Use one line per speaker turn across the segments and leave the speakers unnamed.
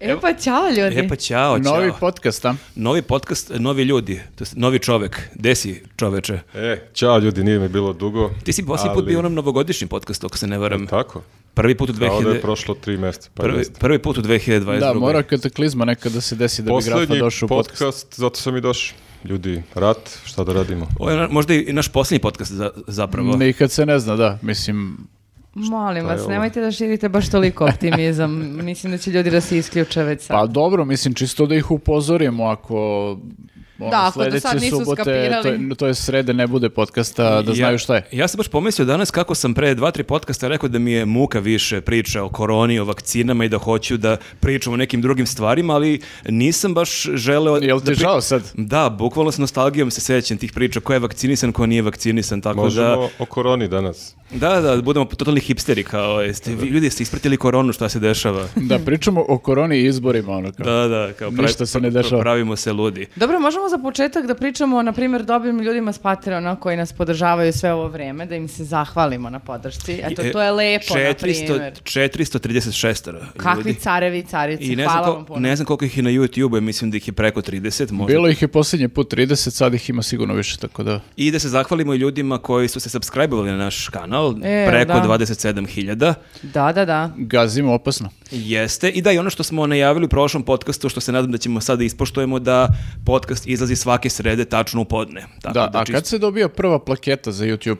E pa ćao ljudi.
E pa ćao, ćao.
Novi podcast, a? Da,
Novi podcast, novi ljudi, to jest novi čovek. Desi čoveče.
E, čao ljudi, nije mi bilo dugo.
Ti si posljednji put
ali- Da,
bio u onom novogodišnjim podcastu, ako se ne varam.
Tako?
Prvi put u
Kao da je
2000...
prošlo tri mjeseca. Pa
Prvi,
jeste.
prvi put u 2022.
Da, mora kataklizma nekad da se desi da bi Grafa
Poslednji
došao u podcast.
podcast, zato sam i došao. Ljudi, rat, šta da radimo?
Ovo je na- možda i naš posljednji podcast za- zapravo.
Nikad se ne zna, da. Mislim,
Molim
je
vas,
ovo?
nemojte da širite baš toliko optimizam. Mislim da će ljudi da se isključe već sad.
pa dobro, mislim, čisto da ih upozorimo ako... ono,
Da, ako do
sledeće
sad nisu
subote,
skapirali.
To je, to je srede, ne bude podcasta, da znaju šta je.
Ja, ja sam baš pomislio danas kako sam pre dva, tri podcasta rekao da mi je muka više priča o koroni, o vakcinama i da hoću da pričam o nekim drugim stvarima, ali nisam baš želeo...
Jel
da
ti
pri-
žao sad?
Da, bukvalno s nostalgijom se sećam tih priča ko je vakcinisan, ko nije vakcinisan, tako
Možemo o koroni danas.
da, da, da, budemo totalni hipsteri kao, jeste, vi ljudi ste ispratili koronu, šta se dešava.
Da, pričamo o koroni i izborima, ono kao.
Da, da, kao pravi-
Ništa se ne dešava.
Pravimo se ludi.
Dobro, možemo za početak da pričamo o, na primjer, dobrim ljudima s Patreona koji nas podržavaju sve ovo vrijeme, da im se zahvalimo na podršci. Eto,
E,
to je lepo, na
400,
primjer.
436 ljudi.
Kakvi carevi i carice,
I ne znam,
hvala
ko-
vam puno.
ne znam koliko ih je na YouTube-u, mislim da ih je preko 30, možda.
Bilo ih je posljednji put 30, sad ih ima sigurno više, tako da...
I da se zahvalimo i ljudima koji su se subscribe-ovali na naš kanal,
E,
preko
da.
27.000.
Da, da, da.
Gazimo opasno.
Jeste. I da, i ono što smo najavili u prošlom podcastu, što se nadam da ćemo sada ispoštujemo, da podcast izlazi svake srede tačno u podne. Tako
Da, a
čist-
kad se dobija prva plaketa za YouTube?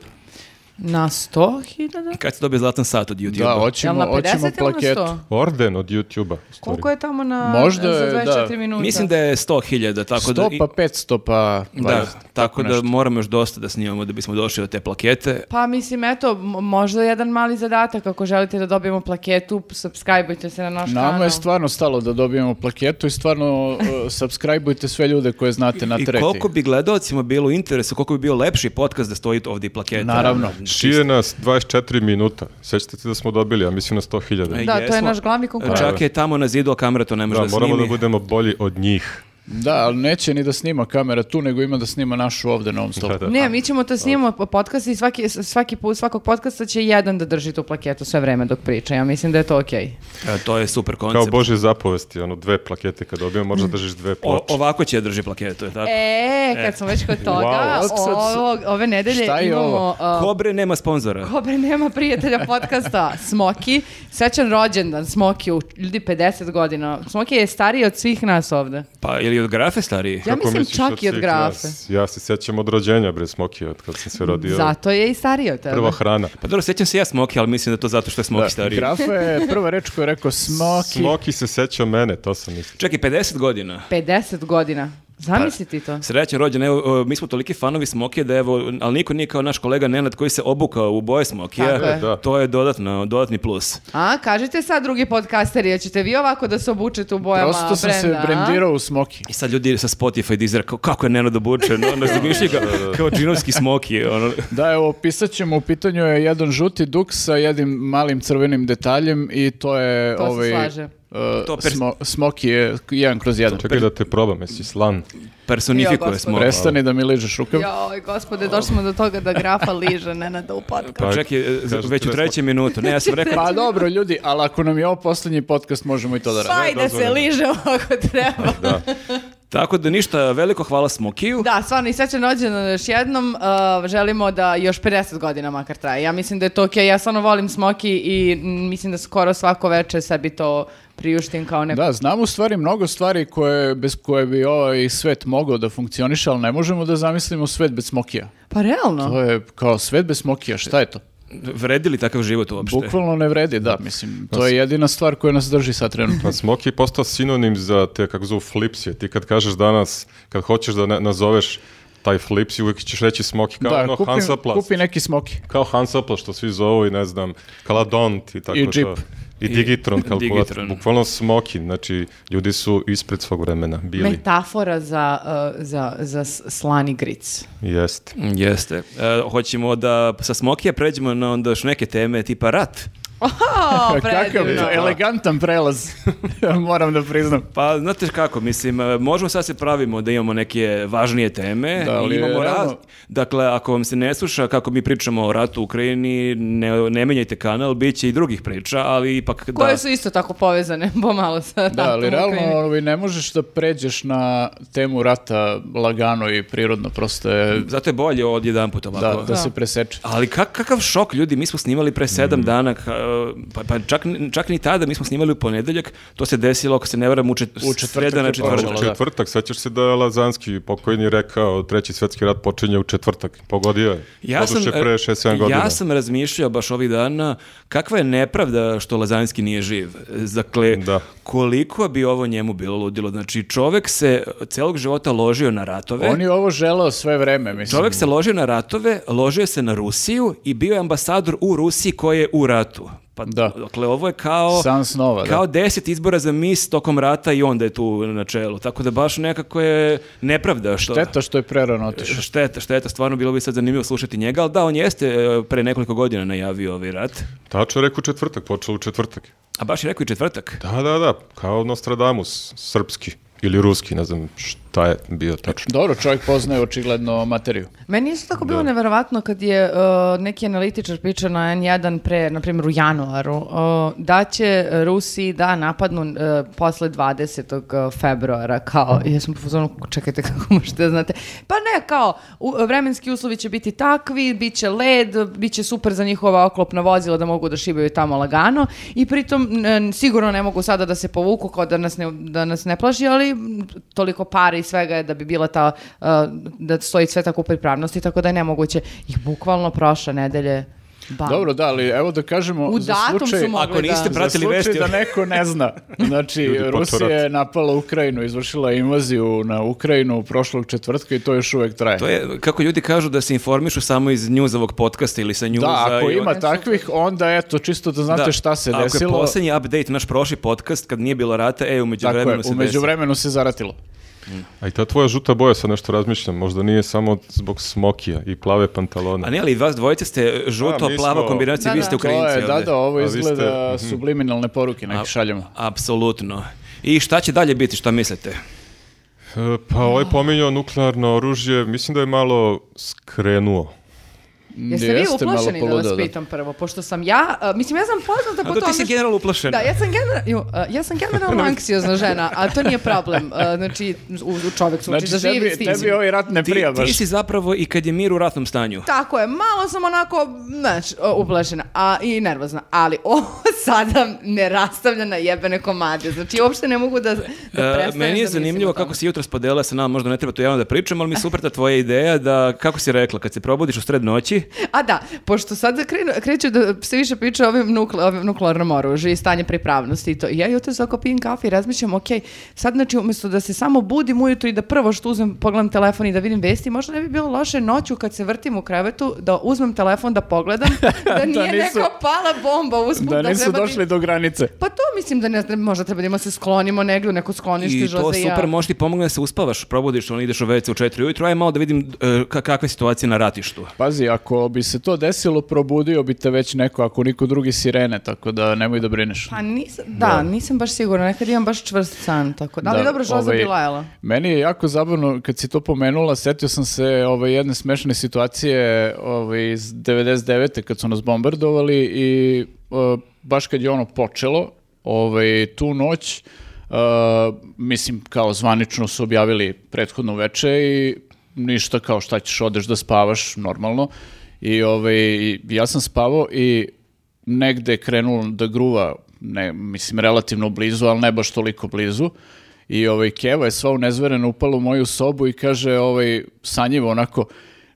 Na sto hiljada?
Kad se dobije zlatan sat od YouTube-a?
Da,
Jel
hoćemo,
na 50
hoćemo
ili na
plaketu.
100?
Orden od YouTube-a. u stvari.
Koliko je tamo na,
Možda
za
je, da.
24 minuta?
Mislim da je 100.000, tako da...
Sto
i-
pa 500 pa...
Da,
20,
tako da
nešto.
moramo još dosta da snimamo da bismo došli do te plakete.
Pa mislim, eto, m- možda jedan mali zadatak, ako želite da dobijemo plaketu, subscribeujte se na naš kanal.
Nama je stvarno stalo da dobijemo plaketu i stvarno e, subscribeujte sve ljude koje znate na
I
tereti.
koliko bi gledaocima bilo interesa, koliko bi bio lepši podcast da stoji ovdje plaketa.
Naravno.
Šije nas 24 minuta. Sećate se da smo dobili, ja mislim na 100.000.
Ej,
Da, to je
Jesmo.
naš glavni konkurent.
Čak je tamo na zidu, a kamera to ne može
Da,
da,
moramo da
snimi.
budemo bolji od njih.
Da, ali neće ni da snima kamera tu, nego ima da snima našu ovde na ovom stolu.
Da, da.
Ne, mi ćemo to snimamo po- podcast i svaki, svaki put, svakog podcasta će jedan da drži tu plaketu sve vreme dok priča. Ja mislim da je to okej.
E, to je super
Kao
koncept.
Bože zapovesti, ono, dve plakete kad dobijemo, možeš
Mm.
da držiš dve
O-
ploče.
ovako će da drži plaketu, je tako?
E, kad smo već kod toga,
Wow.
Sad- sad-
ovog- ove nedelje
Šta je
imamo...
ovo?
a,
Kobre nema sponzora.
Kobre nema prijatelja podcasta, Smoki. Srećan rođendan Smoki, u ljudi 50 godina. Smoki je stariji od svih nas ovde.
Pa, ili od grafe stariji?
Ja
Kako
mislim
misliš
čak i od
svih
grafe. Mm,
nas? Ja se sjećam od rođenja, bre, Smoki, od kad sam se rodio.
Zato je i stariji od tebe.
Prva hrana.
Pa dobro, sjećam se ja Smoki, ali mislim da je to zato što je Smoki stariji.
Grafa je prva reč koju je rekao smoki.
Smoki se seća mene, to sam mislio.
Čak i 50 godina.
50 godina. Zamisli ti to.
Srećan rođen, evo, e, mi smo toliki fanovi Smokija da evo, ali niko nije kao naš kolega Nenad koji se obukao u boje Smokija.
Tako je.
Da.
To je dodatno, dodatni plus.
Pa.
A, kažite sad drugi podcasteri, hoćete vi ovako da se obučete u bojama
Prosto sam se
brenda, a?
brendirao u smoki.
I sad ljudi sa Spotify dizera kao kako je Nenad obučen, onda zamišljaju ga kao džinovski Smoki. Ono.
Da, evo, pisat ćemo, u pitanju je jedan žuti duk sa jednim malim crvenim detaljem i to je...
To se
ovaj,
slaže.
e,
To pers-
smo- smoki je jedan kroz jedan.
Čekaj da te probam, jesi slan?
Jo,
Personifikuje
gospod.
Smoki.
Prestani da mi ližeš rukav.
Joj, gospode, došli smo do toga da grafa liže Nenada u podcast.
Pa-
Čekaj, e, za-
Kažete
već u
da je
trećem minutu. Ne, ja sam rekao,
Pa dobro, ljudi, ali ako nam je ovo posljednji podcast, možemo i to da radimo.
Pa i da se
dozvoljeno.
liže ako treba.
Da.
tako da ništa, veliko hvala Smokiju.
Da, stvarno i srećan rođendan da još jednom. Uh, želimo da još 50 godina makar traje. Ja mislim da je to okej. Ja stvarno volim smoki i mm, mislim da skoro svako večer sebi to priuštim kao neko.
Da, znam u stvari mnogo stvari koje, bez koje bi ovaj svet mogao da funkcioniše, ali ne možemo da zamislimo svet bez smokija.
Pa realno.
To je kao svet bez smokija, šta je to?
Vredi li takav život uopšte?
Bukvalno ne vredi, da, mislim. To je jedina stvar koja nas drži sad trenutno.
Pa Smoki je postao sinonim za te, kako zove, flipsije. Ti kad kažeš danas, kad hoćeš da na- nazoveš taj flipsi, uvijek ćeš reći Smoki kao
Da,
ono
kupi,
Hansaplast.
kupi neki smoki.
Kao Hansaplast što svi zovu i ne znam, Kaladont i tako
I
to.
Jeep.
I Digitron
I
kalkulator.
Digitron.
Bukvalno Smoki, znači ljudi su ispred svog vremena bili.
Metafora za, uh, za, za s- slani gric.
Jeste.
Jeste. E, hoćemo da sa Smokija pređemo na onda još neke teme tipa rat.
O,
Kakav
Pa predivno.
elegantan prelaz, moram da priznam.
Pa, znate kako, mislim, e, možemo sad se pravimo da imamo neke važnije teme.
Da, ali
i imamo
je realno-
raz- Dakle, ako vam se ne sluša kako mi pričamo o ratu u Ukrajini, ne, ne menjajte kanal, bit će i drugih priča, ali ipak da...
Koje su isto tako povezane, pomalo sa
Da,
ratom u
ali realno
Ukrajini.
ovaj, ne možeš da pređeš na temu rata lagano i prirodno, prosto je
Zato je bolje od jedan put ovako.
da, da,
Da.
se preseče.
Ali kak- kakav šok, ljudi, mi smo snimali pre
Mm.
sedam dana, ka- pa, pa čak, čak ni tada, mi smo snimali u ponedeljak, to se desilo, ako se ne varam, u, čet,
U četvrtak
sreda na
je
četvrtak.
počelo. da.
Pa, Četvrtak, sećaš se da je Lazanski pokojni rekao treći svjetski rat počinje u četvrtak. Pogodio je.
Ja sam, e,
Oduše pre 6-7 godina.
ja sam razmišljao baš ovih dana kakva je nepravda što Lazanski nije živ. Dakle,
Da.
koliko bi ovo njemu bilo ludilo. Znači, čovek se celog života ložio na ratove.
On je ovo želeo sve vreme, mislim.
Čovek se ložio na ratove, ložio se na Rusiju i bio je ambasador u Rusiji koji je u ratu. Pa,
Da.
Dakle, ovo je kao...
San snova, da.
Kao deset izbora za mis tokom rata i onda je tu na čelu. Tako da baš nekako je nepravda što...
Šteta što je prerano otišao.
Šteta, šteta, stvarno bilo bi sad zanimljivo slušati njega, ali da, on jeste e, pre nekoliko godina najavio ovaj rat,
Tačno je rekao u četvrtak, počelo u četvrtak.
a baš je rekao i četvrtak.
Da, da, da, kao Nostradamus, srpski ili ruski, ne znam šta je bio tačno.
Dobro, čovjek poznaje očigledno materiju.
Meni je isto
Da.
tako bilo neverovatno kad je uh, neki analitičar pričao na N1 pre, na primjer u januaru, uh, da će Rusi da napadnu uh, posle 20. februara, kao, ja sam u fazonu, čekajte kako možete da znate. Pa ne, kao, u- vremenski uslovi će biti takvi, bit će led, bit će super za njihova oklopna vozila da mogu da šibaju tamo lagano i pritom n- sigurno ne mogu sada da se povuku kao da nas ne, da nas ne plaši, ali m, toliko pare i svega je da bi bila ta, uh, da stoji sve tako u pripravnosti, tako da je nemoguće. I bukvalno prošle nedelje, bam.
Dobro, da, ali evo da kažemo
U
za
datum
slučaj...
su mogli
Ako niste
da-
pra- pratili
Za slučaj
vesti.
da neko ne zna. Znači,
Ljudi,
Rusija
potorat.
je napala Ukrajinu, izvršila je invaziju na Ukrajinu prošlog četvrtka i to još uvek traje.
To je, kako ljudi kažu, da se informišu samo iz njuz ovog podcasta ili sa njuza.
Da, ako
i-
ima takvih, onda eto, čisto da znate
Da.
šta se
Ako je
desilo.
poslednji update, naš prošli podcast, kad nije bilo rata, e, umeđu
Tako je,
vremenu se
umeđu
desi.
vremenu se zaratilo.
A i ta tvoja žuta boja, sad nešto razmišljam, možda nije samo zbog smokija i plave pantalone.
A ne, ali vas dvojice ste
A, mi
žuto-plava
smo-
kombinacija,
Da,
vi
da.
ste
To
Ukrajinci.
Da, to je, da,
ovde.
da, ovo
A vi ste-
izgleda
Mhm.
subliminalne poruke, neki šaljemo.
Apsolutno. I šta će dalje biti, šta mislite?
E, Pa ovaj pominjao nuklearno oružje, mislim da je malo skrenuo.
Jeste vi
Jeste malo
uplašeni da vas
poludeo, da.
pitam prvo, pošto sam ja, uh, mislim ja sam poznata po
A
tome
to ti si
što-
general uplašen.
Da, ja sam, genera- ju, uh, ja sam generalno anksiozna žena, a to nije problem. Uh, znači, u, u čovjek se uči
Znači,
da živi s
tebi,
tim.
tebi ovaj rat ne
Ti,
prija
ti
baš.
si zapravo i kad je mir u ratnom stanju.
Tako je, malo sam onako, znaš, uplašena a, i nervozna, ali ovo sada ne rastavlja na jebene komade, znači uopšte ne mogu da, da
E,
prestanem da
meni je
mislim
zanimljivo
o tome.
kako si jutros podelila sa nama, možda ne treba to javno da pričam, ali mi je super ta tvoja ideja da, kako si rekla, kad se probudiš u sred noći,
A da, pošto sad krenu, kreću da se više priča o ovim, nukle, ovim nuklearnom oružju i stanje pripravnosti i to. I ja jutro svako pijem kafe i razmišljam, ok, sad znači umjesto da se samo budim ujutro i da prvo što uzmem, pogledam telefon i da vidim vesti, možda ne bi bilo loše noću kad se vrtim u krevetu da uzmem telefon da pogledam da nije
nisu-
neka pala bomba usput
Da nisu
treba da-
došli do granice.
Pa to mislim da ne znam, možda treba da ima se sklonimo negdje u neko sklonište
I to
Jose i ja.
super može ti pomogne da se uspavaš, probudiš, on ideš u WC u 4 ujutro, aj malo da vidim e, ka- kakva je situacija na ratištu.
Pazi, ako bi se to desilo, probudio bi te već neko, ako niko drugi sirene, tako da nemoj da brineš.
Pa nisam, da, nisam baš sigurna, nekad imam baš čvrst san, tako da, ali dobro, Žoza
ovaj,
bi lajala.
Meni je jako zabavno, kad si to pomenula, setio sam se ovaj, jedne smešne situacije ovaj, iz 99. kad su nas bombardovali i eh, baš kad je ono počelo, ovaj, tu noć, eh, mislim, kao zvanično su objavili prethodno veče i ništa kao šta ćeš, odeš da spavaš normalno. I ovaj, ja sam spavao i negde je krenulo da gruva, ne, mislim, relativno blizu, ali ne baš toliko blizu. I ovaj, Keva je sva unezverena upala u moju sobu i kaže, ovaj, sanjivo onako,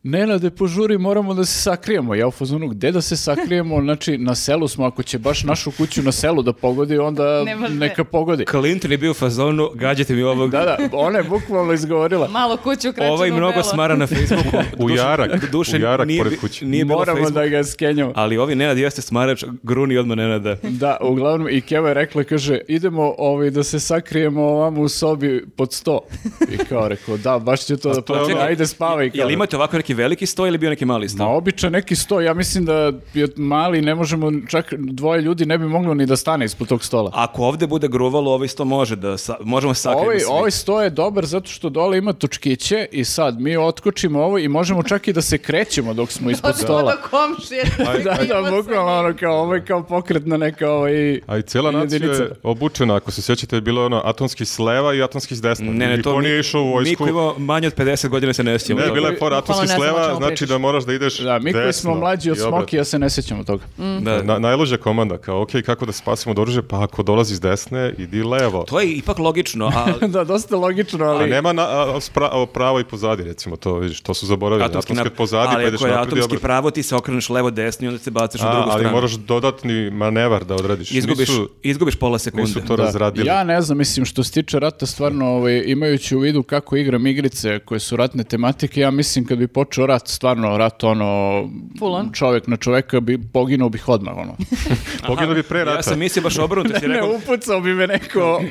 Nenade, požuri, moramo da se sakrijemo. Ja u fazonu, gde da se sakrijemo? Znači, na selu smo, ako će baš našu kuću na selu da pogodi, onda
Ne može.
neka pogodi.
Clinton je bio u fazonu, gađate mi ovog,
Da, da, ona je bukvalno izgovorila.
Malo kuću krećemo
ovaj mnogo smara na Facebooku.
da. U
Dušan-
jarak,
Dušan
u jarak
nije,
pored
bi-
kuće.
Nije bilo
Moramo
Facebook,
da ga skenjamo.
ali ovi Nenad jeste smarač, gruni odmah Nenada.
Da, uglavnom i Keva je rekla, kaže, idemo ovaj, da se sakrijemo ovamo u sobi pod sto. I kao rekao, da, baš ću to da
to je ono-
počne, ajde spavaj. Kao. da.
Jel imate ovako neke neki veliki sto ili bio neki mali
Ma
sto?
običan neki sto, ja mislim da je mali, ne možemo, čak dvoje ljudi ne bi moglo ni da stane ispod tog stola.
Ako ovde bude gruvalo, ovaj sto može da sa, možemo sakriti
Ovaj,
svi.
ovaj sto je dobar zato što dole ima točkiće i sad mi otkočimo ovo i možemo čak i da se krećemo dok smo ispod stola.
Do komšije.
da, da, bukvalno ono kao, ovo je kao pokretna neka ovaj...
A i cijela nacija
jedinica.
je obučena, ako se sjećate, je bilo ono atonski s leva i atonski s desna.
Ne, ne,
Niko
to mi,
nije išao u
mi
vojsku.
koji imamo manje od 50 godina se ne sjećamo.
Ne,
toga.
bila je fora atonski
Bukvalno
s
ne znam o čemu
leva, znači
pričaš.
da moraš da ideš
Da, mi koji smo
desno
mlađi od
i obratno.
Smokija se ne sjećamo toga.
Da.
Na, najluđa komanda, kao, ok, kako da spasimo od oružja, pa ako dolazi s desne, idi levo.
To je ipak logično, a
da, dosta logično, ali...
A nema na, a, spra- a, pravo i pozadi, recimo, to vidiš, to su zaboravili. Atomski,
nap-
pozadi, pa
ali
ideš
ako je
napred i
atomski
obratno.
pravo, ti se okreneš levo, desno i onda se bacaš na
A,
drugu
ali
stranu.
moraš dodatni manevar da odradiš.
Izgubiš,
Nisu,
izgubiš pola sekunde.
nisu to razradili.
Da. Ja ne znam, mislim, što se tiče rata, stvarno, ovaj, imajući u vidu kako igram igrice koje su ratne tematike, ja mislim kad bi počeo rat, stvarno rat, ono,
Full on.
čovjek na čoveka, bi, poginuo bih odmah, ono.
Poginuo bi pre rata.
Ja sam mislio baš obrnuto, ti
ne,
rekao,
upucao bi me neko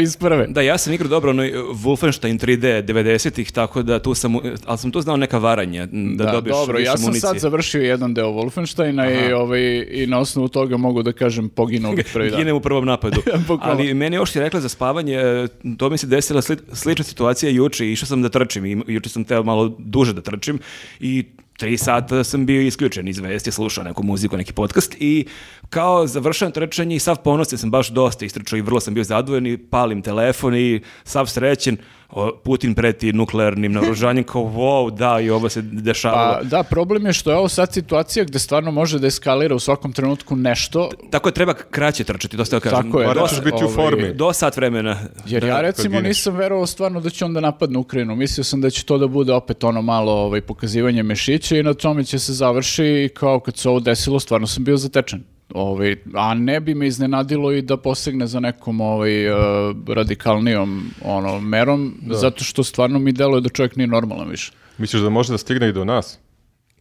iz prve.
Da, ja sam igrao dobro onoj uh, Wolfenstein 3D 90-ih, tako da tu sam, uh, ali sam tu znao neka varanja, m, da,
Da,
dobiješ
dobro,
više
ja sam
municije.
sad završio jedan deo Wolfensteina i, ovaj, i na osnovu toga mogu da kažem poginuo bih prvi dan.
Ginem u prvom napadu.
Bukvalno.
Ali meni je još je rekla za spavanje, e, to mi se desila sli- slična situacija juče, išao sam da trčim, i juče sam teo malo duže da trčim i tri sata sam bio isključen iz vesti, slušao neku muziku, neki podcast i kao završavam trčanje i sav ponosni sam baš dosta istrčao i vrlo sam bio zadovoljan i palim telefon i sav srećen, o, Putin preti nuklearnim naoružanjem, kao wow, da, i ovo se dešavalo.
Pa, da, problem je što je ovo sad situacija gde stvarno može da eskalira u svakom trenutku nešto,
Tako je, treba kraće trčati, to ste joj kažem.
Tako je,
Moraš
da,
biti u
ovaj,
formi.
Do sat vremena.
Jer
Da,
ja recimo
gineš.
nisam verovao stvarno da će onda napadne Ukrajinu. Mislio sam da će to da bude opet ono malo ovaj, pokazivanje mešića i na tome će se završi i kao kad se ovo desilo stvarno sam bio zatečen. Ovaj, a ne bi me iznenadilo i da posegne za nekom ovaj, eh, radikalnijom ono, merom,
Da.
zato što stvarno mi deluje da čovjek nije normalan više.
Misliš da može da stigne i do nas?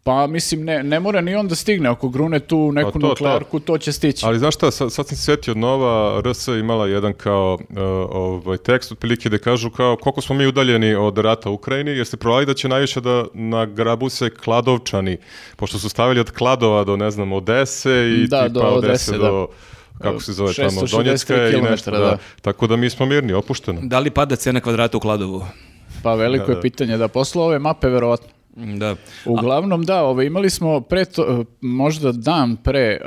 Pa mislim, ne, ne mora ni on da stigne. Ako grune tu neku
Pa to, to.
nuklearku, to će stići.
Ali znaš šta, sad, sad sam se sjetio nova, RS je imala jedan kao e, ovaj, tekst otprilike da kažu kao koliko smo mi udaljeni od rata u Ukrajini, jer ste provali da će najviše da nagrabu se kladovčani, pošto su stavili od Kladova do, ne znam, Odese i
Da,
tipa
do
Odese,
Odese,
do, kako se zove tamo,
663
Donjecka i nešto,
kilometara,
da.
da.
Tako da mi smo mirni, opušteno.
Da li pada cena kvadrata u Kladovu?
Pa veliko je pitanje da posle ove mape verovatno.
Da.
Uglavnom da, ovaj, imali smo pre to, eh, možda dan pre eh,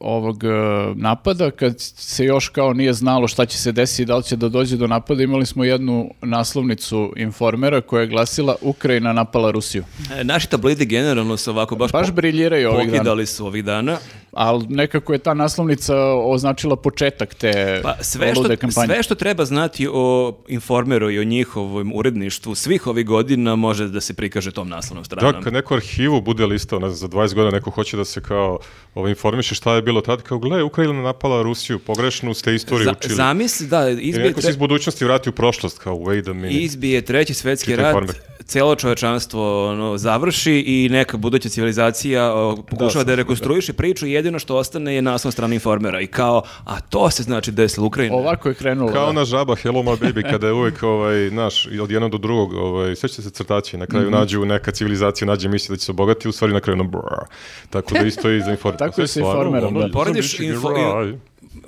ovog eh, napada kad se još kao nije znalo šta će se desiti, da li će da dođe do napada, imali smo jednu naslovnicu informera koja je glasila Ukrajina napala Rusiju.
E, Naši tablidi generalno su ovako baš,
Baš
po-
briljiraju ovih dana,
pokidali su ovih dana.
ali nekako je ta naslovnica označila početak te
Pa sve što,
lude kampanje.
sve što treba znati o informeru i o njihovom uredništvu svih ovih godina može da se prikaže tom naslovnom stranom.
Da, kad neko arhivu bude listao, ne znam, za 20 godina neko hoće da se kao ovo, informiše šta je bilo tad, kao gle, Ukrajina napala Rusiju, pogrešnu ste istoriju
Za-
učili.
zamisli, da,
I
izbije,
neko se
tre,
iz budućnosti vrati u prošlost, kao wait a minute.
izbije treći svetski
Čitaj
rat,
Informer.
celo čovečanstvo ono, završi i neka buduća civilizacija o, pokušava da, rekonstruiše priču i jedino što ostane je naslov strana informera. I kao, a to se znači desilo Ukrajina.
Ovako je krenulo.
Kao
da.
ona žaba Hello My Baby, kada je uvek, ovaj, naš, od jednog do drugog, ovaj, sećate se crtači, na
Mhm.
kraju nađu neka civilizacija, nađe misli da će se obogati, u stvari na kraju ono brrr. Tako da isto i za informer.
Tako je sa informerom, da.
Porediš info-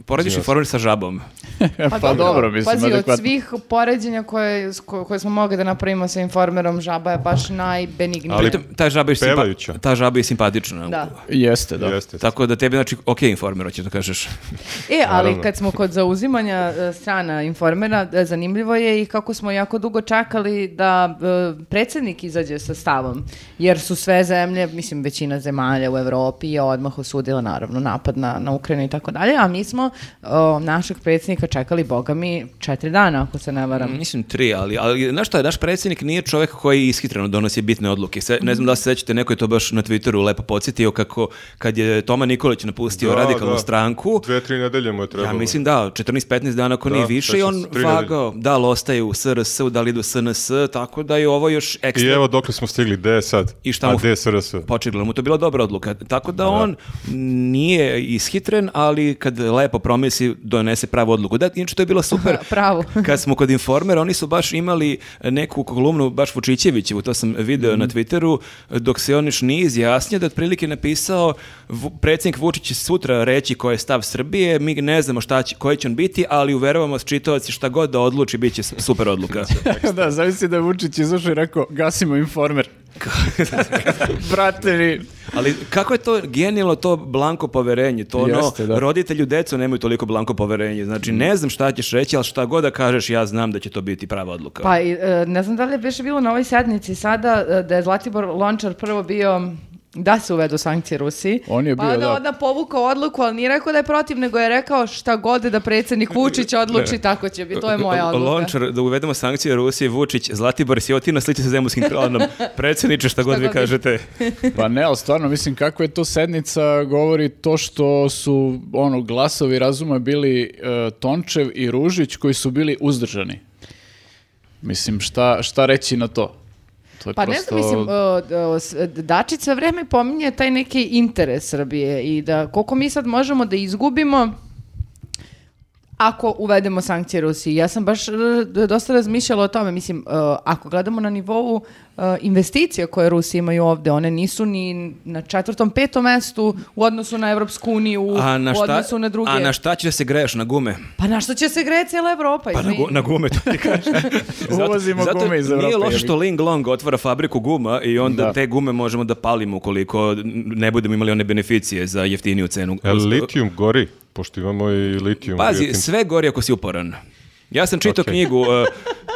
Porediš informer sa žabom.
pa, dobro, mislim,
Pazi, od
adekvatno.
svih poređenja koje, s ko- koje smo mogli da napravimo sa informerom, žaba je baš najbenignija.
Ali-
Pritom, ta žaba je, simpa-
Pevajuća.
ta žaba je simpatična.
Da.
Jeste, da.
Jeste.
Tako da tebi, znači, ok, informer, hoćeš da kažeš.
E, ali
Naravno.
kad smo kod zauzimanja e, strana informera, e, zanimljivo je i kako smo jako dugo čekali da e, predsjednik izađe sa stavom, jer su sve zemlje, mislim većina zemalja u Evropi je odmah osudila naravno napad na, na Ukrajinu i tako dalje, a mi smo o, našeg predsjednika čekali, boga mi, četiri dana, ako se ne varam.
Mislim tri, ali, ali znaš šta, naš predsjednik nije čovjek koji ishitreno donosi bitne odluke. Se, ne znam da li se sećate, neko je to baš na Twitteru lepo podsjetio kako kad je Toma Nikolić napustio radikalnu stranku,
Da, Dve, tri nedelje mu je trebalo.
Ja mislim da, 14-15 dana ako nije
Da,
više i on
16, tri
vagao, da li ostaje u SRS, -u, da li idu u SNS, tako da je ovo još ekstra.
I evo dokle smo stigli, gde je sad?
I šta
A
mu-
gde je SRS?
Pa očigledno mu to bila dobra odluka. Tako da on nije ishitren, ali kad lepo lepo promisli, donese pravu odluku. Da, inače to je bilo super.
Pravu.
Kad smo kod informera, oni su baš imali neku kolumnu, baš Vučićevićevu, to sam video na Twitteru, dok se on još nije izjasnio, da je otprilike napisao "Vu- predsjednik Vučić će sutra reći koji je stav Srbije, mi ne znamo šta će, koji će on biti, ali uveravamo s čitovac šta god da odluči, bit će s- super odluka.
da, zavisi da je Vučić izašao i rekao, gasimo informer. Brate mi,
ali kako je to genijalno to blanko poverenje, to ono,
Jeste, da.
roditelju decu nemaju toliko blanko poverenje, znači ne znam šta ćeš reći, ali šta god da kažeš, ja znam da će to biti prava odluka.
Pa i, e, ne znam da li je više bilo na ovoj sednici sada e, da je Zlatibor Lončar prvo bio da se uvedu sankcije Rusiji.
On je
pa
bio,
onda
da.
onda povukao odluku, ali nije rekao da je protiv, nego je rekao šta god da predsjednik Vučić odluči, tako će biti. To je moja odluka.
Lončar, da uvedemo sankcije Rusije, Vučić, Zlatibor, Sjoti na slici sa zemunskim klanom. Predsjedniče, šta god vi
god vi-
kažete.
Pa ne, ali stvarno, mislim, kako je to sednica govori to što su ono, glasovi razuma bili e, Tončev i Ružić koji su bili uzdržani. Mislim, šta, šta reći na to? To je
Pa
prosto...
ne znam, mislim, uh, uh, s- Dačić sve vreme pominje taj neki interes Srbije i da koliko mi sad možemo da izgubimo ako uvedemo sankcije Rusiji. Ja sam baš r- d- dosta razmišljala o tome. Mislim, uh, ako gledamo na nivou uh, investicija koje Rusi imaju ovde, one nisu ni na četvrtom, petom mestu u odnosu na Evropsku uniju,
A na
u
šta,
odnosu na druge.
a na šta će da se greješ? Na gume?
Pa na što će se greje cijela Evropa?
Pa na,
izvini?
gu- na gume, to ti kažem.
Uvozimo gume iz
Nije
Evrope,
loše
jebi.
što Ling Long otvara fabriku guma i onda
Da.
te gume možemo da palimo ukoliko ne budemo imali one beneficije za jeftiniju cenu.
E, litijum gori, pošto imamo i litijum. u
Pazi,
jeftin-
sve gori ako si uporan. Ja sam čitao
Ok.
knjigu, uh,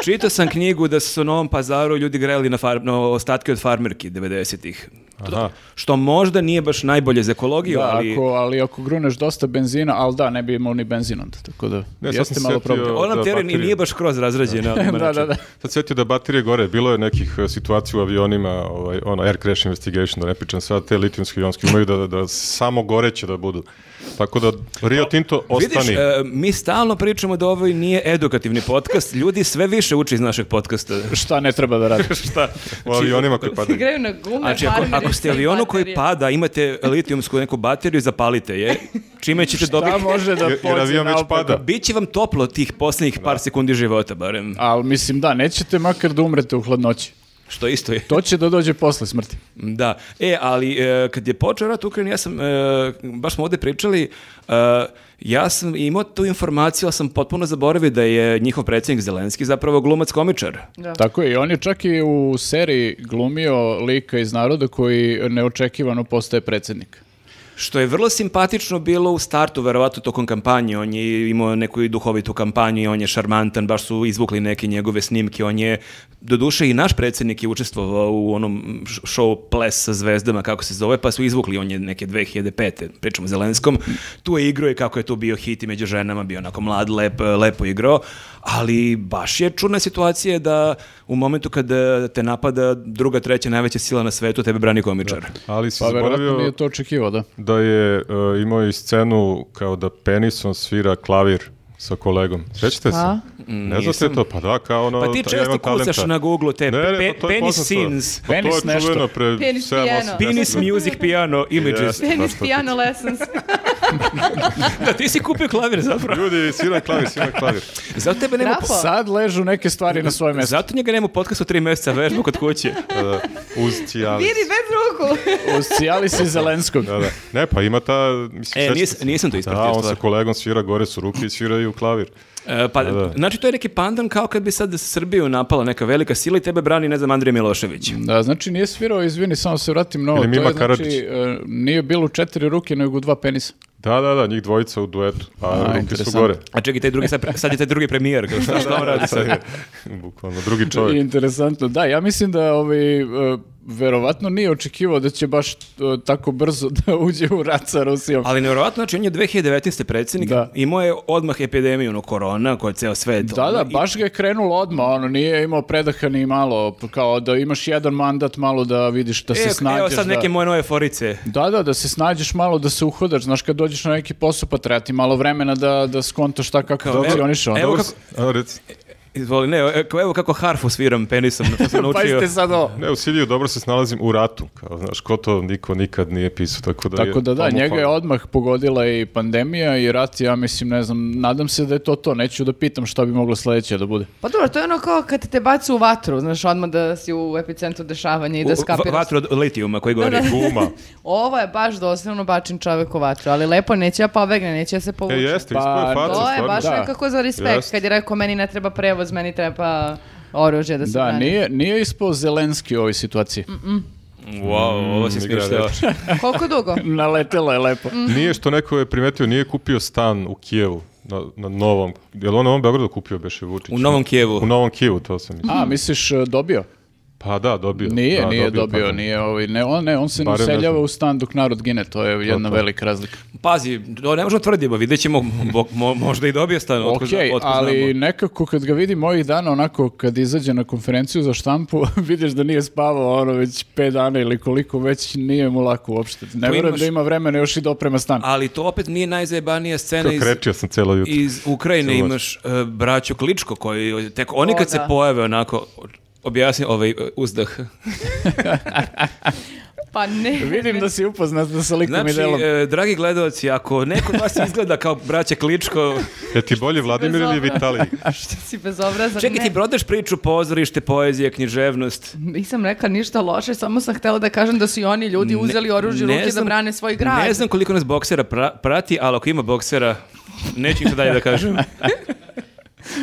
čitao sam knjigu da su u Novom pazaru ljudi grejali na, far, na ostatke od farmerki 90-ih. To-
Aha.
Što možda nije baš najbolje za ekologiju,
Da,
ali...
ako, ali ako gruneš dosta benzina, ali da, ne bi imao ni benzin onda, tako da
Ne, sad
jeste
sam
malo
sjetio-
problem.
Ona
da,
teorija ni-
baterije.
nije baš kroz razrađena. ali ima
da, da,
način.
da.
Sad sjetio da baterije gore, bilo je nekih e, situacija u avionima, ovaj, ono, air crash investigation, da ne pričam, sad te litijumski ionski umeju da, da, da samo goreće da budu. Tako da Rio Tinto
Vidiš,
ostani.
e, mi stalno pričamo da ovo i nije edukativni podcast. Ljudi sve više uči iz našeg podcasta.
Šta ne treba da radi?
šta? U avionima koji padaju.
Greju na gume,
Znači, ako,
farmeri,
ako ste
sve
avionu koji pa-
baterije.
pada, imate litijumsku neku bateriju, zapalite je. Čime ćete
Da,
dobiti...
može da
Jer- jer
pođe
avion već
naopako.
pada.
Biće vam toplo tih posljednjih
Da.
par sekundi života, barem.
Ali mislim, da, nećete makar da umrete u hladnoći.
Što isto je.
To će da dođe posle smrti.
Da, e, ali e, kad je počeo rat u Ukrajini, ja sam, e, baš smo ovde pričali, e, ja sam imao tu informaciju, ali sam potpuno zaboravio da je njihov predsjednik Zelenski zapravo glumac komičar.
Da.
Tako je, i on je čak i u seriji glumio lika iz naroda koji neočekivano postaje predsjednik.
Što je vrlo simpatično bilo u startu, verovatno tokom kampanje, on je imao neku i duhovitu kampanju, i on je šarmantan, baš su izvukli neke njegove snimke, on je, doduše i naš predsjednik je učestvovao u onom š- show Ples sa zvezdama, kako se zove, pa su izvukli, on je neke 2005. pričamo o Zelenskom, tu je igrao i kako je tu bio hit i među ženama, bio onako mlad, lep, lepo igrao, ali baš je čudna situacija da u momentu kada te napada druga, treća, najveća sila na svetu, tebe brani komičar.
Ali si
Pa verovatno
zaboravio
nije to očekivao, da.
da je e, imao i scenu kao da penison svira klavir sa kolegom. Sećate se?
A?
Ne znate to? Pa da, kao ono...
Pa ti
ta- ja
često
imam talenta.
kucaš na Google te
Ne, ne,
pe-
pa to je
penis
poznato.
scenes.
Pa to je
Penis nešto.
čuveno pre
Penis
7, 8,
piano.
10
Penis
godina.
music piano images.
Jeste.
Penis
Baš to
piano lessons.
da, ti si kupio klavir zapravo.
Ljudi, sviraj klavir, sviraj klavir.
Zato tebe nema...
Bravo.
Sad ležu neke stvari na svoje mjesto.
Zato njega nema podcast u tri mjeseca vežbu kod kuće.
Da, da, uz cijalis.
Vidi bez ruku.
Uz Cijalis i Zelenskog.
Da, da. Ne, pa ima ta... Mislim,
E,
sećate
nis-
se.
nisam to ispratio,
Da, on sa
stvar.
kolegom svira, gore su ruke i sviraju klavir.
E, pa,
da.
znači, to je neki pandan kao kad bi sad Srbiju napala neka velika sila i tebe brani, ne znam, Andrija Milošević.
Da, znači nije svirao, izvini, samo se vratim na ovo.
Ili
To je,
Mima Karadžić.
znači, e, nije bilo u četiri ruke, nego u dva penisa.
Da, da, da, njih dvojica u duetu, a,
A,
ruke su
interesantno.
gore. Da,
A čekaj, taj drugi, sad, pre- sad je taj drugi premijer. kao Šta, šta on radi sad?
Bukvalno, drugi čovjek.
I Interesantno. Da, ja mislim da ovaj, e, verovatno nije očekivao da će baš e, tako brzo da uđe u rat sa Rusijom.
Ali nevjerovatno, znači on je 2019. predsjednik,
Da.
imao je odmah epidemiju, ono, korona, koja je ceo svet.
Da,
ono,
da,
i-
baš ga je krenulo odmah, ono, nije imao predaha ni malo, kao da imaš jedan mandat malo da vidiš, da
E,
se snađeš.
Evo sad
da-
neke moje nove forice.
Da, da, da se snađeš malo, da se uhodaš, znaš, kad dođeš na neki posao, pa treba ti malo vremena da, da skontaš šta kako
Kao, evo-
funkcioniš, onda
evo
Dobro,
kako-
a, reci.
Izvoli, ne, e, kao- evo kako harfu sviram penisom, to sam naučio.
Pazite sad ovo.
Ne, u Siriju dobro se snalazim u ratu, kao, znaš, ko to niko nikad nije pisao, tako da
Tako da da,
tomu
njega je
hvala.
odmah pogodila i pandemija i rat, ja mislim, ne znam, nadam se da je to to, neću da pitam šta bi moglo sledeće da bude.
Pa dobro, to je ono kao kad te bacu u vatru, znaš, odmah da si u epicentru dešavanja i da
U- va-
skapiraš.
Vatru od litijuma koji govori.
Guma.
Ovo je baš doslovno bačen čovek u vatru, ali lepo, neće ja pobegne, neće ja se
E,
povući.
jeste,
Pa,
pa, je faca,
To je
stvarno.
baš
Da.
nekako za respekt,
Jeste.
kad je rekao meni ne treba prevoz, meni treba oružje da se Mm,
Da,
brani.
nije, nije ispao Zelenski u ovoj situaciji.
Wow, ovo si
Mm, igra
smišljao.
reči.
Koliko dugo?
Naletelo je lepo.
Mm-hmm.
Nije što neko je primetio, nije kupio stan u Kijevu, na, na novom, je li on u Novom Beogradu kupio Beše Vučić?
U Novom Kijevu.
U Novom Kijevu, to sam mislio.
A, misliš e, dobio?
Pa da, dobio.
Nije,
da,
nije dobio,
pardon.
nije ovaj, ne, on, ne, on se ne
Barem ne
useljava
znam.
u stan dok narod gine, to je jedna velika razlika.
Pazi, to ne možemo tvrdimo, vidjet ćemo, mo- mo- možda i dobije stan. Da, otko
Ok,
zna- otko
ali
znamo.
nekako kad ga vidim ovih dana, onako kad izađe na konferenciju za štampu, vidiš da nije spavao ono već 5 dana ili koliko već nije mu lako uopšte. Ne
To
vjerujem
imaš-
da ima vremena još i da oprema stan.
Ali to opet nije najzajebanija scena
Kao
iz,
krečio sam celo jutro.
iz Ukrajine.
Cijelo
Imaš e, braću Kličko koji, tek oni
O,
kad se
da.
pojave onako, objasni ovaj e, uzdah.
Pa ne.
Vidim da si upoznat da sa likom
Znači,
i delom.
e, dragi gledalci, ako neko od vas izgleda kao braća Kličko,
Je ti bolje Vladimir ili
bezobrazan.
Vitalij?
Što si bezobrazan?
čekaj
ne.
ti brodeš priču, pozorište, poezija, književnost.
Nisam rekla ništa loše, samo sam htela da kažem da su i oni ljudi uzeli oružje u
Ne
ruke da
znam-
brane svoj grad.
Ne znam koliko nas boksera pra- prati, ali ako ima boksera, neću ništa dalje da kažem.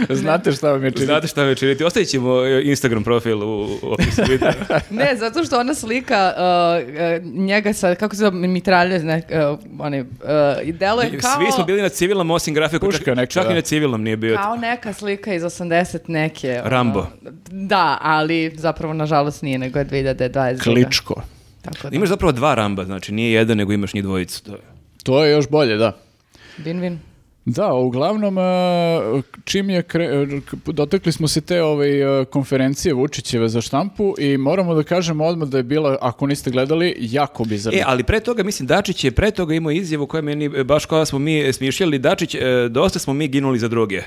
Znate šta vam je činiti.
e, Znate šta me činiti? Ostavit ćemo e, Instagram profil u u opisu videa.
Ne, zato što ona slika uh, uh, njega sa, kako se zove, mitralje, ne, uh, one, uh, i deluje kao,
Svi smo bili na civilnom, osim grafiku.
Puška
Čak,
neka,
čak
da.
i na civilnom nije bio.
kao neka slika iz 80 neke. ono.
Rambo.
Da, ali zapravo, nažalost, nije, nego je 2022.
Kličko.
Tako da,
Imaš zapravo dva ramba, znači nije jedan, nego imaš njih dvojicu. To je.
To je još bolje, da.
win-win.
Da, uglavnom, e, čim je, kre- e, dotakli smo se te ovaj, e, konferencije Vučićeve za štampu i moramo da kažemo odmah da je bila, ako niste gledali, jako bizarno.
E, ali pre toga, mislim, Dačić je pre toga imao izjavu koja meni, e, baš kao da smo mi e, smišljali, Dačić, e, dosta smo mi ginuli za druge.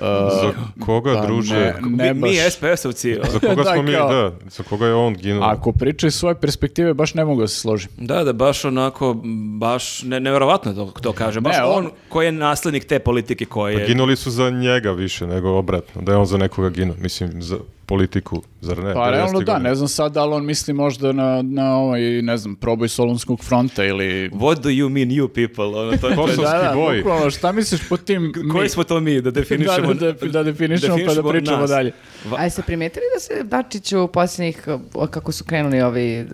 Za koga,
Pa
druže?
ne, ne
mi,
baš.
mi SPS-ovci.
Za koga
Da,
smo mi,
kao.
da, za koga je on ginuo?
Ako priča iz svoje perspektive, baš ne mogu da se složim.
Da, da, baš onako, baš ne, nevjerovatno to, to kaže. Baš
Ne,
on,
on-
koji je naslednik te politike koje je...
Ginuli su za njega više nego obratno, da je on za nekoga ginuo, mislim, za politiku, zar ne?
Pa
90
realno da,
godina.
ne znam sad da li on misli možda na, na ovaj, ne znam, proboj Solunskog fronta ili...
What do you mean you people? Ono, to, to,
Ko su-
Da, da,
boj.
bukvalno, šta misliš po tim...
koji
mi?
smo to mi da definišemo?
Da, da, da, da definišemo, pa da pričamo
nas?
dalje.
Va-
A jeste primetili da se Dačiću u posljednjih, uh, kako su krenuli ovi uh,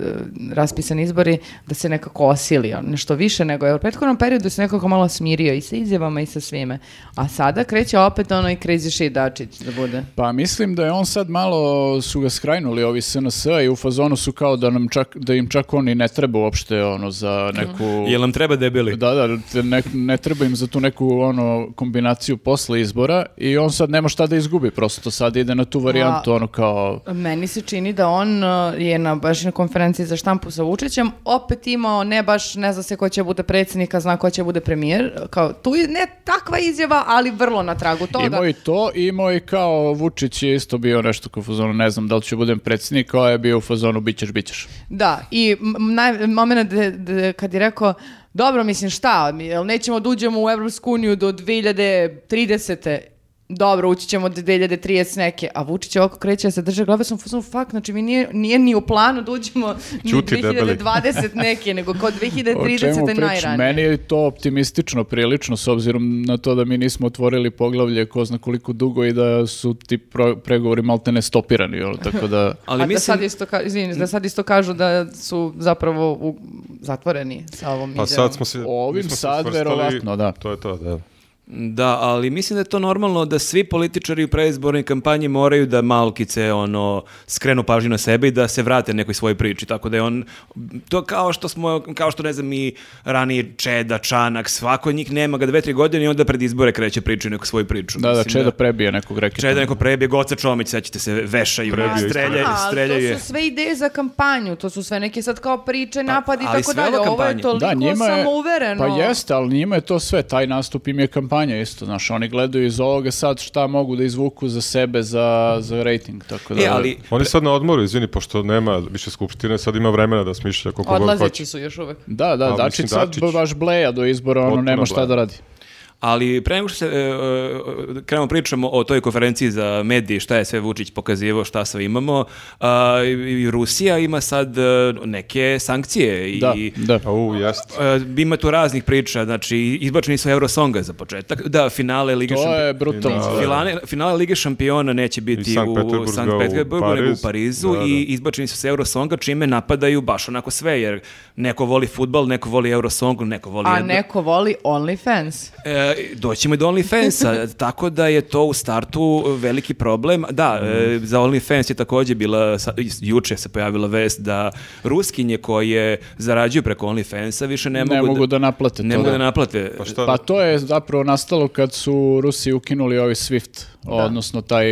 raspisani izbori, da se nekako osilio, nešto više nego je u prethodnom periodu se nekako malo smirio i sa izjavama i sa svime. A sada kreće opet ono i crazy shit Dačić da bude.
Pa mislim da je on sad malo su ga skrajnuli ovi SNS i u fazonu su kao da nam čak da im čak on i ne treba uopšte ono za neku
Jel nam treba debeli?
Da, da, te ne, ne treba im za tu neku ono kombinaciju posle izbora i on sad nema šta da izgubi, prosto sad ide na tu varijantu ono kao
Meni se čini da on uh, je na, baš na konferenciji za štampu sa Vučićem opet imao, ne baš, ne zna se ko će bude predsjednik, a zna ko će bude premijer. Kao, tu je ne takva izjava, ali vrlo na tragu toga.
Imao i to, imao i kao Vučić je isto bio nešto kao u fazonu, ne znam da li ću budem predsjednik, a je bio u fazonu bićeš, bićeš.
Da, i m- naj, moment de- de- kad je rekao, dobro, mislim, šta, mi- jel nećemo da uđemo u Evropsku uniju do 2030. Dobro, ući ćemo do 2030 neke, a Vučić je oko kreće da se drže glave, sam fuzon, fuck, znači mi nije, nije ni u planu da uđemo ni
Ćuti, debeli.
2020 neke, nego kao
O čemu
2030
pričam?
najranije.
Meni je to optimistično prilično s obzirom na to da mi nismo otvorili poglavlje ko zna koliko dugo i da su ti pro- pregovori malte ne stopirani, ono, tako da...
Ali
a da
mislim,
sad, isto ka, izvini, da sad isto kažu da su zapravo u- zatvoreni sa ovom
Pa
izjavom.
sad smo se...
Ovim
mi smo se
sad
svrstali-
verovatno, da.
To je to, da.
da, ali mislim da je to normalno da svi političari u predizbornoj kampanji moraju da malkice ono, skrenu pažnju na sebe i da se vrate nekoj svojoj priči, tako da je on, to kao što smo, kao što ne znam i rani Čeda, Čanak, svako od njih nema ga dve, tri godine i onda pred izbore kreće priču neku svoju priču.
Da, da,
Mislim da
Čeda prebije nekog reketa.
Čeda neko prebije, Goca Čomić, sećate se, vešaju,
Prebio isto.
streljaju,
A, ali
streljaju je.
to su sve ideje za kampanju, to su sve neke sad kao priče,
Pa,
napadi i
ali
tako
sve
dalje.
ovo
Ovo je
kampanje.
toliko
Da, njima je,
samouvereno.
pa jeste, ali njima je to sve, taj nastup im je kampanja, obrazovanja isto, znaš, oni gledaju iz ovoga sad šta mogu da izvuku za sebe, za, za rating, tako da...
E, ali,
Oni sad na odmoru, izvini, pošto nema više skupštine, sad ima vremena da smišlja koliko god hoće.
Odlazeći su još uvek.
Da, da,
Pa, mislim,
Dačić sad
Dačić-
baš bleja do izbora, ono,
Potpuno
nema šta
bleja.
da radi.
ali pre nego što se e, e, krenemo pričamo o toj konferenciji za medije, šta je sve Vučić pokazivao, šta sve imamo, a, i, i Rusija ima sad e, neke sankcije i
Da, da.
Au, jest.
e, ima tu raznih priča, znači izbačeni su Eurosonga za početak, da, finale Lige
To
šampiona.
je brutalno.
Da.
Finale, finale Lige šampiona neće biti
Iz Sankt
u
Peterburga
Sankt
u
Peterburgu, nego u
Pariz.
Parizu
Da, da.
i izbačeni su s Eurosonga, čime napadaju baš onako sve, jer neko voli futbal, neko voli Eurosong, neko voli...
A
jedno-
neko voli OnlyFans. Da
E, doćemo i do OnlyFansa, tako da je to u startu veliki problem. Da, e, za OnlyFans je također bila, sa- juče se pojavila vest da ruskinje koje zarađuju preko OnlyFansa više ne,
Ne mogu da naplate
ne
to.
mogu da
da.
naplate.
Pa šta?
Pa to je zapravo nastalo kad su Rusi ukinuli ovaj SWIFT,
Da.
odnosno taj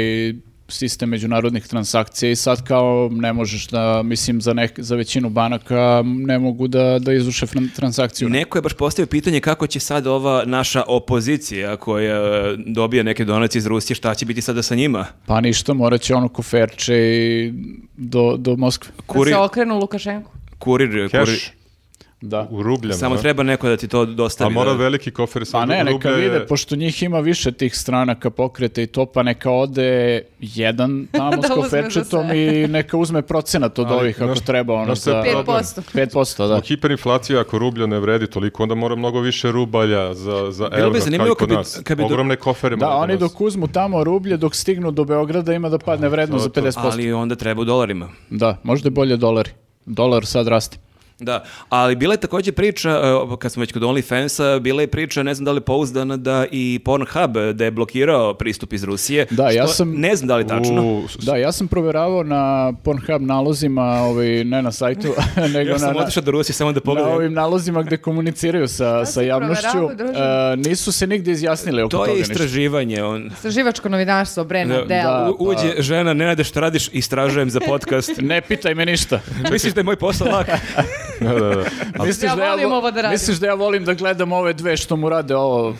sistem međunarodnih transakcija i sad kao ne možeš da, mislim, za, nek, za većinu banaka ne mogu da, da izvrše fran- transakciju.
Neko je baš postavio pitanje kako će sad ova naša opozicija koja e, dobija neke donacije iz Rusije, šta će biti sada sa njima?
Pa ništa, morat će ono koferče i do, do Moskve.
Da
Kurir,
se okrenu Lukašenku.
kurir,
Keš
kurir.
Da.
u rubljama.
Samo treba neko da ti to
A
dostavi.
Pa mora
da-
veliki kofer sa
Pa ne,
rublja
neka
je-
vide, pošto njih ima više tih stranaka pokreta i to, pa neka ode jedan tamo
Da
s
uzme za
koferčetom
sve.
i neka uzme procenat od
Ali,
ovih ako
znaš-
treba. Ono,
znaš šta je
za-
problem?
5%.
5%, da.
Zbog hiperinflacije, ako rublja ne vredi toliko, onda mora mnogo više rubalja za, za
bi
evra, kao i
zanimljivo
kod
kad bi-
nas.
kad bi do-
Ogromne kofere
Da,
mora
oni
nas-
dok uzmu tamo rublje, dok stignu do Beograda ima da padne vredno za 50%.
Ali onda treba u dolarima.
Da, možda je bolje dolari. Dolar sad raste.
Da, ali bila je također priča, e, kad smo već kod OnlyFansa, bila je priča, ne znam da li je pouzdana, da i Pornhub e, da je blokirao pristup iz Rusije.
Da, ja
što
sam-
Ne znam da li je tačno.
U, s-
Da, ja sam provjeravao na Pornhub nalozima, ovaj, ne na sajtu, nego
ja
na,
sam
na,
otišao do Rusije samo da
na
pogledam.
ovim nalozima gde komuniciraju sa, sa
si
javnošću.
provjeravao, druže?
E, nisu se nigdje izjasnili oko
To
toga
je
ništa.
istraživanje. On,
Istraživačko novinarstvo, Brena,
Da,
Dela.
da.
U- uđe žena, ne radi što radiš, istražujem za podcast.
Ne pitaj me ništa.
Misliš da je moj posao lak?
da, da, da.
Misliš
Ja volim
vo-
ovo da radim.
Misliš da ja volim da gledam ove dve što mu rade ovo?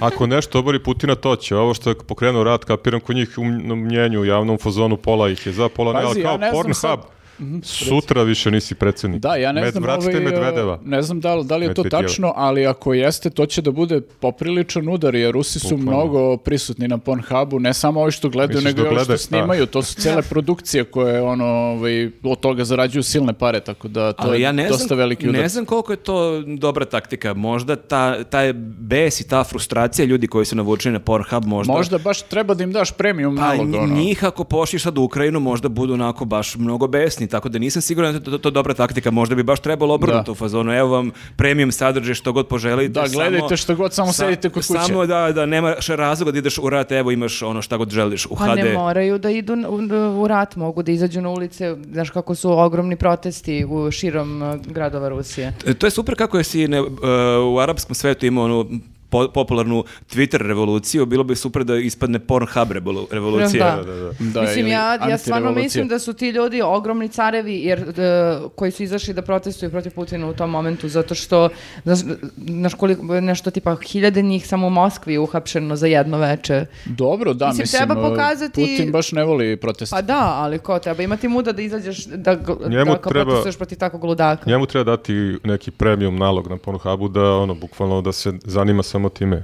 Ako nešto obori Putina, to će. Ovo što je pokrenuo rat, kapiram kod njih u mn- mnjenju, u javnom fazonu, pola ih je za, pola ne,
Pazi,
ali
ja
kao
ne znam
Pornhub.
sad- Mhm,
Sutra više nisi predsjednik.
Da, ja ne
Med-
znam,
Vratite
ovaj,
Medvedeva.
ne znam da li, da li je to
Medvedjeva.
tačno, ali ako jeste, to će da bude popriličan udar, jer Rusi su mnogo prisutni na Pornhubu, ne samo ovi što gledaju,
Misliš
nego i
da
ovi što
gledaju?
snimaju, to su cele produkcije koje ono, ovaj, od toga zarađuju silne pare, tako da to
Ali
je
ja ne
dosta
znam,
veliki udar.
ne znam koliko je to dobra taktika. Možda ta, taj bes i ta frustracija ljudi koji su navučeni na Pornhub
Možda baš treba da im daš premium
Pa
nalog, ono.
njih ako pošliš sad u Ukrajinu možda budu onako baš mnogo besni, tako da nisam siguran da je to, to dobra taktika, možda bi baš trebalo obrnuto
Da.
u fazonu, evo vam premium sadržaj što god poželite.
Da, gledajte
samo-
što god, samo sedite kod kuće.
Samo da, da nemaš razloga da ideš u rat, evo imaš ono šta god želiš u
Pa
HD.
ne moraju da idu n- u, u rat, mogu da izađu na ulice, znaš kako su ogromni protesti u širom uh, gradova Rusije.
E, To je super kako je si ne, e, u arapskom svetu imao onu po- popularnu Twitter revoluciju, bilo bi super da ispadne Pornhub revolu- revolucija.
Da.
Da, da, da.
Da,
mislim,
ili
ja, ja stvarno
antirevolucija.
mislim da su ti ljudi ogromni carevi jer, e, koji su izašli da protestuju protiv Putina u tom momentu, zato što znaš, znaš koliko, nešto tipa hiljade njih samo u Moskvi je uhapšeno za jedno veče.
Dobro, da, mislim,
Mislim, treba
uh,
pokazati-
Putin baš ne voli proteste.
Pa da, ali ko treba imati muda da izađeš da, gl-
Njemu
da kao
treba-
protestuješ protiv takvog ludaka.
Njemu treba dati neki premium nalog na Pornhubu da ono bukvalno da se zanima samo time.
Mhm.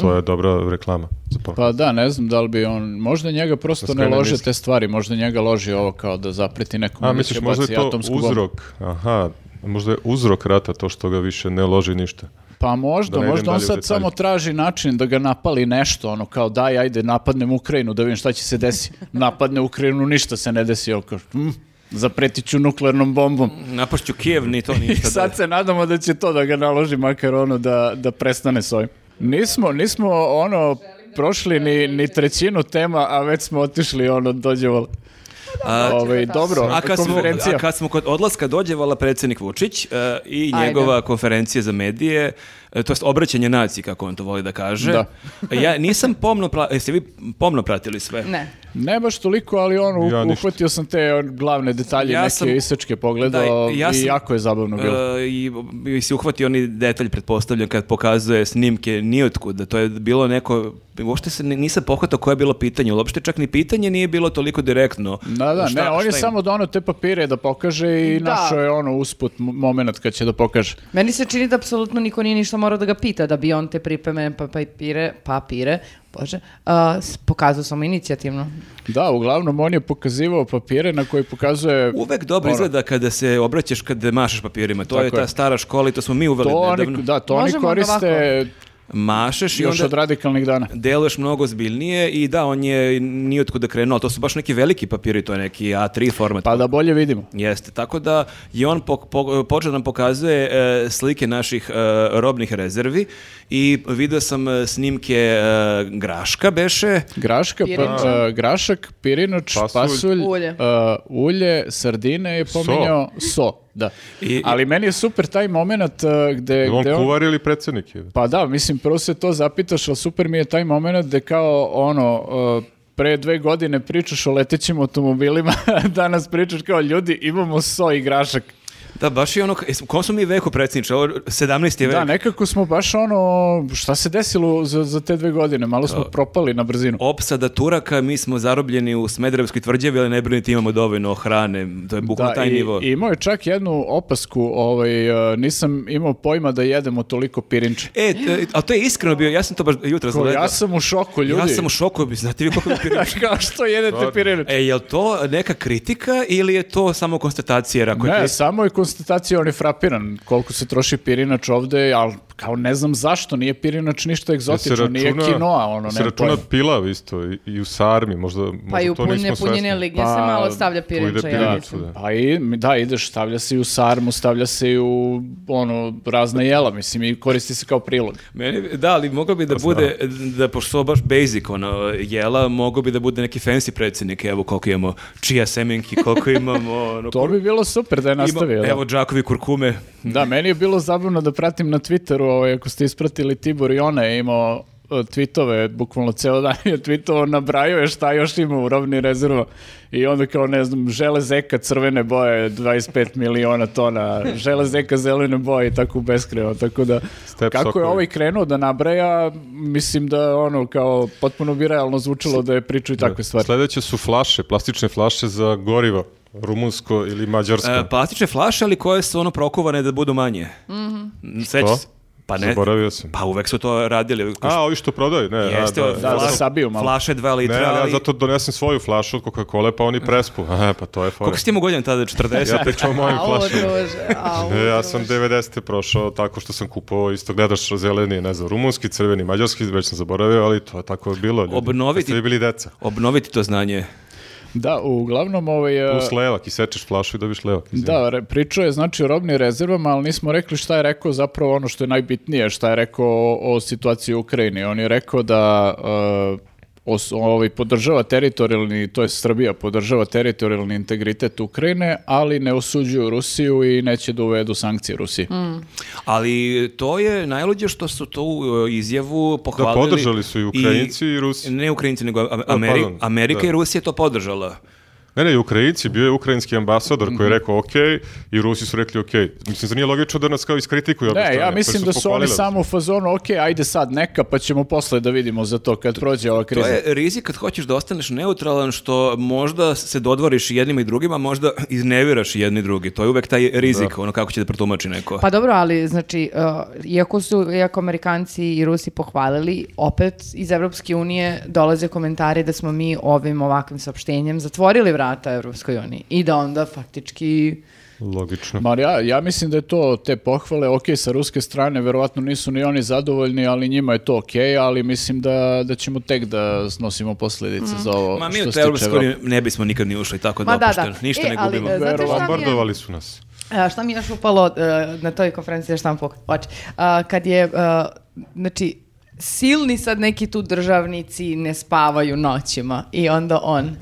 To je dobra reklama za Pornhub.
Pa da, ne znam da li bi on, možda njega prosto
Da
ne
skrene
lože
misli.
te stvari, možda njega loži ovo kao da zapreti nekom
A misliš možda je to uzrok? Aha, možda je uzrok rata to što ga više ne loži ništa.
Pa možda,
Da ne idem
možda on
dalje u
sad
detalje.
samo traži način da ga napali nešto, ono kao daj, ajde, napadnem Ukrajinu da vidim šta će se desi. Napadne Ukrajinu, ništa se ne desi, ovo kao, "Hm, zapretit ću nuklearnom bombom.
Napašću Kijev, ni to
I
ništa.
sad se nadamo da će to da ga naloži makar ono da, da prestane s ovim. Nismo, nismo ono prošli ni, ni trećinu tema, a već smo otišli ono dođevalo.
A-
Ovaj, dobro,
A kad, smo,
konferencija.
a kad smo kod odlaska dođevala predsjednik Vučić e, i
Ajde.
njegova konferencija za medije, e, to jest obraćanje naciji, kako on to voli da kaže.
Da.
ja nisam pomno, pra- jeste vi pomno pratili sve?
Ne.
Ne baš toliko, ali ono,
Ja
u-
ništa.
uhvatio sam te on, glavne detalje,
Ja
neke
sam-
isečke pogledao
Da, ja
i
sam-
jako je zabavno bilo.
E, I, i si uhvatio onaj detalj, pretpostavljam, kad pokazuje snimke nijotkud, da to je bilo neko, uopšte se ni- nisam pohvatao koje je bilo pitanje, uopšte čak ni pitanje nije bilo toliko direktno.
Da, da,
Šta-
ne, on je
šta im-
samo donao te papire da pokaže i
Da.
našao je ono usput moment kad će da pokaže.
Meni se čini da apsolutno niko nije ništa morao da ga pita da bi on te pripremene pa- papire, papire, bože, a, s- pokazao sam inicijativno.
Da, uglavnom on je pokazivao papire na koji pokazuje...
Uvek dobro
Ono,
izgleda kada se obraćaš, kada mašeš papirima. To
Tako
je ta
je.
stara škola i to smo mi uveli
To
nedavno.
oni, da, to oni
Možemo onda
koriste
Mašeš i
još
onda
od radikalnih dana.
deluješ mnogo zbiljnije i da, on je ni od kuda krenuo. To su baš neki veliki papiri, to je neki A3 format.
Pa da bolje vidimo.
Jeste, tako da je on pok- po- počeo da nam pokazuje e, slike naših e, robnih rezervi i video sam e, snimke e, Graška Beše,
Graška, pa,
Pirinača.
e, grašak, pirinač,
Pasulj.
pasulj,
Ulje.
e, ulje, sardine je pominjao so, da.
I-
Ali meni je super taj moment e, gde,
Jel on
gde on-
kuvar ili predsjednik je?
Pa da, mislim, prvo se to zapitaš, ali super mi je taj moment gde kao ono... e, pre dve godine pričaš o letećim automobilima, danas pričaš kao ljudi, imamo so i grašak.
da baš je ono, jes- u kom smo mi veku predsjedniče, ovo je 17. vek.
Da, nekako smo baš ono, šta se desilo za, za te dve godine, malo smo
Da.
propali na brzinu.
Opsada Turaka, mi smo zarobljeni u Smederevskoj tvrđavi, ali ne brinite imamo dovoljno hrane, to je bukvalno taj
Da, i,
nivo.
i imao je čak jednu opasku, ovaj, e, nisam imao pojma da jedemo toliko pirinča.
E, t- a to je iskreno bio, ja sam to baš jutro
Kao,
gledao.
ja sam u šoku, ljudi.
Ja sam u šoku, znate vi koliko mi pirinča-
Kao što jedete pirinč?
E, je to neka kritika ili je to samo konstatacija? jer Ako je
Ne,
kritika-
samo je konstatacija, on je frapiran koliko se troši pirinač ovde, ali kao ne znam zašto, nije pirinač ništa egzotično, nije kinoa, ono,
se
ne
računa pilav isto i, i u sarmi, možda,
Pa i
možda
u
to nismo
punje, punjene
svesni.
lignje se
Pa,
malo stavlja
Tu ide
pirinča, ja
pilav,
mislim.
da.
Pa i, da, ideš, stavlja se i u sarmu, stavlja se i u, ono, razna jela, mislim, i koristi se kao prilog.
Meni, da, ali moglo bi da bude, da pošto su ovo baš basic ono, jela, moglo bi da bude neki fancy predsjednik, evo koliko imamo čija semenki, koliko imamo... Ono,
To bi bilo super da je
ima-
nastavio. da.
Evo džakovi kurkume.
Da, meni je bilo zabavno da pratim na Twitteru, ovaj, ako ste ispratili Tibor i ona je imao e, tweetove, bukvalno ceo dan je tweetovao, nabrajao je šta još ima u robni rezerva i onda kao, ne znam, žele zeka crvene boje, 25 miliona tona, žele zeka zelene boje i tako beskreno, tako da
Step
kako
sokovi.
je ovaj krenuo da nabraja, mislim da ono kao potpuno bi realno zvučalo da je pričao i takve stvari.
Sljedeće su flaše, plastične flaše za goriva, rumunsko ili mađarsko.
E, plastične flaše, ali koje su ono prokovane da budu manje. Mm
Što?
Pa ne,
Zaboravio sam.
pa uvek su to radili.
A, ovi što prodaju, ne. a,
Jeste,
da,
fla-
da, da, sabiju malo.
flaše 2
Ne,
litra,
ali ja
ali...
zato donesem svoju flašu od Coca-Cola, pa oni prespu. A, pa to je fora.
Koliko si ti imao godina tada? 40?
Ja pričam o mojim
Au,
flašama.
druže, au,
E, Ja sam
druže.
90. prošao tako što sam kupovao, isto gledaš zeleni, ne znam, rumunski, crveni, mađarski, već sam zaboravio, ali to je tako bilo. Ljudi.
Obnoviti-
Kad Ste vi bili deca.
Obnoviti to znanje.
Da, uglavnom ovaj... e,
Plus levak i sečeš flašu i dobiš levak. izvini.
Da, re, pričao je znači o robnim rezervama, ali nismo rekli šta je rekao zapravo ono što je najbitnije, šta je rekao o, o situaciji u Ukrajini. On je rekao da e, os- ovaj, podržava teritorijalni, to je Srbija, podržava teritorijalni integritet Ukrajine, ali ne osuđuju Rusiju i neće da uvedu sankcije Rusiji.
Ali to je najluđe što su tu e, izjavu pohvalili.
Da, podržali su i Ukrajinci i Rusi.
Ne Ukrajinci, nego Am- Ameri-
pardon,
Amerika
da.
i Rusija je to podržala.
Ne, ne, i Ukrajinci, bio je ukrajinski ambasador koji je rekao ok, i Rusi su rekli ok. Mislim, zar nije logično da nas kao iskritikuju obe
Ne,
strane,
ja
pa
mislim da su oni
pohvalile.
samo u fazonu, ok, ajde sad neka, pa ćemo posle da vidimo za to kad prođe ova kriza.
To je rizik kad hoćeš da ostaneš neutralan, što možda se dodvoriš jednim i drugima, možda izneviraš jedni i drugi. To je uvek taj rizik, ono kako će da protumači neko.
Pa dobro, ali znači, uh, iako su iako Amerikanci i Rusi pohvalili, opet iz Evropske unije dolaze komentari da smo mi ovim ovakvim saopštenjem zatvorili vrata Evropskoj uniji i da onda faktički
Logično.
Ma ja, ja mislim da je to te pohvale, ok, sa ruske strane verovatno nisu ni oni zadovoljni, ali njima je to ok, ali mislim da, da ćemo tek da snosimo posljedice za ovo
Mhm. Ma mi
što
od
se tiče
Europskoj
Evrope.
uniji ne bismo nikad ni ušli, tako da,
Ma da, da.
opušteno, ništa
E,
ne
ali,
gubimo.
e, znate šta mi je-
Bombardovali su nas.
A, šta mi je još upalo e, na toj konferenciji za štampu? Oči. A, kad je, e, znači, silni sad neki tu državnici ne spavaju noćima i onda on...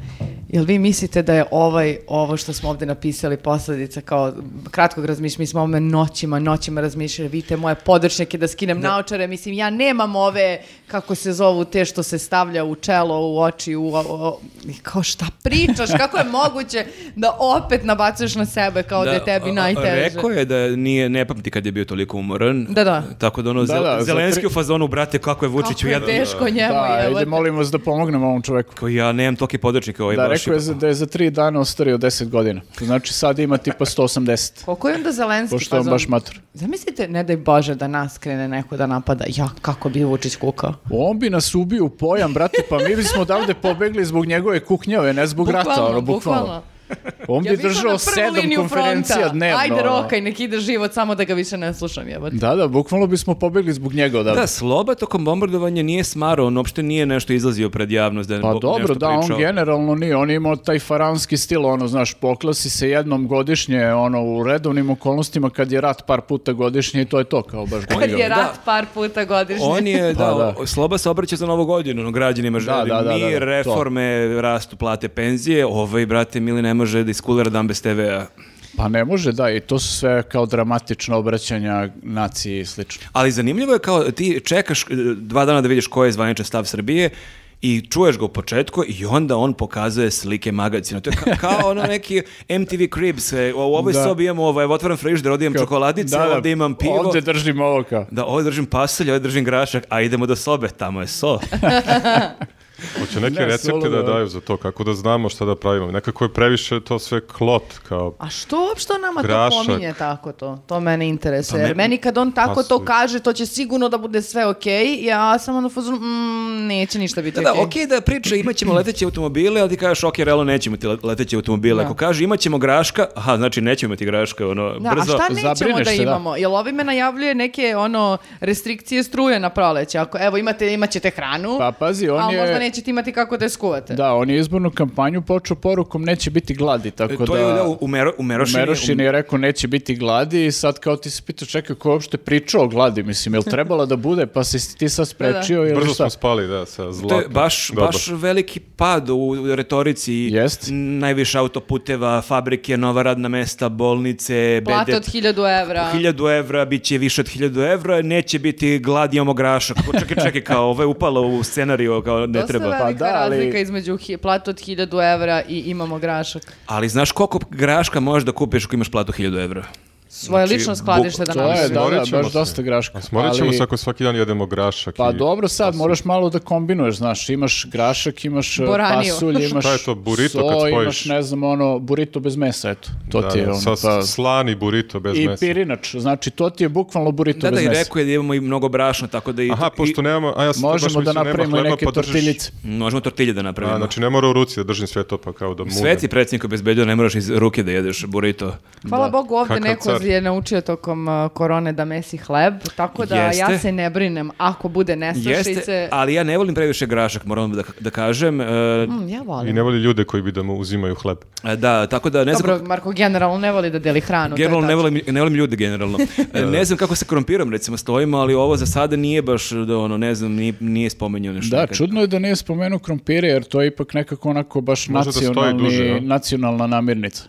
Jel vi mislite da je ovaj, ovo što smo ovdje napisali posljedica kao kratkog razmišljanja, mi smo ovome noćima, noćima razmišljali, vidite moje podršnjake da skinem naočare, mislim ja nemam ove, kako se zovu te što se stavlja u čelo, u oči, u, o- o- i kao šta pričaš, kako je moguće da opet nabacuješ na sebe kao da, je tebi
a- a-
najteže.
Rekao je da nije, ne pamti kad je bio toliko umoran.
Da, da.
Tako da ono,
Da,
Zel-
da, za
Zelenski
tri-
u fazonu, brate, kako je Vučić
Kako
u
je
jedan...
teško njemu.
Da,
jebote.
ajde, molim vas da pomognemo ovom čoveku.
Koji ja nemam toki podrečnike ovaj
Da,
baš.
rekao je za- da je za tri dana ostario 10 godina. Znači sad ima tipa 180.
Koliko je onda Zelenski
Pošto je on
fazon?
baš mator.
Zamislite, ne daj Bože da nas krene neko da napada. Ja, kako bi Vučić kukao.
On bi nas ubio u pojam, brate, pa mi bismo odavde pobegli zbog njegove kuknjave, ne zbog rata, ono, bukvalno. On bi
Ja bih išla
držao
na prvu
sedam
liniju
konferencija
fronta.
dnevno.
Ajde
ono.
rokaj, nek ide život samo da ga više ne slušam jebote.
Da, da, bukvalno bismo pobegli zbog njega odavde.
Da, Sloba tokom bombardovanja nije smarao, on uopšte nije nešto izlazio pred javnost da je
Pa
bo-
dobro,
nešto
da, on
pričao.
generalno nije, on je imao taj faranski stil, ono, znaš, poklasi se jednom godišnje, ono, u redovnim okolnostima kad je rat par puta godišnje i to je to, kao baš
Kad
genijalno.
je rat par puta godišnje.
On je,
Pa
da,
da.
o- Sloba se obraća za novu godinu, no, građanima želi
da, da, da,
mir,
da, to.
reforme, rastu plate, penzije, ovaj, brate, mili ne može da iskulira dan bez TV-a.
Pa ne može, da, i to su sve kao dramatično obraćanja naciji i slično.
Ali zanimljivo je kao ti čekaš e, dva dana da vidiš koji je zvaničan stav Srbije i čuješ ga u početku i onda on pokazuje slike magacina. To je ka- kao ono neki MTV Cribs. e, U ovoj
Da.
sobi imam ovaj, otvoren frižider, ovdje imam čokoladice, ovdje imam pivo.
Ovdje Da, držim ovo kao.
Da, ovdje držim pasulj, ovdje držim grašak, a idemo do sobe, tamo je so.
Hoće neke
Ne,
recepte
suludo
da
je.
daju za to, kako da znamo šta da pravimo. Nekako je previše to sve klot, kao
A što uopšte on nama to
Grašak.
pominje tako to? To mene interesuje.
Pa
Jer
me-
meni kad on tako to
Pasulj.
kaže, to će sigurno da bude sve okej. Ja sam ono fuzon, mm, neće ništa biti
Da, da,
okej.
okej da priča, imat ćemo leteće automobile, ali ti kažeš, ok, realno nećemo ti le- leteće automobile. Ako kaže, imat ćemo graška, aha, znači nećemo imati graška, ono,
Da,
brzo.
a šta nećemo
zabrineš
da
se, da.
imamo? Jel ovime najavljuje neke ono restrikcije struje na proleće? Ako evo imate imat ćete hranu,
Pa pazi, on
ali
je-
možda nećete imati kako da je skuvate.
Da, on je izbornu kampanju počeo porukom neće biti gladi, tako
To
da...
je da, u, u, Mero- u Merošini,
Merošin je rekao neće biti gladi i sad kao ti se pitao čekaj ko je uopšte pričao o gladi, mislim, jel trebala da bude, pa si ti sad sprečio ili šta?
Brzo smo spali, da, sa
To
zlaka.
je baš,
Dobar.
baš veliki pad u retorici.
Jest.
N- Najviše autoputeva, fabrike, nova radna mesta, bolnice,
Plata
BDP.
od 1000 evra.
1000 evra, bit će više od 1000 evra, neće biti glad, imamo grašak. Pa Čekaj, čekaj, kao ovo je upalo u scenariju, kao ne
Dosta
treba.
velika
Pa da, ali-
razlika između hi- plata od 1000 evra i imamo grašak.
Ali znaš koliko graška možeš da kupiš ako imaš platu 1000 evra?
Svoje
Znači,
lično skladište da
To je,
namaš.
da, da,
Smorit ćemo
baš
se.
dosta graška.
A smorit ćemo
ali-
se ako svaki dan jedemo grašak.
Pa
i-
dobro, sad moraš malo da kombinuješ, znaš, imaš grašak, imaš e,
Boraniju.
pasulj, imaš
Šta je to, burrito kad
so,
spojiš?
imaš, ne znam, ono, burrito bez mesa, eto, to
Da,
ti je
da,
ono,
sa
pa-
slani burrito bez
I
mesa.
pirinač, znači to ti je bukvalno burrito
Da, da,
bez
i
mesa.
rekao je da imamo i mnogo brašna, tako da i...
Aha, pošto nemamo, a ja sam to baš
Možemo da
mislio, nema
napravimo i
hleba,
neke
pa držiš-
tortiljice.
i- Možemo tortilje da
A,
napravimo.
znači ne mora u ruci da držim sve to pa kao da munem.
Sve si predsjednik obezbedio, ne moraš iz ruke da jedeš burrito.
Hvala Bogu, ovdje
Kakav
neko
car.
je naučio tokom uh, korone da mesi hleb, tako da ja
Jeste.
se ne brinem. Ako bude
Jeste,
nestašice...
ali ja ne volim previše grašak, moram da, da kažem. E,
Mm, ja
I
volim.
ne voli ljude koji bi da mu uzimaju hleb.
Da, tako da ne znam...
Dobro, Marko generalno ne voli da deli hranu. to je
Generalno ne
tačno.
volim, ne volim ljude generalno. E, ne znam kako se krompirom recimo stojimo, ali ovo za sada nije baš da ono ne znam nije, nije spomenuo nešto.
Da,
nikad.
čudno je da nije spomenuo krompire, jer to je ipak nekako onako baš
Može da stoji
nacionalni,
duže, a?
nacionalna namirnica.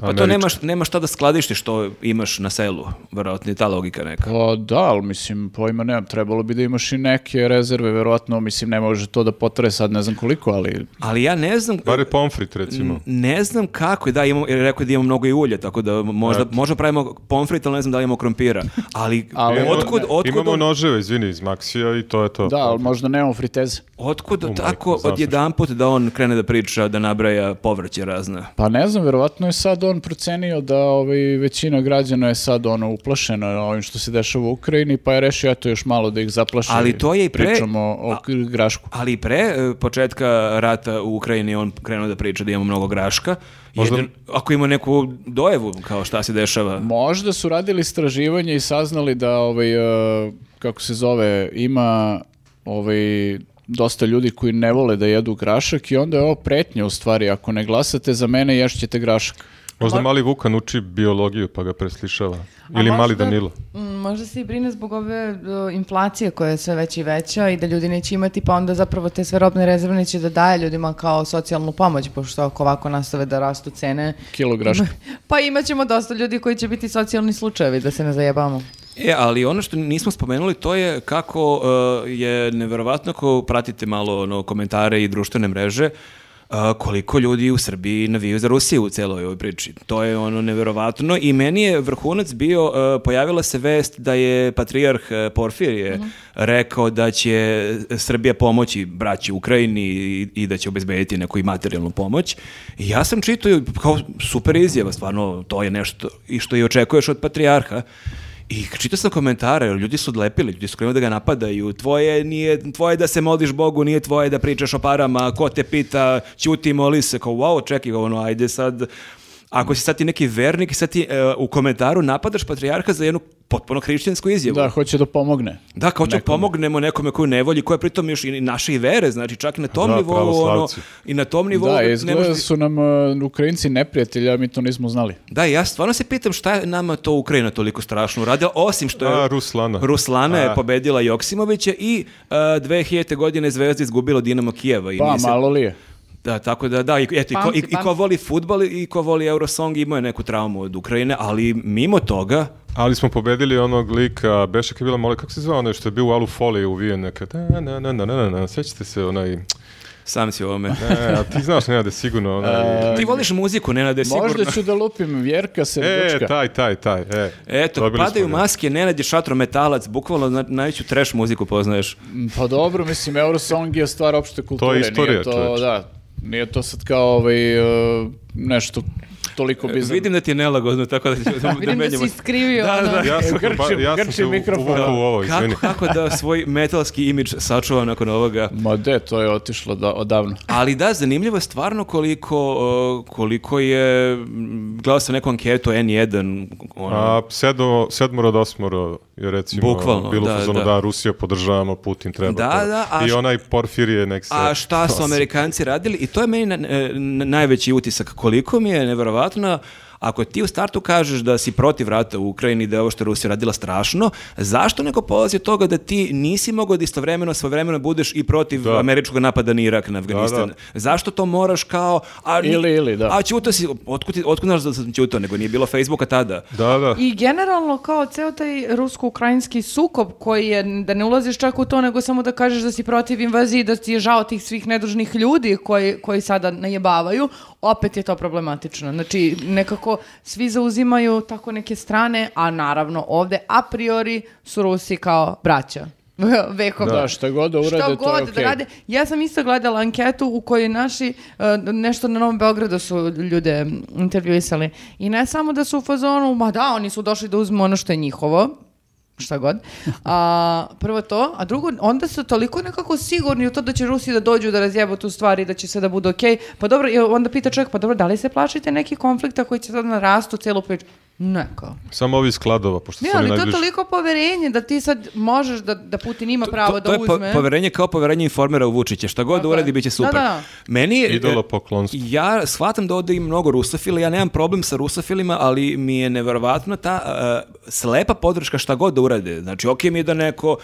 Pa to nemaš, nema šta da skladište što imaš na selu, verovatno je ta logika neka.
Pa da, ali mislim, pojma nemam, trebalo bi da imaš i neke rezerve, verovatno, mislim, ne može to da potre sad, ne znam koliko, ali
Ali ja ne znam
Bar je pomfrit recimo.
ne znam kako je, da imamo jer je rekao je da imamo mnogo i ulja, tako da možda možda pravimo pomfrit, ali ne znam da li imamo krompira. Ali,
Ali
ali otkud
Ne,
otkud
Imamo
on-
noževe, izvini, iz Maxija i to je to.
da, ali možda nemamo friteze.
Otkud
majko,
tako
znaš
odjedanput da on krene da priča, da nabraja povrće razne?
Pa ne znam, verovatno je sad on procenio da ovaj, većina građana je sad ono uplašena ovim što se dešava u Ukrajini, pa je rešio eto još malo da ih zaplaši.
Ali to je i pre-
Pričamo o k- grašku.
Ali pre e, početka rata u Ukrajini on krenuo da priča da imamo mnogo graška.
Možda-
Jedin- ako ima neku dojevu kao šta se dešava.
Možda su radili istraživanje i saznali da ovaj e, kako se zove ima ovaj dosta ljudi koji ne vole da jedu grašak i onda je ovo pretnja u stvari ako ne glasate za mene ješćete grašak.
Možda mali Vukan uči biologiju pa ga preslišava.
A
Ili mali
možda-
Danilo.
mm, Možda se i brine zbog ove uh, inflacije koja je sve veća i veća i da ljudi neće imati, pa onda zapravo te sve robne rezerve neće da daje ljudima kao socijalnu pomoć, pošto ako ovako nastave da rastu cene,
Kilo graška.
pa imat ćemo dosta ljudi koji će biti socijalni slučajevi, da se ne zajebamo.
E, ali ono što nismo spomenuli to je kako uh, je neverovatno ako pratite malo ono, komentare i društvene mreže, uh, koliko ljudi u Srbiji navijaju za Rusiju u celoj ovoj priči. To je ono neverovatno i meni je vrhunac bio, uh, pojavila se vest da je patrijarh uh, Porfirije rekao da će Srbija pomoći braći Ukrajini i, i da će obezbediti neku i materijalnu pomoć. I ja sam čitao i kao super izjava, stvarno to je nešto i što i očekuješ od patrijarha. I čitao sam komentare, ljudi su odlepili, ljudi su krenuli da ga napadaju, tvoje nije, tvoje da se moliš Bogu, nije tvoje da pričaš o parama, ko te pita, ćuti, moli se, kao wow, čekaj, ono, ajde sad, ako si sad ti neki vernik i sad ti e, u komentaru napadaš patrijarha za jednu potpuno hrišćansku izjavu.
Da, hoće da pomogne.
Da, kao ću pomognemo nekome koju ne volji, koja je pritom još i naše i vere, znači čak i na tom
Da,
nivou, ono,
pravoslavci.
i na tom nivou
da,
ne
izgleda
možeš-
su nam uh, Ukrajinci neprijatelji, a mi to nismo znali.
Da, ja stvarno se pitam šta je nama to Ukrajina toliko strašno uradila, osim što je...
A, Da, Ruslana. Da.
Ruslana je
A.
pobedila Joksimovića i uh, 2000. godine Zvezda izgubila Dinamo Kijeva. I
Pa,
nisam-
malo li je.
Da, tako da, da, i, eto, i, ko,
Pamti,
i, i ko
pamti.
voli futbal i ko voli Eurosong imao je neku traumu od Ukrajine, ali mimo toga,
Ali smo pobedili onog lika, Bešak je bila mola, kako se zvao onaj što je bio u alu folije uvijen neka, da, na, na, na, na, na, na, na, sećate se onaj, e,
sam si ovome.
a ti znaš Nenade sigurno onaj,
Ti voliš muziku, Nenade, sigurno.
Možda ću da lupim Vjerka
e,
Srdočka.
taj, taj, taj, e.
Eto,
Dobili smo
padaju
ga.
maske, Nenad je šatro metalac, bukvalno na, najveću trash muziku poznaješ.
Pa dobro, mislim, Eurosong je stvar opšte kulture. nije
istorija,
to,
čoveče.
Da, nije to sad kao ovaj, uh, nešto toliko bizarno.
Vidim da ti je nelagodno, tako da, ću- da,
Vidim da,
menjamo-
si iskrivio.
Da,
ono.
da.
Ja sam,
Grčim,
ba- ja sam
grčim
se u-
mikrofon.
uvukao u ovo, Pa izvini.
Kako, kako da svoj metalski imidž sačuvam nakon ovoga?
Ma de, to je otišlo da, odavno.
Ali da, zanimljivo je stvarno koliko, uh, koliko je, m, gledao sam neku anketu N1, ono,
A sedmo, sedmoro od osmoro je recimo
Bukvalno,
bilo
da,
da,
da.
da. Rusija podržavamo, Putin treba.
Da,
to."
da, a
I
š-
onaj Porfirije nek se...
A šta su
nosi.
Amerikanci radili? I to je meni na- e, na- najveći utisak. Koliko mi je neverovatno Ako ti u startu kažeš da si protiv rata u Ukrajini, da je ovo što je Rusija radila strašno, zašto neko polazi od toga da ti nisi mogao da istovremeno, svojevremeno budeš i protiv
Da.
američkog napada na Irak, na Afganistan?
da.
Zašto to moraš kao... A, ni-
Ili, ili, da.
A ćuto si, otkud, ti- otkud znaš da sam ćuto, nego nije bilo Facebooka tada.
Da, da.
I generalno kao ceo taj rusko-ukrajinski sukob koji je, da ne ulaziš čak u to, nego samo da kažeš da si protiv invazije, i da ti je žao tih svih nedužnih ljudi koji, koji sada najebavaju, opet je to problematično. Znači, nekako svi zauzimaju tako neke strane, a naravno ovde a priori su Rusi kao braća. Vekom.
Da, šta god da urade,
Šta
to je
god da
okej.
rade. Ja sam isto gledala anketu u kojoj naši, e, nešto na Novom Beogradu su ljude intervjuisali. I ne samo da su u fazonu, ma da, oni su došli da uzmu ono što je njihovo, šta god. A, prvo to, a drugo, onda su toliko nekako sigurni u to da će Rusi da dođu da razjebu tu stvar i da će sve da bude okej. Pa dobro, i onda pita čovjek, pa dobro, da li se plašite neki konflikta koji će sad narastu celu priču? Ne, kao.
Samo ovi iz skladova, pošto
Ne,
su oni
ali to je
najbliži.
toliko poverenje da ti sad možeš da, da Putin ima pravo
to,
da
to je po-
uzme.
poverenje kao poverenje informera u Vučića. Šta god
Tako je.
uradi, bit će super.
Da, da.
Meni je...
Idola poklonstva.
Ja shvatam da ovde ima mnogo rusofila, ja nemam problem sa rusofilima, ali mi je neverovatno ta uh, slepa podrška šta god da urade. Znači, okej mi je da neko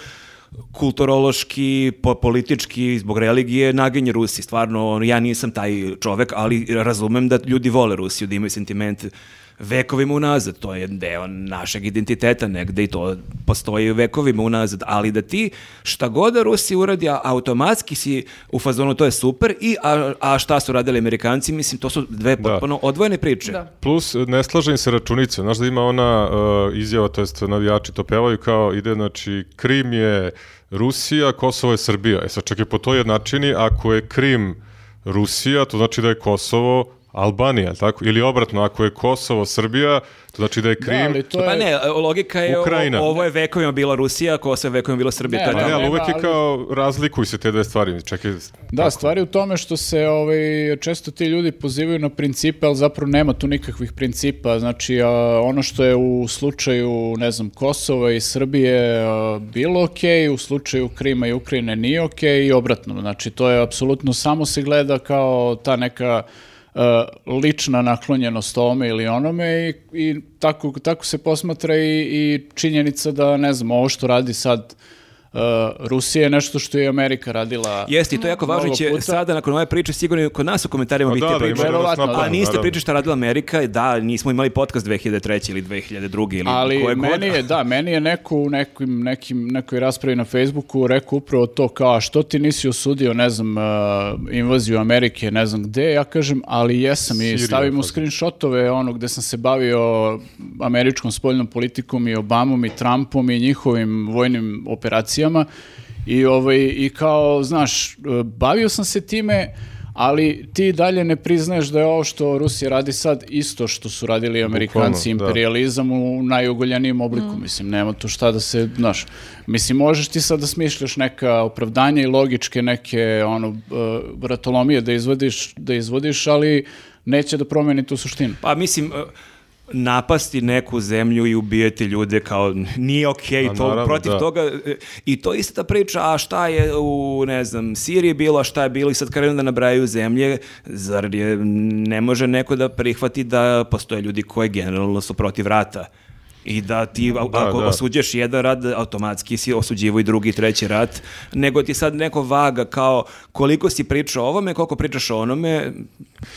kulturološki, po- politički, zbog religije, naginje Rusi. Stvarno, ono, ja nisam taj čovek, ali razumem da ljudi vole Rusiju, da imaju sentiment vekovima unazad. To je deo našeg identiteta negde i to postoji vekovima unazad. Ali da ti šta god da Rusi uradi, a- automatski si u fazonu to je super i a, a šta su radili Amerikanci, mislim, to su
Da.
dve potpuno odvojene priče.
Da.
Plus, ne slaže im se računice. Znaš da ima ona uh, izjava, to jest navijači to pevaju kao ide, znači, Krim je Rusija, Kosovo je Srbija. E sad, čak i po toj jednačini, ako je Krim Rusija, to znači da je Kosovo Albanija, jel tako? Ili obratno, ako je Kosovo Srbija, to znači da je
Da,
Krim...
ali to je...
Pa ne, logika je o-
Ukrajina.
ovo je vekovima bila Rusija, Kosovo je vekovima bila Srbija.
Ne,
to je
Pa ne,
tamo.
ali
Nema,
uvek je
ali-
kao razlikuju se te dve stvari. Čekaj,
Da, stvar je u tome što se ovaj, često ti ljudi pozivaju na principe, ali zapravo nema tu nikakvih principa. Znači, a, ono što je u slučaju, ne znam, Kosova i Srbije a, bilo okej, u slučaju Krima i Ukrajine nije okej i obratno. Znači, to je apsolutno, samo se gleda kao ta neka uh, lična naklonjenost ovome ili onome i, i tako, tako se posmatra i, i činjenica da, ne znam, ovo što radi sad uh, Rusija je nešto što je Amerika radila
Jeste, i to je jako važno,
Mnogo
će
puta.
sada nakon ove priče sigurno i kod nas u komentarima
Pa
biti
da, da,
priče.
ima da nas
Verovatno,
napadnu,
A niste
naravno.
pričali šta radila Amerika, da, nismo imali podcast 2003. ili 2002. ili koje
Ali
god.
meni je, da, meni je neko u nekim, nekim, nekoj raspravi na Facebooku rekao upravo to kao, a što ti nisi osudio, ne znam, uh, invaziju Amerike, ne znam gde, ja kažem, ali jesam i
Sirija,
stavim u
pa.
screenshotove ono gde sam se bavio američkom spoljnom politikom i Obamom i Trumpom i njihovim vojnim operacijama i, ovaj, i kao, znaš, e, bavio sam se time, ali ti dalje ne priznaješ da je ovo što Rusija radi sad isto što su radili Amerikanci,
da.
imperijali realizam u najugoljenijem obliku, mislim, nema tu šta da se, znaš, mislim, možeš ti sad da smišljaš neka opravdanja i logičke neke, ono, uh, vratolomije da izvodiš, da izvodiš, ali neće da promeni tu suštinu.
Pa mislim, eh, napasti neku zemlju i ubijati ljude kao n- nije okej
Pa,
to
naravno,
protiv
da.
toga eh, i to je ista ta priča a šta je u ne znam Siriji bilo a šta je bilo i sad krenu da nabrajaju zemlje zar je, ne može neko da prihvati da postoje ljudi koji generalno su protiv rata i da ti a-
Da,
ako
da.
osuđuješ jedan rat automatski si osuđivo i drugi i treći rat nego ti sad neko vaga kao koliko si pričao o ovome koliko pričaš o onome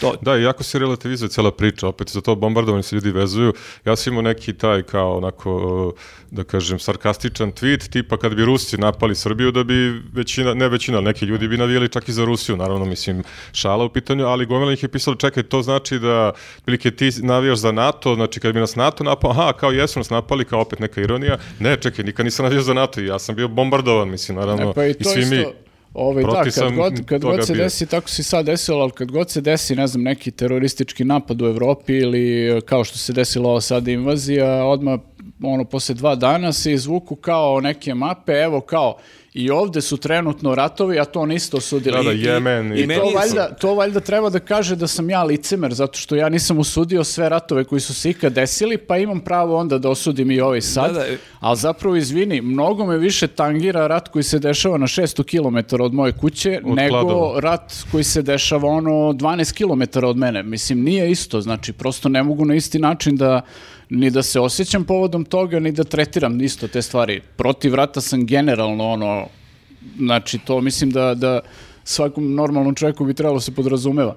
to
Da, i jako se relativizuje cela priča, opet za to bombardovanje se ljudi vezuju. Ja sam imao neki taj kao onako, e, da kažem, sarkastičan tweet, tipa kad bi Rusi napali Srbiju, da bi većina, ne većina, ali neki ljudi bi navijeli čak i za Rusiju, naravno, mislim, šala u pitanju, ali gomila ih je pisalo, čekaj, to znači da, prilike ti navijaš za NATO, znači kad bi nas NATO napao, aha, kao jesu nas napali, kao opet neka ironija, ne, čekaj, nikad nisam navijao za NATO i ja sam bio bombardovan, mislim, naravno,
E, pa i to
svi
isto,
mi.
ovaj, da,
Protiv
kad
sam
god, kad
toga
god se
bio.
desi, tako se i sad desilo, ali kad god se desi, ne znam, neki teroristički napad u Evropi ili e, kao što se desilo ovo sad invazija, odmah ono, posle dva dana se izvuku kao neke mape, evo kao, i ovde su trenutno ratovi, a to niste osudili.
Da, da,
I-
Jemen
i
i,
meni
to
je-
valjda, to valjda treba da kaže da sam ja licemer, zato što ja nisam osudio sve ratove koji su se ikad desili, pa imam pravo onda da osudim i ovaj sad.
Da, da.
Ali zapravo, izvini, mnogo me više tangira rat koji se dešava na 600 km od moje kuće,
Od
nego
Kladova.
rat koji se dešava ono 12 km od mene. Mislim, nije isto, znači, prosto ne mogu na isti način da ni da se osjećam povodom toga, ni da tretiram isto te stvari. Protiv rata sam generalno ono, Znači, to mislim da, da svakom normalnom čovjeku bi trebalo da se podrazumeva.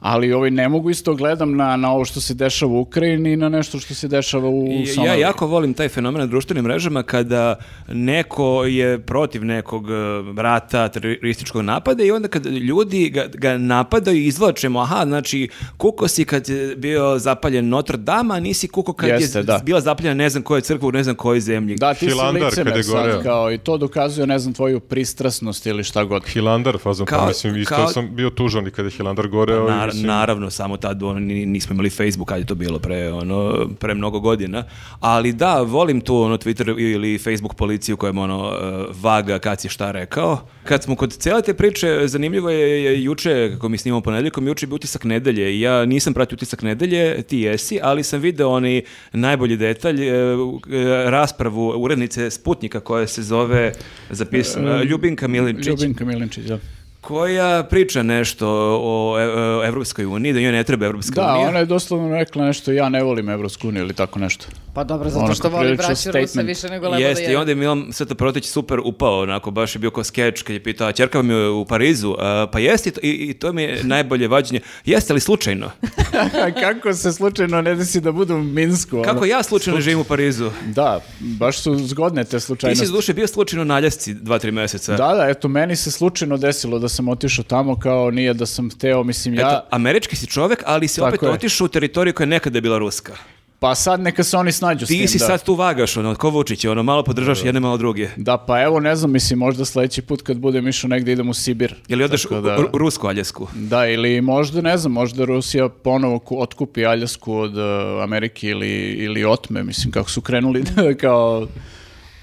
Ali ovaj, ne mogu isto gledam na, na ovo što se dešava u Ukrajini i na nešto što se dešava u
I- Ja
Somaliji.
jako volim taj fenomen na društvenim mrežama kada neko je protiv nekog eh, rata, terorističkog napada i onda kad ljudi ga, ga napadaju i izvlače mu, aha, znači kuko si kad je bio zapaljen Notre Dame, a nisi kuko kad je
Jeste, da.
bila zapaljena ne znam koja crkva u ne znam kojoj zemlji.
Da, ti si
Hilandar kad je
licemer
goreo.
sad, kao, i to dokazuje, ne znam, tvoju pristrasnost ili šta god.
Hilandar fazom,
Kao-
pa mislim, isto
kao- Pa
sam bio tužan i kada je Hilandar goreo. i
Nar-
mislim-
naravno, samo tad ono, ni- nismo imali Facebook, kad je to bilo pre, ono, pre mnogo godina. Ali da, volim tu ono, Twitter ili Facebook policiju kojem ono, eh, vaga kad si šta rekao. Kad smo kod cele te priče, zanimljivo je, je juče, kako mi snimamo ponedjeljkom, juče je bio utisak nedelje. Ja nisam pratio utisak nedelje, ti jesi, ali sam video onaj najbolji detalj, eh, u- eh, raspravu urednice Sputnika koja se zove, zapisana, E, Ljubinka Milinčić
E, Ljubinka Milinčić, da.
koja priča nešto o e- o Evropskoj uniji, da njoj ne treba Evropska
Da,
unija.
ona je doslovno rekla nešto, ja ne volim Evropsku uniju ili tako nešto.
Pa dobro, zato
Ono,
što voli
prilično
braću Rusa
statement.
više nego lebo da
Jeste, i
jede.
onda je Milan Sveta Protić super upao, onako, baš je bio kao skeč kad je pitao, a čerka vam je u Parizu, a, pa jeste, i to- i, i to mi je najbolje vađenje. Jeste li slučajno?
Kako se slučajno ne desi da budu u Minsku? ono?
Kako ja slučajno živim u Parizu?
Da, baš su zgodne te
Ti
slučajnosti.
si duše bio slučajno na Aljasci dva, tri meseca.
Da, da, eto, meni se slučajno desilo da sam otišao tamo kao nije da sam hteo, mislim ja,
Eto, američki si čovek, ali si
Tako
opet
je.
otišao u teritoriju koja je nekada bila ruska.
pa sad neka se oni snađu s tim,
Ti si
da.
sad tu vagaš, ono, ko Vučić, ono, malo podržaš jedne, malo druge.
Da, pa evo, ne znam, mislim, možda sledeći put kad budem išao negde idem u Sibir.
Ili odeš
Tako
u,
da-
u- u rusku Aljasku.
Da, ili možda, ne znam, možda Rusija ponovo ku- otkupi Aljasku od e, Amerike ili, ili otme, mislim, kako su krenuli da kao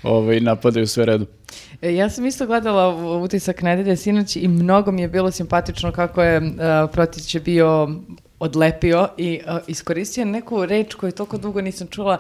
ovaj, napadaju sve redom.
E, Ja sam isto gledala u- utisak nedelje sinoć i mnogo mi je bilo simpatično kako je uh, Protić je bio odlepio i uh, iskoristio je neku reč koju toliko dugo nisam čula.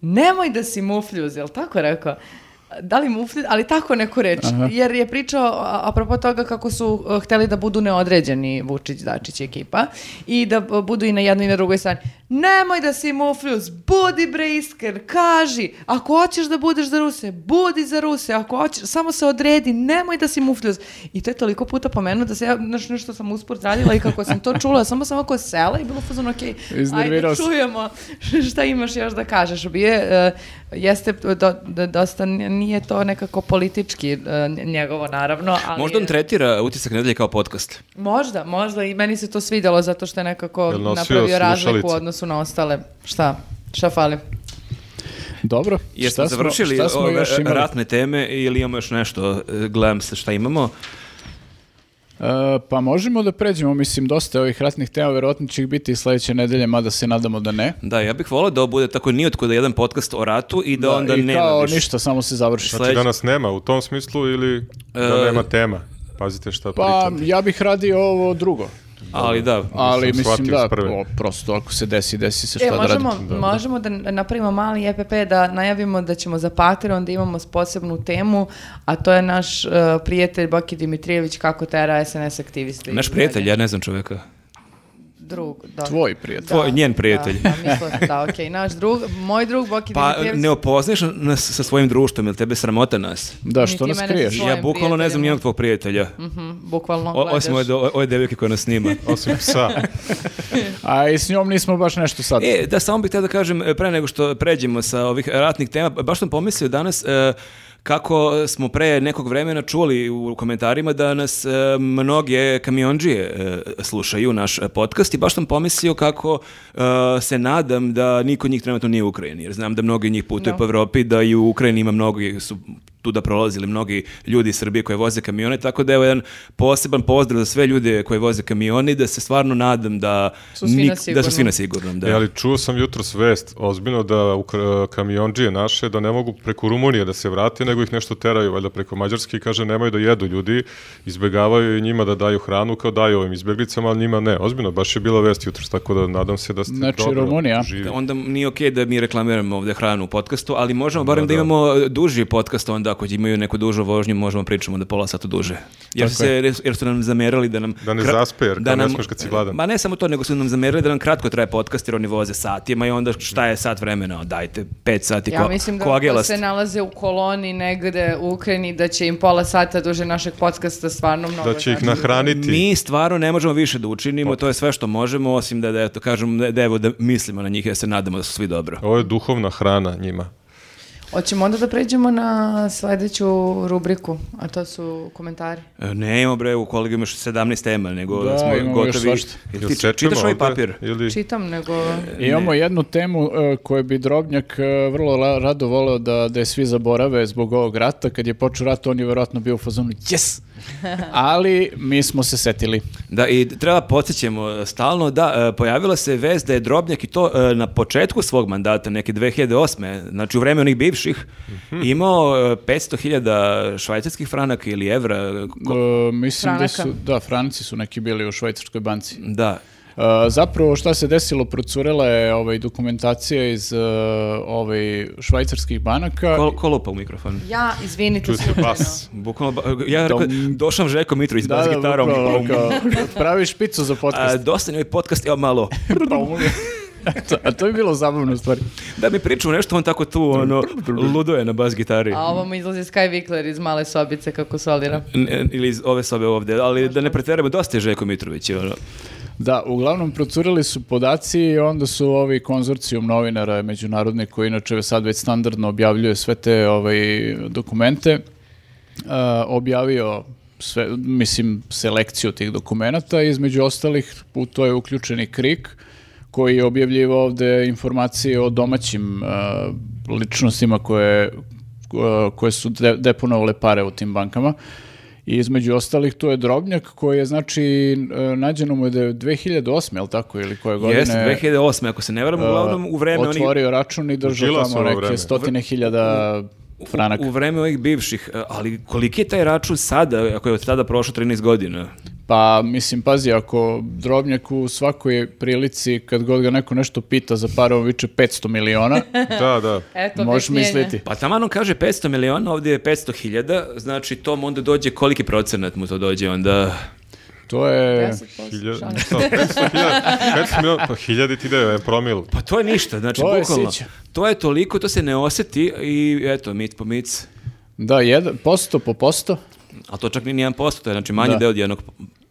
Nemoj da si mufljuz, jel tako rekao? Uh, da li mufti, ali tako neku reč, jer je pričao a- apropo toga kako su uh, hteli da budu neodređeni Vučić, Dačić i ekipa i da uh, budu i na jednoj i na drugoj strani. Nemoj da si mufljus, budi bre iskren, kaži, ako hoćeš da budeš za Ruse, budi za Ruse, ako hoćeš, samo se odredi, nemoj da si mufljus. I to je toliko puta pomenuo da se ja znaš, nešto sam usput radila i kako sam to čula, samo sam ovako sela i bilo fazon, ok, ajde
Iznervirao si.
čujemo šta imaš još da kažeš. Bio je, e, jeste do- do- dosta, nije to nekako politički e, njegovo naravno, ali...
Možda on tretira utisak nedelje kao podcast.
Možda, možda i meni se to svidjelo zato što je nekako
Jel nosio
napravio razliku u
slušalice?
odnosu na ostale. Šta? Šta fali?
Dobro.
Jesmo završili ovaj, e,
šta smo
ove
još imali?
ratne teme ili imamo još nešto? E, Gledam se šta imamo.
E, pa možemo da pređemo, mislim, dosta ovih ratnih tema, verovatno će ih biti i sledeće nedelje, mada se nadamo da ne.
Da, ja bih volao da ovo bude tako nijotko da jedan podcast o ratu i da, onda
I
nema
kao
više.
ništa, samo se završi.
Sled-
Znači da nas nema u tom smislu ili da
E,
nema tema. Pazite šta
Pa
pričate.
ja bih radio ovo drugo,
Ali da,
ali
Nisam
mislim
shvatio
da,
s prve.
o, prosto ako se desi, desi se
E,
šta da radim.
možemo, da, možemo da napravimo mali EPP da najavimo da ćemo za Patreon da imamo posebnu temu, a to je naš e, prijatelj Baki Dimitrijević kako tera SNS aktiviste. i
naš prijatelj,
dalje.
ja ne znam čoveka.
Drug, da.
Tvoj prijatelj.
Tvoj- njen prijatelj.
Da, da, mislila sam, da, okej, naš drug, moj drug Boki
Pa
Dimitrijević.
ne opoznaješ nas sa svojim društvom, ili tebe sramota nas?
Da,
Niti
što nas
mene
kriješ?
Svojim
ja bukvalno ne znam
prijateljima.
nijednog tvog prijatelja.
Mhm, bukvalno
O-
gledaš.
osim ove, do- ove devojke koja nas snima.
Osim psa.
A i s njom nismo baš nešto sad.
E, da, samo bih htio da kažem, e, pre nego što pređemo sa ovih ratnih tema, baš sam pomislio danas e, kako smo pre nekog vremena čuli u komentarima da nas e, mnoge kamionđije e, slušaju naš e, podcast i baš sam pomislio kako e, se nadam da niko od njih trenutno nije u Ukrajini, jer znam da mnogi od njih putuju
Da.
po Evropi, da i u Ukrajini ima mnogi su tu da prolazili mnogi ljudi iz Srbije koje voze kamione, tako da je jedan poseban pozdrav za sve ljude koje voze kamioni, da se stvarno nadam da
Su svi na
da su
sigurnom.
svi na sigurnom. Da.
E, ali čuo sam jutros vest, ozbiljno da u kamionđije naše, da ne mogu preko Rumunije da se vrate, nego ih nešto teraju, valjda preko Mađarske i kaže nemaju da jedu ljudi, izbegavaju njima da daju hranu kao daju ovim izbeglicama, ali njima ne. Ozbiljno, baš je bila vest jutros, tako da nadam se da ste
Znači,
dobro
Rumunija.
živi.
Da, onda nije okej da mi reklamiramo ovde hranu u podcastu, ali možemo barem da, imamo e, duži podcast onda ako imaju neku dužu vožnju, možemo pričamo da pola sata duže. Jer su, se, jer- jer su nam zamerali da nam...
Da ne zaspe, jer kao ne smeš kad si gladan.
Ma ne samo to, nego su nam zamerali da nam kratko traje podcast jer oni voze satima i onda šta je sat vremena, dajte pet sati
Ja
ko,
mislim da ako
koagelast.
se nalaze u koloni negde u Ukrajini, da će im pola sata duže našeg podcasta stvarno mnogo
Da će ih
znači.
nahraniti.
Mi stvarno ne možemo više da učinimo, to je sve što možemo, osim da, da eto, kažem, da, da, evo, da mislimo na njih, ja se nadamo da su svi dobro.
Ovo je duhovna hrana njima.
Hoćemo onda da pređemo na sledeću rubriku, a to su komentari.
E, Ne imamo bre, u kolegi imaš 17 tema, nego
Da,
smo
imamo još
gotovi.
svašta.
Jel
Jel
ti
sečemo
čitaš ovaj
ovde
papir?
Ili...
Čitam, nego...
Imamo jednu temu e, koju bi Drobnjak e, vrlo la- rado voleo da, da je svi zaborave zbog ovog rata. Kad je počeo rat, on je verovatno bio u fazonu yes! Ali mi smo se setili. E,
Da, i treba podsjećamo e, stalno da e, pojavila se vez da je Drobnjak i to e, na početku svog mandata, neke 2008. Znači u vreme onih bivših,
Mhm.
imao e, 500.000 švajcarskih franaka ili evra. e, ko-
E, mislim da
Franaka.
su, da, Franci su neki bili u švajcarskoj banci.
Da.
E, zapravo šta se desilo, procurela je ovaj, dokumentacija iz e, ovaj, švajcarskih banaka.
Ko, ko lupa u mikrofon?
Ja, izvinite,
Čuje se
slučajno.
bas.
Bukvalno, ba- ja rekao, došao Žeko Mitrović s
Da,
bas
da,
gitarom.
upravo, kao, praviš picu za
Pa A,
podcast.
dosta je ovaj podcast, evo malo.
A, to, a to bi bilo zabavno u stvari.
Da mi pričao nešto, on tako tu, ono, ludo je na bas gitari.
A ovo mu izlazi Sky Wickler iz male sobice kako solira.
N- n- ili iz ove sobe ovde, ali da ne preteramo, dosta je Željko Mitrović. Ono.
Da, uglavnom procurili su podaci i onda su ovi konzorcijum novinara međunarodni koji inače sad već standardno objavljuje sve te ovaj, dokumente e, objavio sve, mislim, selekciju tih dokumenata i između ostalih u to je uključeni KRIK koji je objavljivao ovde informacije o domaćim e, ličnostima koje, e, koje su de, deponovale pare u tim bankama. I između ostalih to je Drobnjak koji je znači e, nađeno mu je da je 2008, jel tako, ili koje godine
Jeste, 2008. ako se ne varam,
e,
uglavnom u vreme onih
otvorio račun i
U
držao
Đilasovo
tamo neke
vreme.
stotine hiljada franaka.
u vreme ovih bivših, e, ali koliki je taj račun sada, ako je od tada prošlo 13 godina?
Pa, mislim, pazi, ako Drobnjak u svakoj prilici, kad god ga neko nešto pita za pare, on viče 500 miliona,
Da, da.
Eto,
možeš
objašnjenje.
misliti.
Pa tamo on kaže 500 miliona, ovdje je 500 hiljada, znači tom onda dođe koliki procenat mu to dođe onda...
To je...
10%,
Hiljada,
šalim se.
šta, 500 hiljada, 500 miliona, pa hiljadi ti ide, promil.
Pa to je ništa, znači
To je
bukvalno.
sića.
To je toliko, to se ne osjeti i eto, mic po mic.
Da, jedan, posto po posto.
A to čak ni nijedan posto, to je znači manji
Da.
deo od jednog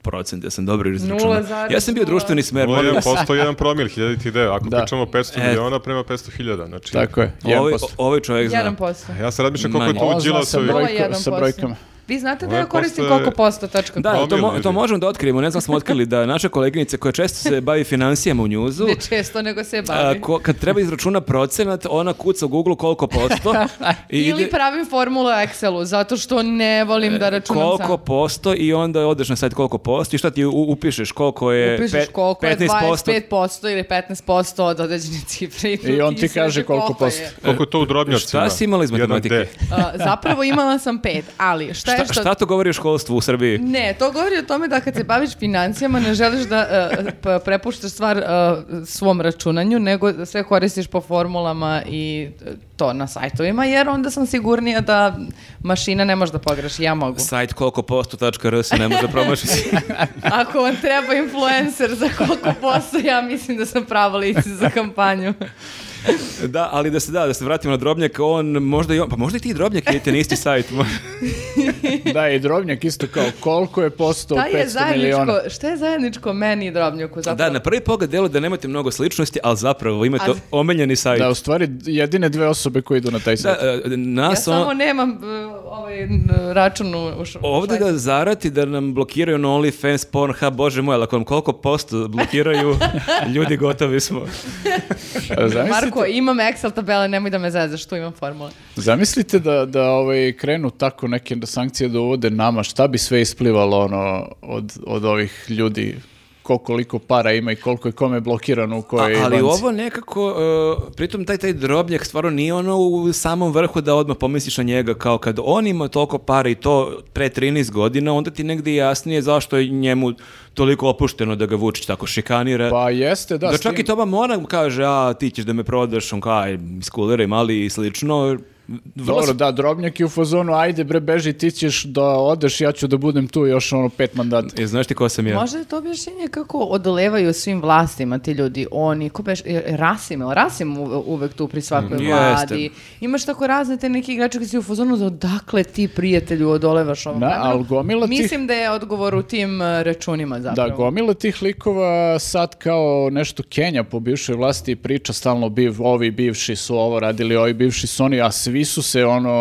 procenta, ja sam dobro izračunao.
0,0.
Ja sam bio društveni smer,
Ovo je
molim vas.
1% jedan promil, hiljadi ti ide. Ako
Da.
pričamo 500
E.
miliona prema 500 hiljada, znači...
Tako je, jedan
Ovaj,
posto.
ovaj čovjek zna.
1%.
Ja se razmišljam koliko je
Manje.
to
Ovo
u
zna sa
Đilasovi.
broj-
Ovo je
Brojko- sa
1%.
brojkama.
Vi znate da
Ovo je
ja koristim
posle-
koliko posto tačka.
Da, to,
Promil,
mo-
vidi.
to možemo da otkrijemo, ne znam smo otkrili da naša koleginica koja često se bavi financijama u njuzu,
Ne često, nego se
a,
bavi.
ko- kad treba izračuna procenat, ona kuca u Google koliko posto i
Da. Ili
ide- E,
pravim formulu Excelu, zato što ne volim da računam
koliko
sam.
posto i onda odeš na sajt koliko posto i šta ti u- upišeš koliko je
Upišeš
pe-
koliko je
15%.
25% ili 15% od određene cifre.
I on ti
upisuješ
kaže koliko
je.
posto.
Koliko je to u drobnjacima?
E, Šta si imala iz
Jedan
matematike?
D.
A, zapravo imala sam pet, ali šta je
Šta,
što...
šta to govori o školstvu u Srbiji?
Ne, to govori o tome da kad se baviš financijama ne želiš da e, p- prepuštaš stvar e, svom računanju, nego sve koristiš po formulama i e, to na sajtovima, jer onda sam sigurnija da mašina ne može da pogreši, ja mogu.
Sajt koliko posto.rs ne može promašiti.
Ako vam treba influencer za koliko posto, ja mislim da sam prava lice za kampanju.
da, ali da se da, da se vratimo na Drobnjak, on možda i on, pa možda i ti Drobnjak idete na isti sajt.
Da, i Drobnjak isto kao koliko je posto
Šta
od
je
500
zajedničko,
miliona.
šta je zajedničko meni i Drobnjaku
da,
zapravo?
na prvi pogled delo da nemate mnogo sličnosti, ali zapravo imate
A-
omenjeni sajt.
Da, u stvari jedine dve osobe koje idu na taj
Da,
sajt.
e,
Ja
nas ono-
samo nemam e, ovaj n- račun u, u š-
Ovdje
švajcu.
ga zarati da nam blokiraju na OnlyFans, Pornhub, bože moj, ali ako nam koliko posto blokiraju, ljudi gotovi smo.
A da- Zamislite,
Marko, imam Excel tabele, nemoj da me zezaš, tu imam formule.
zamislite da, da ovaj, krenu tako neke sankcije da uvode nama, šta bi sve isplivalo ono, od, od ovih ljudi, ko koliko para ima i koliko je kome blokirano u
A-
kojoj
ali
banci.
ovo nekako, e, pritom taj taj drobnjak stvarno nije ono u samom vrhu da odmah pomisliš na njega, kao kad on ima toliko para i to pre 13 godina, onda ti negdje jasnije zašto je njemu toliko opušteno da ga Vučić tako šikanira.
Pa jeste, da.
da
s
čak
tim-
i Toma Mona mu kaže, a ti ćeš da me prodaš, on kao, aj, iskuliraj mali i slično. Vrlo
Dobro, da, Drobnjak je u fazonu, ajde bre, beži, ti ćeš da odeš, ja ću da budem tu još ono pet mandata.
E, znaš ti ko sam ja?
Možda je to objašnjenje kako odolevaju svim vlastima ti ljudi, oni, ko beš, e, Rasim, jel Rasim u- uvek tu pri svakoj
Mm,
vladi.
jeste.
Imaš tako razne te neki igrače koji si u fazonu da odakle ti prijatelju odolevaš ovom
Da,
vremenu?"
ali gomila tih-
Mislim da je odgovor u tim e, računima zapravo.
Da, gomila tih likova sad kao nešto Kenja po bivšoj vlasti i priča stalno biv, ovi bivši su ovo radili, ovi bivši su oni, a svi su se ono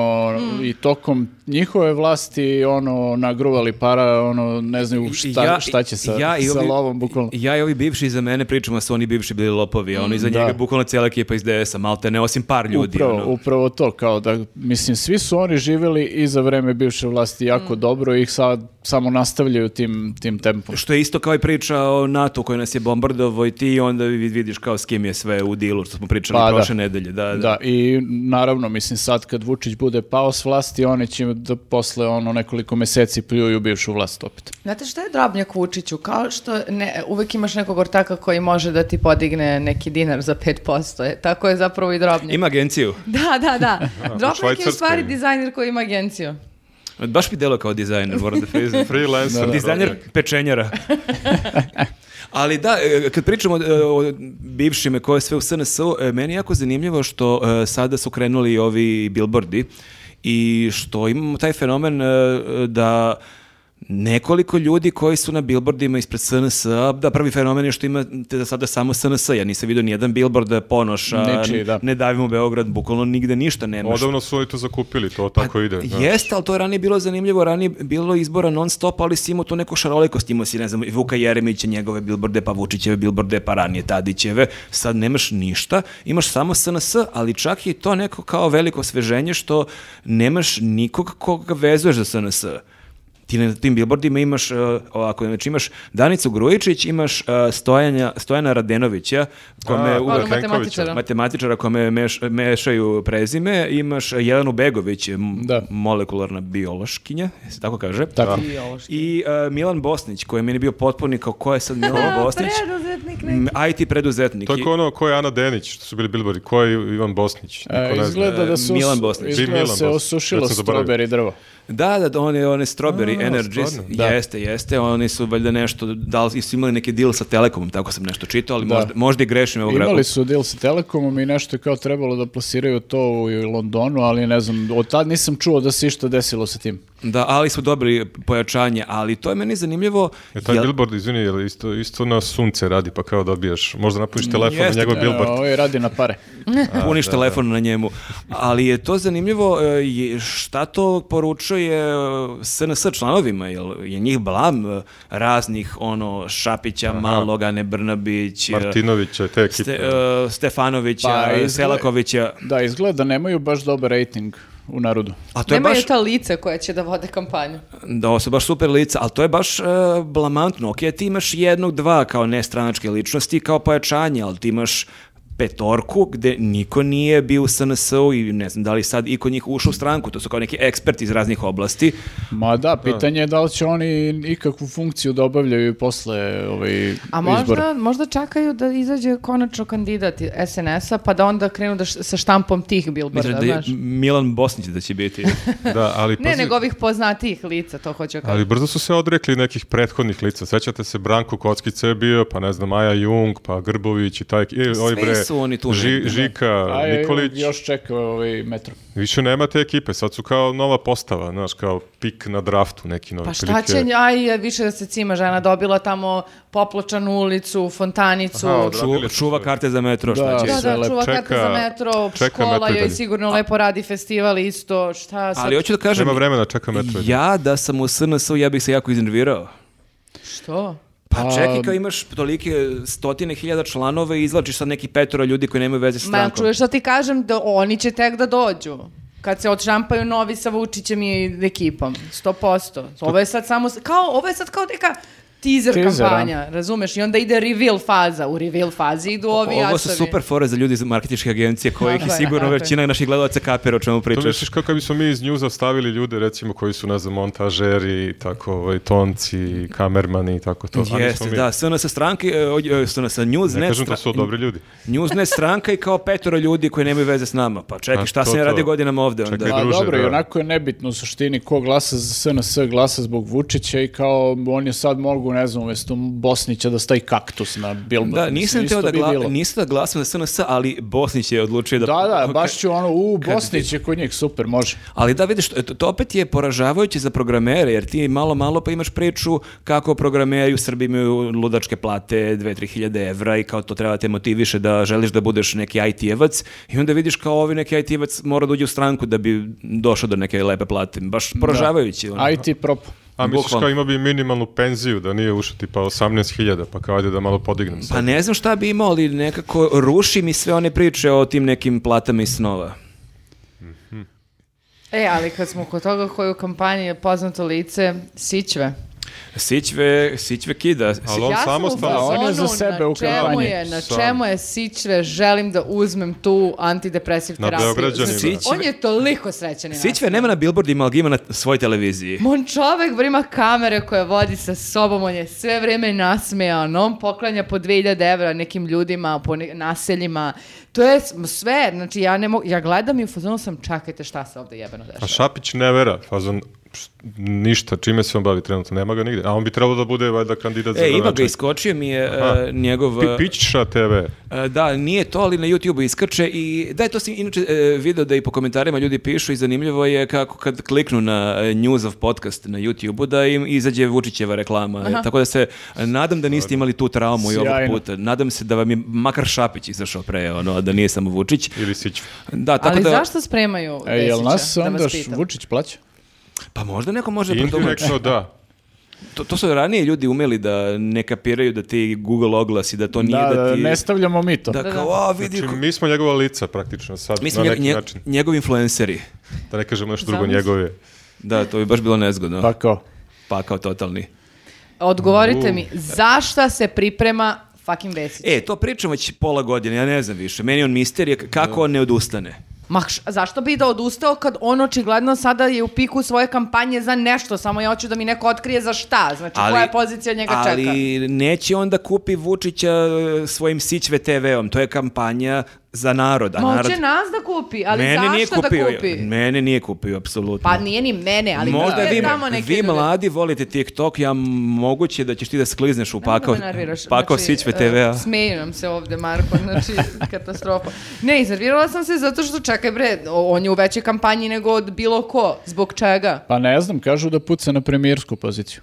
i tokom njihove vlasti ono nagruvali para, ono ne znaju šta, šta će sa,
ja i
sa
ovi-
lovom bukvalno.
Ja i ovi bivši iza mene pričamo da su oni bivši bili lopovi, a oni iza
Da.
njega bukvalno cijela ekipa iz DS-a, malte ne, osim par ljudi.
upravo,
ono.
upravo to, kao da, mislim, svi su oni živjeli i za vreme bivše vlasti jako dobro i ih sad samo nastavljaju tim, tim tempom.
Što je isto kao i priča o NATO koji nas je bombardovao i ti onda vid- vidiš kao s kim je sve u dilu, što smo pričali
Pa, da.
prošle nedelje. Da, da.
Da, i naravno, mislim, sad kad Vučić bude pao s vlasti, oni će da posle ono nekoliko meseci pljuju bivšu vlast opet.
Da.
Znate šta je drobnjak Vučiću? Kao što ne, uvek imaš nekog ortaka koji može da ti podigne neki dinar za 5%. e, Tako je zapravo i drobnjak.
Ima agenciju.
Da, da, da. Drobnjak je u
Švajcarskoj.
stvari dizajner koji ima agenciju.
Baš mi delo kao dizajner, moram da priznam.
Freelancer.
Dizajner
drobnjak.
pečenjara. Ali da, e, kad pričamo e, o bivšime koje je sve u SNS-u, e, meni je jako zanimljivo što e, sada su krenuli ovi billboardi i što imamo taj fenomen e, da nekoliko ljudi koji su na billboardima ispred SNS-a, da prvi fenomen je što imate za sada samo SNS, ja nisam vidio nijedan billboard ponoša,
Ničiji, da.
ne davimo Beograd, bukvalno nigde ništa nemaš.
Odavno su oni to zakupili, to tako ide. da.
Jeste, ali to Pa je ranije bilo zanimljivo, ranije je bilo izbora non stop, ali si imao tu neku šarolikost, imao si, ne znam, i Vuka Jeremića, njegove bilborde, pa Vučićeve bilborde, pa ranije Tadićeve, sad nemaš ništa, imaš samo SNS, ali čak je i to neko kao veliko osveženje što nemaš nikog koga vezuješ za SNS. ti na tim billboardima imaš, uh, ovako, znači imaš Danicu Grujičić, imaš uh, Stojanja, Stojana Radenovića, kome
A,
u,
da,
Ono,
Plenkovića.
matematičara.
matematičara kome meš, mešaju prezime, imaš Jelenu Begović, m-
Da.
molekularna biološkinja, se tako kaže. Da.
Tako.
I ovo što-
I uh, Milan Bosnić, koji je meni bio potpuni kao ko je sad
Da,
Milan Bosnić?
Preduzetnik neki.
M, IT preduzetnik.
To je ko ono, ko je Ana Denić, što su bili bilbori, ko je Ivan Bosnić, niko
E,
ne zna.
izgleda da su
Milan Bosnić.
Bi
Izgleda
Milan
se
Bosnić,
osušilo
već sam zaboravio.
strawberry drvo.
Da, da, da, one, one Strawberry
A,
Energies,
stvarno?
Da.
jeste, jeste, oni su valjda nešto, da li su imali neki deal sa Telekomom, tako sam nešto čitao,
Da.
ali možda, možda i grešim. Evo,
Imali su deal sa Telekomom i nešto je kao trebalo da plasiraju to u Londonu, ali ne znam, od tad nisam čuo da se išta desilo sa tim.
Da, ali su dobili pojačanje, ali to je meni zanimljivo.
E, taj
jel-
billboard, izvini, je li isto, isto na sunce radi, pa kao dobijaš, možda napuniš telefon
Jeste,
na njegov
da.
billboard.
Ovo je E, radi na pare.
puniš telefon na njemu. Ali je to zanimljivo e, je- šta to poručuje e, SNS članovima, jel je njih blam e, raznih ono Šapića, Maloga, Ne Brnabić, e,
Martinovića i te ekipe.
Ste- e, Stefanovića,
Pa,
e,
izgleda-
Selakovića.
Da, izgleda da nemaju baš dobar rating u narodu.
Pa
A to je
Nemaju
baš
ta lica koja će da vode kampanju.
da su baš super lica, ali to je baš e, blamantno. Ok, ti imaš jednog, dva kao nestranačke ličnosti, kao pojačanje, ali ti imaš petorku gde niko nije bio u SNS-u i ne znam da li sad iko njih ušao u stranku, to su kao neki eksperti iz raznih oblasti.
Ma da, pitanje je da li će oni ikakvu funkciju da obavljaju i posle ovaj,
A
izbora.
možda, možda čakaju da izađe konačno kandidat i- SNS-a, pa da onda krenu da š- sa štampom tih
Mislim
bilborda,
da je
znaš.
Milan Bosnić da će biti.
Da, ali
Ne,
pazi,
nego ovih poznatijih lica, to hoću da kažem.
Ali brzo su se odrekli nekih prethodnih lica. Sećate se, Branko Kockice je bio, pa ne znam, Maja Jung, pa Grbović i taj... E, oj
Svi
bre,
su oni tu
Ži-
negde, da.
Žika,
A je,
Pa, Nikolić.
još čeka ovaj metro.
Više nema te ekipe, sad su kao nova postava, znaš, kao pik na draftu neki novi.
Pa šta
otprilike.
će, aj, više da se cima žena dobila tamo popločanu ulicu, fontanicu.
Aha, od-
Ču- čuva karte za metro, šta
Da.
će?
da,
sve
da,
lepo.
čuva karte za
Čeka-
metro,
čeka
škola
metro i
joj
dalje.
sigurno lepo radi festival isto, šta sad,
Ali hoću da kažem,
Nema vremena, čeka metro.
ja da sam u SNS-u, ja bih se jako iznervirao.
što?
Pa
A-
čekaj, kao imaš tolike stotine hiljada članova i izvlačiš sad neki petora ljudi koji nemaju veze s
Ma,
strankom.
čuješ što ti kažem, da oni će tek da dođu. Kad se odšampaju novi sa Vučićem i ekipom, 100%. Ovo je sad samo, kao, ovo je sad kao neka teaser
Teaser, a?
kampanja, razumeš? I onda ide reveal faza. U reveal fazi idu ovi
Ovo su
jastovi.
super fore za ljudi iz marketičke agencije kojih
Tako
je
je,
sigurno
tako je.
većina naših gledalaca kapira o čemu
To
pričaš.
misliš kao kad bismo mi iz njuza stavili ljude, recimo, koji su, ne znam, montažeri, tako, ovaj, tonci, kamermani i tako to. A nismo
Jeste,
mi.
da, SNS stranke, e, o- e, SNS news,
Ne,
ne,
kažem,
stra-
to su dobri ljudi.
news ne stranka i kao petoro ljudi koji nemaju veze s nama. Pa čekaj,
A,
šta
to,
sam ja
to.
radio godinama ovde onda?
Čekaj,
Pa
druže,
dobro, i
da.
onako je nebitno u suštini ko glasa za SNS, glasa zbog Vučića i kao on je sad mogu, ne znam, umjesto Bosnića da stavi kaktus na bilbord.
Da, nisam teo da, gla, nisam da glasam za SNS, ali Bosnić je odlučio da...
Da, da, baš ću ono, u, Bosnić je kod njih, super, može.
Ali da vidiš, to, to opet je poražavajuće za programere, jer ti malo malo pa imaš priču kako programeri u Srbiji imaju ludačke plate 2-3 hiljade evra i kao to treba da te motiviše da želiš da budeš neki IT-evac i onda vidiš kao ovi neki IT-evac mora da uđe u stranku da bi došao do neke lepe plate. Baš poražavajuće. ono.
IT prop.
A misliš
Bukvalno.
kao imao bi minimalnu penziju da nije ušao tipa 18.000, pa kao ajde da malo podignem se.
Pa ne znam šta bi imao, ali nekako ruši mi sve one priče o tim nekim platama i snova.
E, ali kad smo kod toga koju kampanji je poznato lice, Sićve.
Sićve, sićve kida. Si-
Ali on
sam u
samostalno-
fazonu,
On je za sebe u
Na čemu
kampanji.
je, na
Sam.
čemu je Sićve, želim da uzmem tu antidepresiv
Na
terapiju.
Beograđanima.
Znači,
Sićve-
On je toliko srećan. i
Sićve nema na billboardima, ali ga ima na svoj televiziji.
Mon čovek bre, ima kamere koje vodi sa sobom, on je sve vreme nasmejan, on poklanja po 2000 evra nekim ljudima, po ne- naseljima. To je s- sve, znači ja ne mogu, ja gledam i u fazonu sam, čekajte šta se ovde jebeno
A
dešava.
Šapić ne vera, fazon pš, ništa, čime se on bavi trenutno, nema ga nigde. A on bi trebalo da bude valjda kandidat za
E, ima ga,
gradonačelnika.
iskočio mi je
Aha.
e, njegov...
Pi- Pićša TV.
e, da, nije to, ali na YouTube iskače i da je to sam inače e, video da i po komentarima ljudi pišu i zanimljivo je kako kad kliknu na e, Newsov podcast na YouTubeu da im izađe Vučićeva reklama. E, Tako da se e, nadam da niste imali tu traumu i ovog
Sjajno.
puta. Nadam se da vam je makar Šapić izašao pre, ono, da nije samo Vučić.
Ili Sićva.
Da, tako
Ali
da,
zašto spremaju
E, jel
Vesića,
nas
da
onda
vas pitam?
Vučić plaća?
Pa možda neko može pretumačiti.
Indirektno da.
To, to su ranije ljudi umeli da ne kapiraju da ti Google oglasi, da to nije
Da,
da,
da,
ti...
ne stavljamo mi to.
da, kao, a, vidi
Znači,
ko-
mi smo njegova lica praktično sad,
Mi smo
na
Pa, nje-
neki
nje-
način.
njegovi influenceri.
Da ne kažemo nešto drugo
Zamisli.
njegove.
Da, to bi baš bilo nezgodno.
Pa kao,
pakao totalni.
Odgovorite mi, zašta se priprema fucking Vesić?
E, to pričam već pola godine, ja ne znam više. Meni je on misterija k- kako
Da.
on ne odustane.
Ma š- zašto bi da odustao kad on očigledno sada je u piku svoje kampanje za nešto, samo ja hoću da mi neko otkrije za šta, znači koja pozicija njega
ali
čeka.
neće onda kupi Vučića e, svojim Sićve TV-om. To je kampanja za narod. A
Ma
narod...
hoće nas da kupi, ali
mene nije
zašto da
kupio.
kupi?
Mene nije kupio, apsolutno.
Pa nije ni mene, ali
Možda
kupite
vi,
tamo neke
vi
ljude.
mladi volite TikTok, ja m- moguće da ćeš ti da sklizneš u
Nemoj da
pakao,
me nerviraš.
pakao
Znači,
Sićve
e,
TV-a.
Smeju nam se ovde, Marko, znači katastrofa. Ne, iznervirala sam se zato što, čekaj bre, o- on je u većoj kampanji nego od bilo ko. Zbog čega?
Pa ne znam, kažu da puca na premijersku poziciju.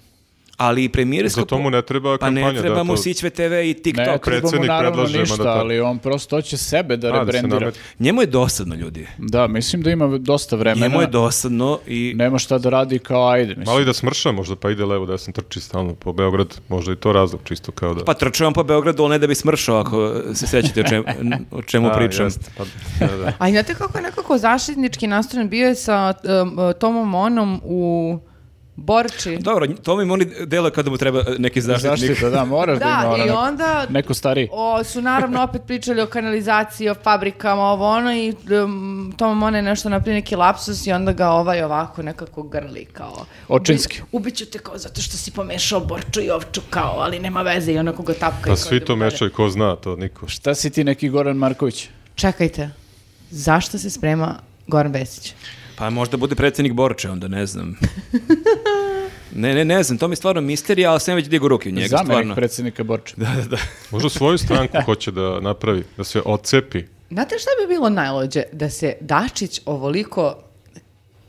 Ali i premijersko...
Za to mu ne treba
Pa ne
kampanja,
treba
da,
mu
to-
Sićve TV i
Ne,
TikTok.
treba mu
Predsjednik
naravno
predlaže, ma da
ništa,
tako.
ali on prosto hoće sebe da
A, da se
rebrendira.
nameti.
Njemu je dosadno, ljudi.
Da, mislim da ima dosta vremena.
Njemu je dosadno i...
Nema šta da radi kao ajde, mislim.
Malo i da smrša možda, pa ide levo desno, trči stalno po Beogradu, možda i to razlog čisto kao da...
Pa trčao on po Beogradu, ali ne da bi smršao, ako se sjećate o čemu, o čemu
Da,
pričam.
jeste, pa, da, da.
A i znate kako je nekako zaštitnički nastrojen bio je sa um, Tomom Monom u Borči.
Dobro, to mi oni delo kada mu treba e, neki zaštitnik.
Zaštita, da, moraš da, ima
Da,
ono
i
neko-
onda
neko stariji.
o, su naravno opet pričali o kanalizaciji, o fabrikama, ovo ono i um, Tom Mone je nešto naprije neki lapsus i onda ga ovaj ovako nekako grli kao.
Očinski.
Ubiću te kao zato što si pomešao borču i ovču kao, ali nema veze i onako ga tapka. i
Pa
kao da
svi
ide
to
mu dalje.
mešaju, ko zna to, niko.
Šta si ti neki Goran Marković?
Čekajte, zašto se sprema Goran Vesić?
Pa možda bude predsjednik Borče, onda ne znam. ne, ne, ne znam, to mi je stvarno misterija, ali sam već digao ruke u njega,
Zamenik
stvarno. Da.
predsjednika Borča.
Možda svoju stranku hoće da napravi, da se odcepi.
Znate šta bi bilo najlođe? Da se Dačić ovoliko...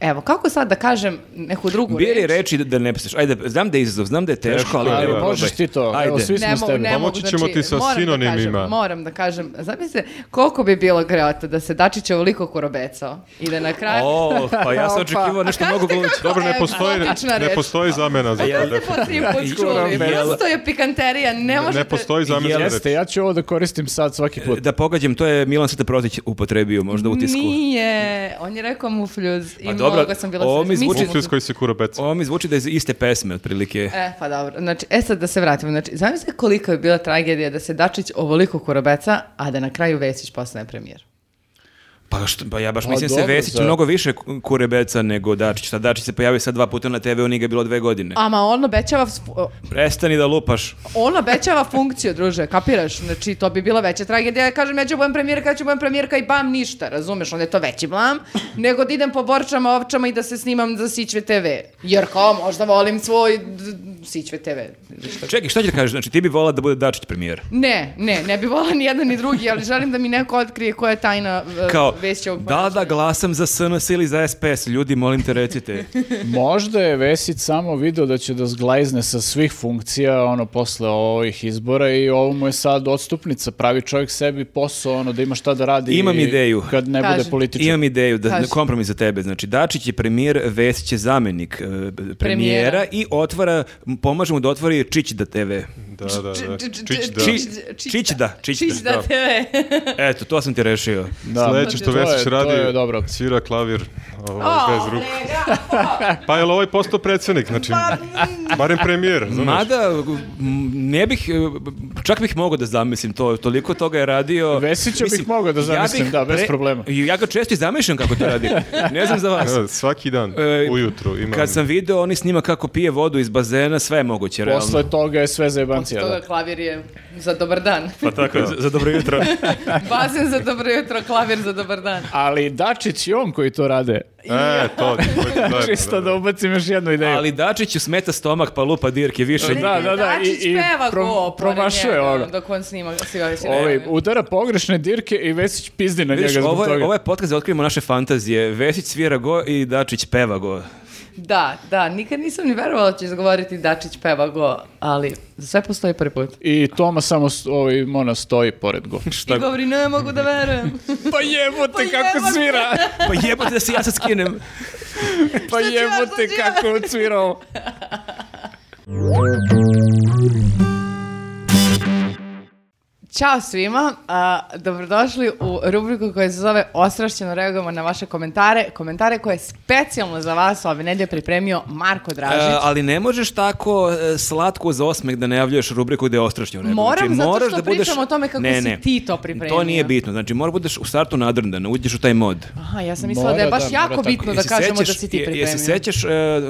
Evo, kako sad da kažem neku drugu
Bili
reč?
reči da, da ne piseš. Ajde, znam da je izazov, znam da je teško,
Teško
ali...
je,
evo,
da.
probaj.
Možeš ti to, evo,
Ajde.
svi smo s
mogu,
tebe.
ne mogu,
Pomoći ćemo
znači,
ti sa
moram da
sinonimima.
kažem, moram da kažem, zamislite koliko bi bilo greota da se Dačić ovoliko korobecao i da na kraju...
O, pa ja sam
Opa.
očekivao nešto
A
mnogo
kažete
gluće.
kako-
Dobro, ne postoji,
Egzotična
ne
reč.
postoji zamena za
jel-
to.
Ste po tri put čuli,
Jel-
prosto je pikanterija, ne
Ne
možete...
postoji zamena za
Jeste,
reč.
ja ću ovo da koristim sad svaki put.
Da pogađam, to je Milan Sveta Protić upotrebio možda u tisku.
Nije, on je rekao mufljuz i
Pa dobro,
mnogo sam bila
ovo mi
srećna. Mislim-
zvuči-
Mufljus koji se kura beca.
Ovo mi zvuči da je iz iste pesme, otprilike.
E, pa dobro. Znači, e sad da se vratimo. Znači, zamislite kolika je bila tragedija da se Dačić ovoliko korobeca, a da na kraju Vesić postane premijer.
Pa, što, pa ja baš
Pa
mislim da se
dobro,
Vesić
za-
mnogo više ku- kurebeca nego Dačić. Sad Dačić se pojavio sad dva puta na TV-u, nije ga bilo dve godine.
Ama on obećava, sp-
Prestani da lupaš.
on obećava funkciju, druže, kapiraš? Znači, to bi bila veća tragedija. Ja kažem, ja ću budem premijerka, ja ću budem premijerka i bam, ništa, razumeš? Onda je to veći blam, nego da idem po borčama, ovčama i da se snimam za Sićve TV. Jer kao, možda volim svoj d- d- Sićve TV.
Čekaj, šta ću da kažeš? Znači, ti bi volao da bude Dačić premijer.
Ne, ne, ne bi volao ni jedan ni drugi, ali želim da mi neko otkrije koja je tajna e,
Kao,
Vesićevog
da, da
ponašanja.
glasam za SNS ili za SPS. Ljudi, molim te, recite.
Možda je Vesić samo video da će da zglajzne sa svih funkcija ono posle ovih izbora i ovo mu je sad odstupnica, pravi čovjek sebi posao ono da ima šta da radi
Imam
i
ideju.
kad ne bude
Kaži.
političar.
Imam ideju, da
Kaži.
kompromis za tebe. Znači, Dačić je premijer, Vesić je zamenik e, premijera,
Premijera.
i otvara, pomaže mu da otvori Čičda TV.
Da, da, da.
Č- č- č-
Čić da.
či-
Či- Čičda,
Čić
Čičda.
da TV.
Eto, to sam ti rešio.
Da.
Sledeće što
To je-
Vesić
To je
radi,
dobra opcija.
svira klavir ovaj,
O,
bez ruku.
kolega, da.
Pa je li ovaj postao predsjednik, znači,
Pa,
barem premijer, znaš?
Mada, m, ne bih, e, čak bih mogao da zamislim to, toliko toga je radio.
Vesića bih mogao da
ja
zamislim, da, bez problema.
I Ja ga često i zamišljam kako to radi. Ne znam za vas.
Evo, Svaki dan,
da E,
ujutru, imam...
Kad sam video, oni snima kako pije vodu iz bazena, sve je moguće, realno.
Posle toga je sve zajebancija.
Toga klavir je za dobar dan.
Pa tako, za, za dobro jutro.
Bazen za dobro jutro, klavir za dobar dan.
Ali Dačić i on koji to rade.
E, to, to je zajedno,
Čisto da ubacim još jednu ideju.
Ali Dačiću smeta stomak, pa lupa dirke više.
Da, da, da, i-
Dačić
i
peva
pro-
go, pored
promašuje
njega,
ovoga.
Dok on snima sigurno si
Ovaj,
ne-
udara pogrešne dirke i Vesić pizdi na
e, Vidiš,
Da, njega zbog
ovo je,
toga.
ovo je podcast gde otkrivamo naše fantazije. Vesić svira go i Dačić peva go.
Da, da, nikad nisam ni verovala da će izgovoriti Dačić peva go, ali za sve postoji prvi put.
I Toma samo st- ovaj, ona stoji pored go.
I govori, ne mogu da verujem.
Pa jebote kako
jebote.
svira!
Pa jebote da se ja sad skinem.
Pa
da
Šta ću ja
jebote
sad
kako je cvirao.
Ćao svima, a, dobrodošli u rubriku koja se zove Ostrašćeno reagujemo na vaše komentare. Komentare koje je specijalno za vas ove nedelje pripremio Marko Dražić.
E, ali ne možeš tako e, slatko za osmeh da najavljuješ rubriku gde je ostrašnjeno. nego.
Moram, zato
moraš da
što pričamo o tome kako si ti to pripremio.
To nije bitno. Znači, moraš budeš u startu nadrndan, uđeš u taj mod.
Aha, ja sam mislila
Mora,
da je
da,
baš
mora
jako
tako.
bitno da
Jesi
kažemo da
sećaš-
si ti
je-
pripremio.
Jesi sećaš, e,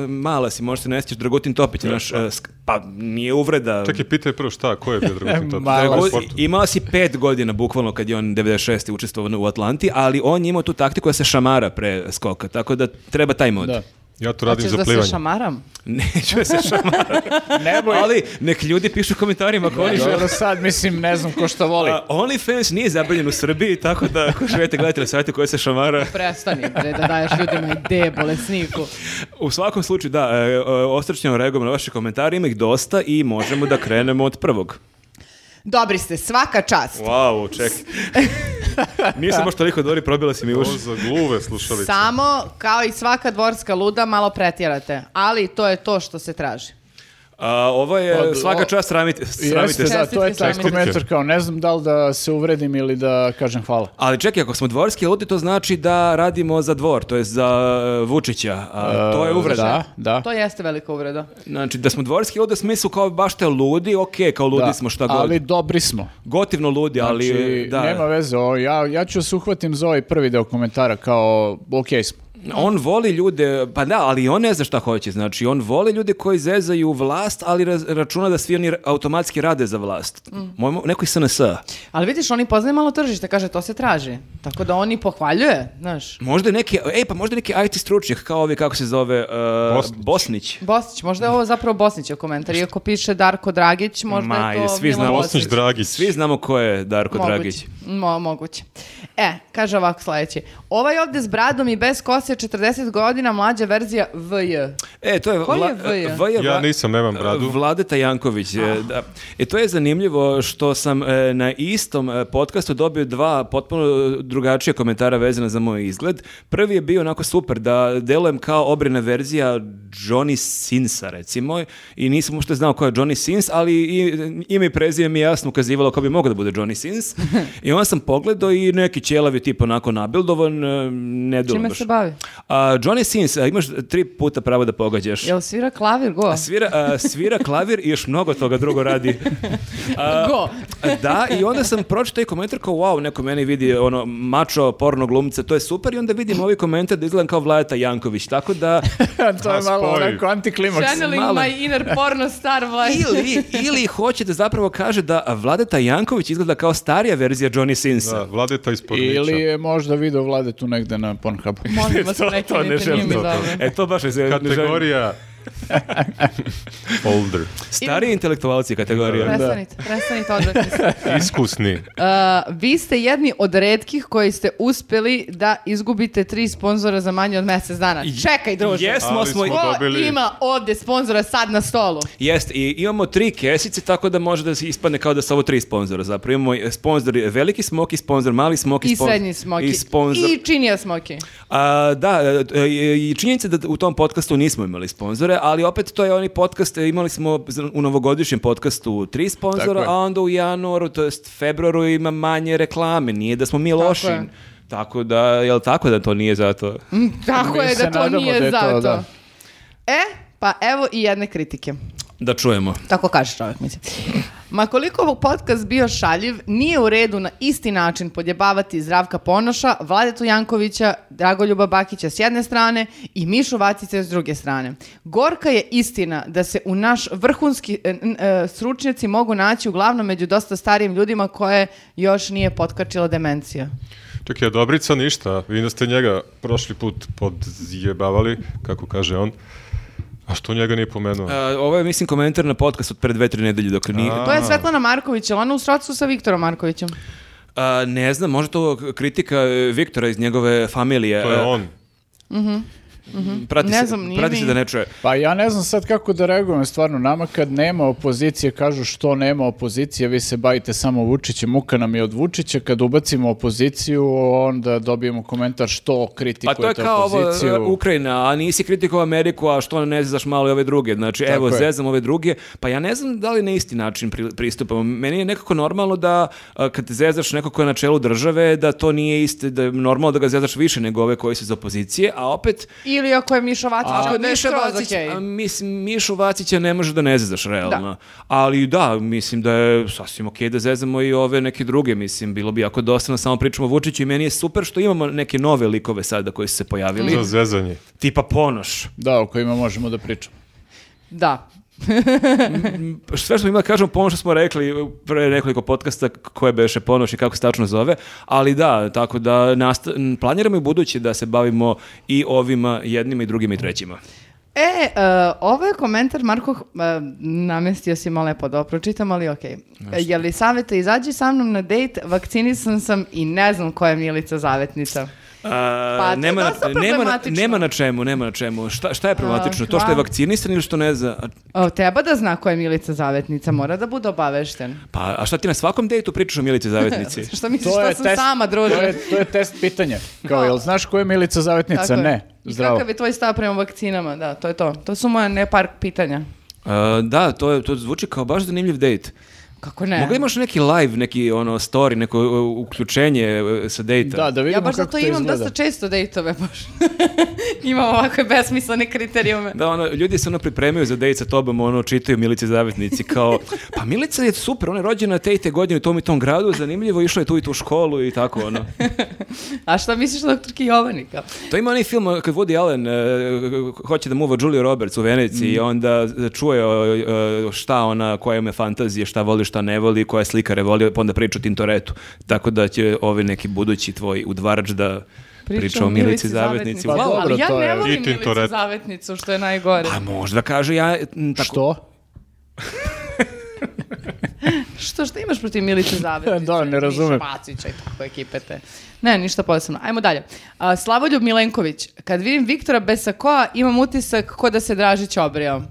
mala si, možda se ne sećaš, Dragutin Topić, naš, e, sk- pa nije uvreda.
Čekaj, pitaj prvo šta, ko je bio Dragutin Topić?
Malo
U
Dragu-
sportu.
imao E, si pet godina bukvalno kad je on 96. učestvovao u Atlanti, ali on je imao tu taktiku da se šamara pre skoka, tako da treba taj mod.
Da.
Ja to radim
Hoćeš
za
da se
plivanje.
šamaram?
Neću da se šamara,
Nebo je...
ali nek ljudi pišu u komentarima ako oni žele.
Dobro, sad mislim, ne znam ko šta voli.
A, OnlyFans nije zabranjen u Srbiji, tako da ako želite gledati na sajtu koji se šamara,
Prestani, bre, da daješ ljudima ideje bolesniku.
u svakom slučaju da, e, e, ostračnjamo reagujemo na vaše komentare, ima ih dosta i možemo da krenemo od prvog.
Dobri ste, svaka čast.
Wow, ček. Nisam baš toliko dobri, probila si mi
Ovo
uši.
za gluve slušalice.
Samo, kao i svaka dvorska luda, malo pretjerate. Ali to je to što se traži.
A, ovo je
Od-
svaka
o-
čast, sramite, sramite
Pa, Jeste,
se.
da, to je taj
Čestitke.
komentar kao ne znam da li da se uvredim ili da kažem hvala.
Ali čekaj, ako smo dvorski ludi, to znači da radimo za dvor, to je za e, Vučića. A, to je uvreda.
Da, da.
To jeste velika uvreda.
Znači, da smo dvorski ludi u smislu kao baš te ludi, okej, kao ludi
Da,
smo šta god.
ali dobri smo.
Gotivno ludi, ali...
Znači,
da.
nema veze, o, ja, ja ću se uhvatim za ovaj prvi deo komentara kao, ok smo.
On voli ljude, pa da, ali on ne zna šta hoće. Znači, on voli ljude koji zezaju vlast, ali raz- računa da svi oni ra- automatski rade za vlast. Moj, neko iz SNS-a.
Ali vidiš, oni poznaju malo tržište, kaže, to se traži. Tako da oni pohvaljuje, znaš.
Možda je neki, ej, pa možda je neki IT stručnjak, kao ovi, kako se zove, e,
Bosnić.
Bosnić.
Bosnić, možda je ovo zapravo Bosnićev komentar. Iako piše Darko Dragić, možda
Ma,
je to
svi
Milan
znamo.
Bosnić Dragić.
da Svi znamo ko je Darko
Moguće.
Dragić.
Mo- moguće. E, kaže ovako sledeći. Ovaj ovde s bradom i bez kose 40 godina mlađa verzija VJ.
E, to je...
Ko je Ah.
Vla-
V.J.?
V.J.
Ja
Vla- Uh,
nisam, nemam bradu.
Vladeta Janković. e, Da. E, to je zanimljivo što sam e, na istom e, podcastu dobio dva potpuno e, drugačije komentara vezana za moj izgled. Prvi je bio onako super, da delujem kao obrina verzija Johnny Sinsa, recimo, i nisam uopšte znao ko je Johnny Sins, ali i, ime i prezime mi je jasno ukazivalo ko bi mogao da bude Johnny Sins. I onda sam pogledao i neki ćelavi tip onako nabildovan, e, ne delujem
Čime
baš.
se bavi?
A, Johnny Sins, a, imaš tri puta pravo da pogađaš.
Jel svira klavir go?
Svira, a, svira klavir i još mnogo toga drugo radi. A,
Go.
Da, i onda sam pročitao i komentar kao, wow, neko meni vidi ono, mačo, porno glumce, to je super, i onda vidim ovi komentar da izgledam kao Vladeta Janković, tako da...
to je
A,
malo
spoji.
onako antiklimaks.
Channeling
malo.
my inner porno star vlaj.
Ili, ili hoće da zapravo kaže da Vladeta Janković izgleda kao starija verzija Johnny Sinsa.
Da, Vladeta iz Pornića.
Ili
eh,
je možda video vlade tu negde na Pornhubu.
Molim vas, da,
To-
neki
to ne
niti
želim.
njime
da-
To-
dobro.
E, to baš ne želim.
Kategorija... Older.
Stariji intelektualci je
Da,
kategorija.
Prestanite, prestanite odvratni ste.
Iskusni.
Uh, vi ste jedni od redkih koji ste uspeli da izgubite tri sponzora za manje od mjesec dana. Čekaj, druže.
Jesmo,
Ali
smo,
smo
i-
Ko
dobili.
ima ovdje sponzora sad na stolu?
Jeste, i imamo tri kesice, tako da može da se ispadne kao da su ovo tri sponzora. Zapravo imamo i sponzor veliki smoki, sponzor mali smoki,
I
spon-
srednji smoki.
I sponzor...
I činija smoki.
A, da, e, e, i činjenica da u tom podcastu nismo imali sponzore, ali opet to je onaj podcast, e, imali smo za- u novogodišnjem podcastu tri
Tako
sponzora,
je.
a onda u januaru, to jest februaru ima manje reklame, nije da smo mi loši.
je.
Tako da, jel tako da to nije zato?
Tako
Mi
je
se
da to
nadamo
nije
da je to,
zato.
da.
E, pa evo i jedne kritike.
Da čujemo.
Tako kaže čovjek, mislim. Ma koliko ovog podcast bio šaljiv, nije u redu na isti način podjebavati Zdravka Ponoša, Vladetu Jankovića, Dragoljuba Bakića s jedne strane i Mišu Vacice s druge strane. Gorka je istina da se u naš vrhunski e, n- e, stručnjaci mogu naći uglavnom među dosta starijim ljudima koje još nije potkačila demencija.
Čekaj, Dobrica ništa. Vidim da ste njega prošli put podjebavali, kako kaže on. A što njega nije pomenuo?
A, E, ovo je, mislim, komentar na podcast od pre dve, tri nedelje, dok nije,
To je Svetlana Marković, je li ona u srodstvu sa Viktorom Markovićem?
A, ne znam, možda to kritika e, Viktora iz njegove familije.
To je
E,
on.
Prati
Ne
se-
znam, nije
prati se
mi-
da ne čuje.
Pa ja ne znam sad kako da reagujem stvarno. Nama kad nema opozicije kažu što nema opozicije, vi se bavite samo Vučićem, muka nam je od Vučića. Kad ubacimo opoziciju, onda dobijemo komentar što
Pa to je
kritikujete
kao ovo,
opoziciju.
e, Ukrajina, a nisi kritikovao Ameriku, a što ne zezaš malo i ove druge. Znači, evo,
je.
zezam ove druge. Pa ja ne znam da li na isti način pri- pristupamo. Meni je nekako normalno da a, kad zezaš neko ko je na čelu države, da to nije isti, da je normalno da ga zezaš više nego ove koji su iz opozicije, a opet...
Ili ako je Miša Vacić,
Ako
onda je
Miša
skroz
Vacić,
okej.
a, mislim, Mišu Vacića ne može da ne zezaš realno. Ali da, mislim da je sasvim okej da zezamo i ove neke druge, mislim, bilo bi jako dosadno samo pričamo o Vučiću i meni je super što imamo neke nove likove sada koji su se pojavili
Za zezanje.
tipa ponoš.
Da, o kojima možemo da pričamo.
Da.
Sve što ima da kažemo, ponoš smo rekli pre nekoliko podcasta koje beše ponoš i kako se tačno zove, ali da, tako da nasta- n- planiramo i budući da se bavimo i ovima jednima i drugima i trećima.
E, uh, ovo je komentar, Marko, uh, namestio si malo lepo da ovo pročitam, ali okej. Je li savete, izađi sa mnom na dejt, vakcinisan sam i ne znam koja je Milica zavetnica.
A,
Pa, to je
nema, na,
dosta
nema, na,
problematično.
nema na čemu, nema na čemu. Šta, šta je problematično?
A,
to što je
hvala.
vakcinisan ili što ne zna?
O, treba da zna koja je Milica zavetnica, mora da bude obavešten.
Pa, a šta ti na svakom dejtu pričaš o Milici Zavetnici?
Što misliš, što sam sama, druže?
To je, to je test pitanja. Kao, jel znaš ko je Milica Zavetnica?
Tako je.
Ne.
I
Zdravo.
kakav je tvoj stav prema vakcinama? Da, to je to. To su moja ne par pitanja.
A, da, to, je, to zvuči kao baš zanimljiv dejt.
Kako ne?
Mogli imaš neki live, neki ono story, neko e, uključenje e, sa dejta?
Da, da vidimo
Ja baš zato
kako to
imam
izgleda.
dosta često dejtove, baš. imam ovakve besmislene kriterijume.
Da, ono, ljudi se ono pripremaju za dejt sa tobom, ono, čitaju Milici Zavetnici, kao, pa Milica je super, ona je rođena te i te godine u tom i tom gradu, zanimljivo, išla je tu i tu školu i tako, ono.
A šta misliš o doktorki Jovanika?
To ima onaj film eh, kad Woody Allen e, hoće da muva Julia Roberts u Veneciji i onda čuje e, e, šta ona, koja ima fantazije, šta voli, šta ne voli, koja slikare voli, pa onda priča o Tintoretu. Tako da će ovi neki budući tvoj udvarač da priča o Milici Zavetnici.
Pa
Wow,
Wow.
dobro,
ali ja
to Pa- je.
ne
I
volim Milicu
Tintoret.
Zavetnicu, što je najgore.
A možda kaže ja... m, Tako,
Što?
Što, što imaš protiv Milice Zavetnice?
Da, ne
Miše
razumem.
Vacića i tako ekipe te. Ne, ništa posebno. Ajmo dalje. A, Slavoljub Milenković. Kad vidim Viktora bez sakoa, imam utisak ko da se Dražić obrijao.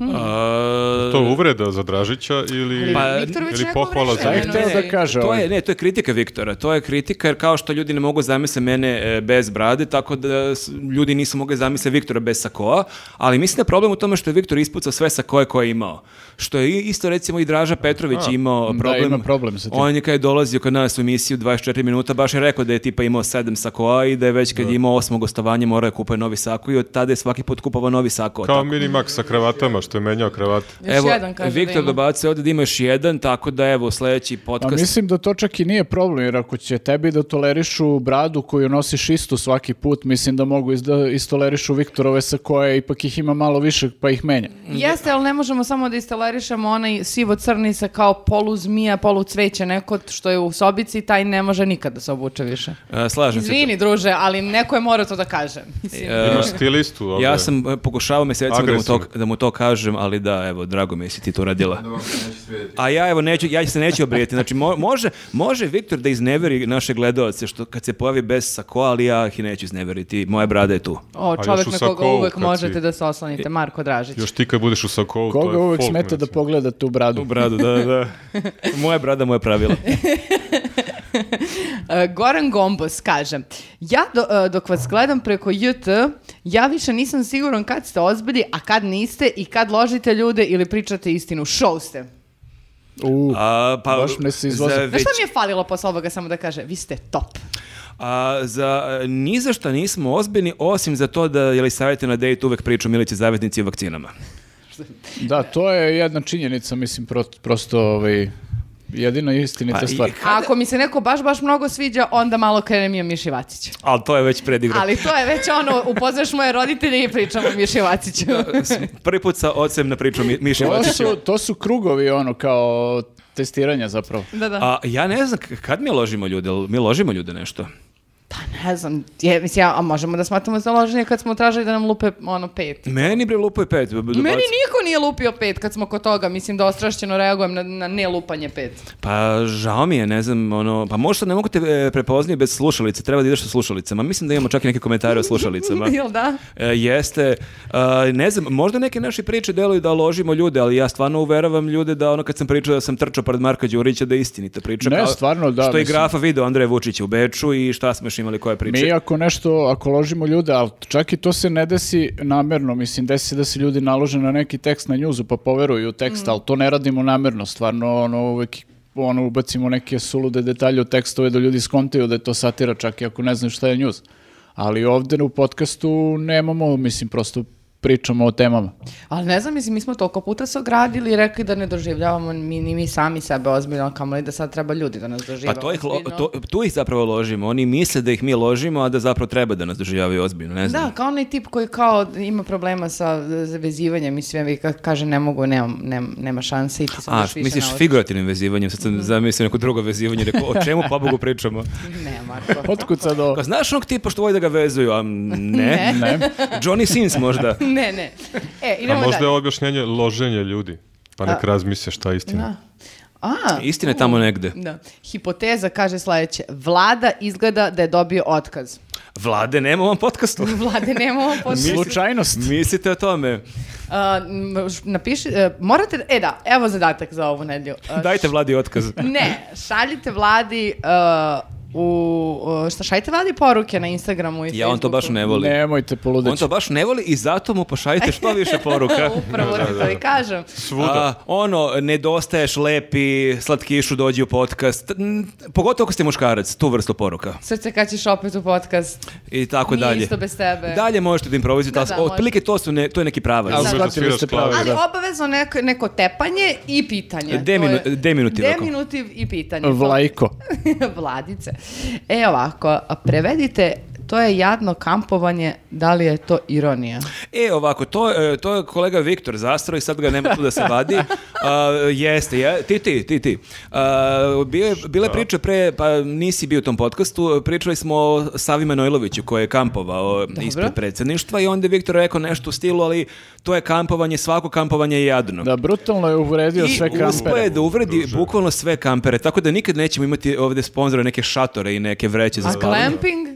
A,
To je uvreda za Dražića ili,
Pa,
Viktorović
ili
neko
pohvala
vreme,
za
Ne,
Šta je hteo
ne,
da
ne.
kaže
To
ovaj?
je, ne, to je kritika Viktora. To je kritika jer kao što ljudi ne mogu zamisle mene e, bez brade, tako da s- ljudi nisu mogli zamisle Viktora bez sakoa, ali mislim da je problem u tome što je Viktor ispucao sve sakoje koje je imao. Što je i- isto recimo i Draža Petrović imao
Da,
problem.
ima problem sa tim.
On je kad je dolazio kod nas u emisiju 24 minuta, baš je rekao da je tipa imao sedam sakoa i da je već kad je imao osmo gostovanje morao je kupati novi sako i od tada je svaki put kupovao novi sako.
kao mini Max sa kravatama što je menjao kravate.
Još
Evo,
jedan kaže
Viktor
da ima.
dobacuje ovdje da ima još jedan, tako da evo, sljedeći
A
podcast
mislim da to čak i nije problem, jer ako će tebi da tolerišu bradu koju nosiš istu svaki put, mislim da mogu iz- da istolerišu Viktorove sa koje ipak ih ima malo više pa ih menja.
Jeste, ali ne možemo samo da istelarišemo onaj sivo-crni sa kao polu zmija, polu cveće, neko što je u sobici, taj ne može nikad da se obuče više.
E, Slažem se.
Izvini,
da-
druže, ali neko je morao to da kaže. Mislim.
E,
Imaš stilistu ovdje.
Ja sam e, pokušavao mjesecima da mu, to,
Agresivno.
da mu to kažem, ali da, evo, drago mi je si ti to radila. A ja evo neću, ja se neću obrijeti. Znači mo- može, može Viktor da izneveri naše gledaoce što kad se pojavi bez sakoa, ali ja ih neću izneveriti. Moja brada je tu.
O,
još
čovjek
u
na koga
sakou
uvek
kad si-
možete da se oslonite, Marko Dražić.
Još ti kad budeš u sakovu, to je
Koga uvek
folk,
smeta da
recimo.
pogleda tu bradu?
Bradu, da, da. Moja brada, moje pravilo.
E, Goran Gombos kaže, ja do- e, dok vas gledam preko JT, ja više nisam siguran kad ste ozbilji, a kad niste i kad ložite ljude ili pričate istinu. Show ste.
U,
A, pa,
Baš me se izvoza.
za
Znaš
već-
šta mi je falilo posle ovoga samo da kaže, vi ste top.
A za e, ni za šta nismo ozbiljni, osim za to da je li savjeti na dejtu uvek priču Milici Zavetnici i vakcinama.
da, to je jedna činjenica, mislim, pro- prosto ovaj, jedina istinita
Pa i-
stvar.
A ako mi se neko baš, baš mnogo sviđa, onda malo krenem i o Miši Vaciću.
Ali to je već predigra.
Ali to je već ono, upoznaš moje roditelje i pričamo o Miši Vaciću.
Da.
Prvi put sa ocem na priču Mi- Miše
To
Vacića.
su, to su krugovi, ono, kao testiranja zapravo.
da, da.
A ja ne znam k- kad mi ložimo ljude, jel mi ložimo ljude nešto.
pa ne ne znam, je, mislim, ja, a možemo da smatramo založenje kad smo tražili da nam lupe ono pet.
Meni bre lupo je pet.
Meni niko nije lupio pet kad smo kod toga, mislim da ostrašćeno reagujem na, na ne lupanje pet.
Pa žao mi je, ne znam, ono, pa možda ne mogu te e, prepoznati bez slušalice, treba da ideš sa slušalicama. Mislim da imamo čak i neke komentare o slušalicama.
Jel da?
E, jeste, A, ne znam, možda neke naše priče deluju da ložimo ljude, ali ja stvarno uveravam ljude da ono kad sam pričao da sam trčao pored Marka Đurića da je istinita priča.
Ne, stvarno, da,
Što je
mislim.
grafa video Andreja Vučića u Beču i šta smo još imali koje priče.
Mi ako nešto, ako ložimo ljude, ali čak i to se ne desi namerno, mislim, desi se da se ljudi nalože na neki tekst na njuzu pa poveruju u tekst, ali to ne radimo namerno, stvarno ono uvek ono, ubacimo neke sulude detalje u tekstove da ljudi skontaju da je to satira čak i ako ne znaju šta je njuz. Ali ovdje u podcastu nemamo, mislim, prosto pričamo o temama.
Ali ne znam, mislim, mi smo toliko puta se ogradili i rekli da ne doživljavamo mi, ni mi sami sebe ozbiljno, kamo li da sad treba ljudi da nas
Pa
doživljavamo
to ih, lo- to, tu ih zapravo ložimo. Oni misle da ih mi ložimo, a da zapravo treba da nas doživljavaju ozbiljno, ne znam.
Da, kao onaj tip koji kao ima problema sa e, zavezivanjem i svem i ka- kaže ne mogu, nemam, nemam- nema šanse i ti se
A,
još više Da.
misliš
nauči.
figurativnim vezivanjem, sad sam zamislio neko drugo vezivanje, rekao, o čemu pobogu pričamo?
Ne, Marko.
Otkud sad ovo?
Kao, znaš onog tipa što voli da ga vezuju, a ne?
Ne.
Johnny Sins možda.
ne, ne. E,
A
idemo
možda je
dalje.
ovo objašnjenje loženje ljudi. Pa nek razmisle šta je istina.
Da. A,
Istina je tamo negde.
da. Hipoteza kaže sledeće. Vlada izgleda da je dobio otkaz.
Vlade, nema u ovom podcastu.
Vlade nemamo posle.
Slučajnost.
Mislite o tome.
A, m, š- napiši, e, morate, e da, evo zadatak za ovu nedlju. E,
Dajte Vladi otkaz.
Ne, šaljite vladi e, u, e, šta, šaljite vladi poruke na Instagramu i
Ja on to baš
Facebooku.
ne voli.
Nemojte
On
poludeći.
to baš ne voli i zato mu pošaljite što više poruka. Da,
Upravo ti to i kažem.
Svuda.
A, ono, nedostaješ lepi, slatkišu, dođi u podcast. N- Pogotovo ako ste muškarac, tu vrstu poruka.
Srce kad ćeš opet u podcast.
I tako
Nije
dalje.
isto bez tebe.
Dalje možete da improvizujete,
Da,
ali
da,
otprilike to, su ne, to je neki pravac.
Ali
Umeš da
shvatili
sviraš
ste pravo,
klaviš.
Ali
da.
obavezno neko, neko tepanje i pitanje.
Deminu-
To je-
deminutiv, ako.
Deminutiv i pitanje. To-
Vlajko.
Vladice. E ovako, a prevedite, to je jadno kampovanje, da li je to ironija?
E, ovako, to, e, to je kolega Viktor Zastro i sad ga nema tu da se vadi. A, jeste, je, ti, ti, ti, ti. A, bio je, bila je priča pre, pa nisi bio u tom podcastu, pričali smo o Savi Manojloviću koji je kampovao ispred predsjedništva i onda je Viktor rekao nešto u stilu, ali to je kampovanje, svako kampovanje je jadno.
Da, brutalno je uvredio sve
I uspeo je
kampere.
da uvredi bukvalno sve kampere, tako da nikad nećemo imati ovdje sponzore neke šatore i neke vreće za
A
spavanje.
glamping?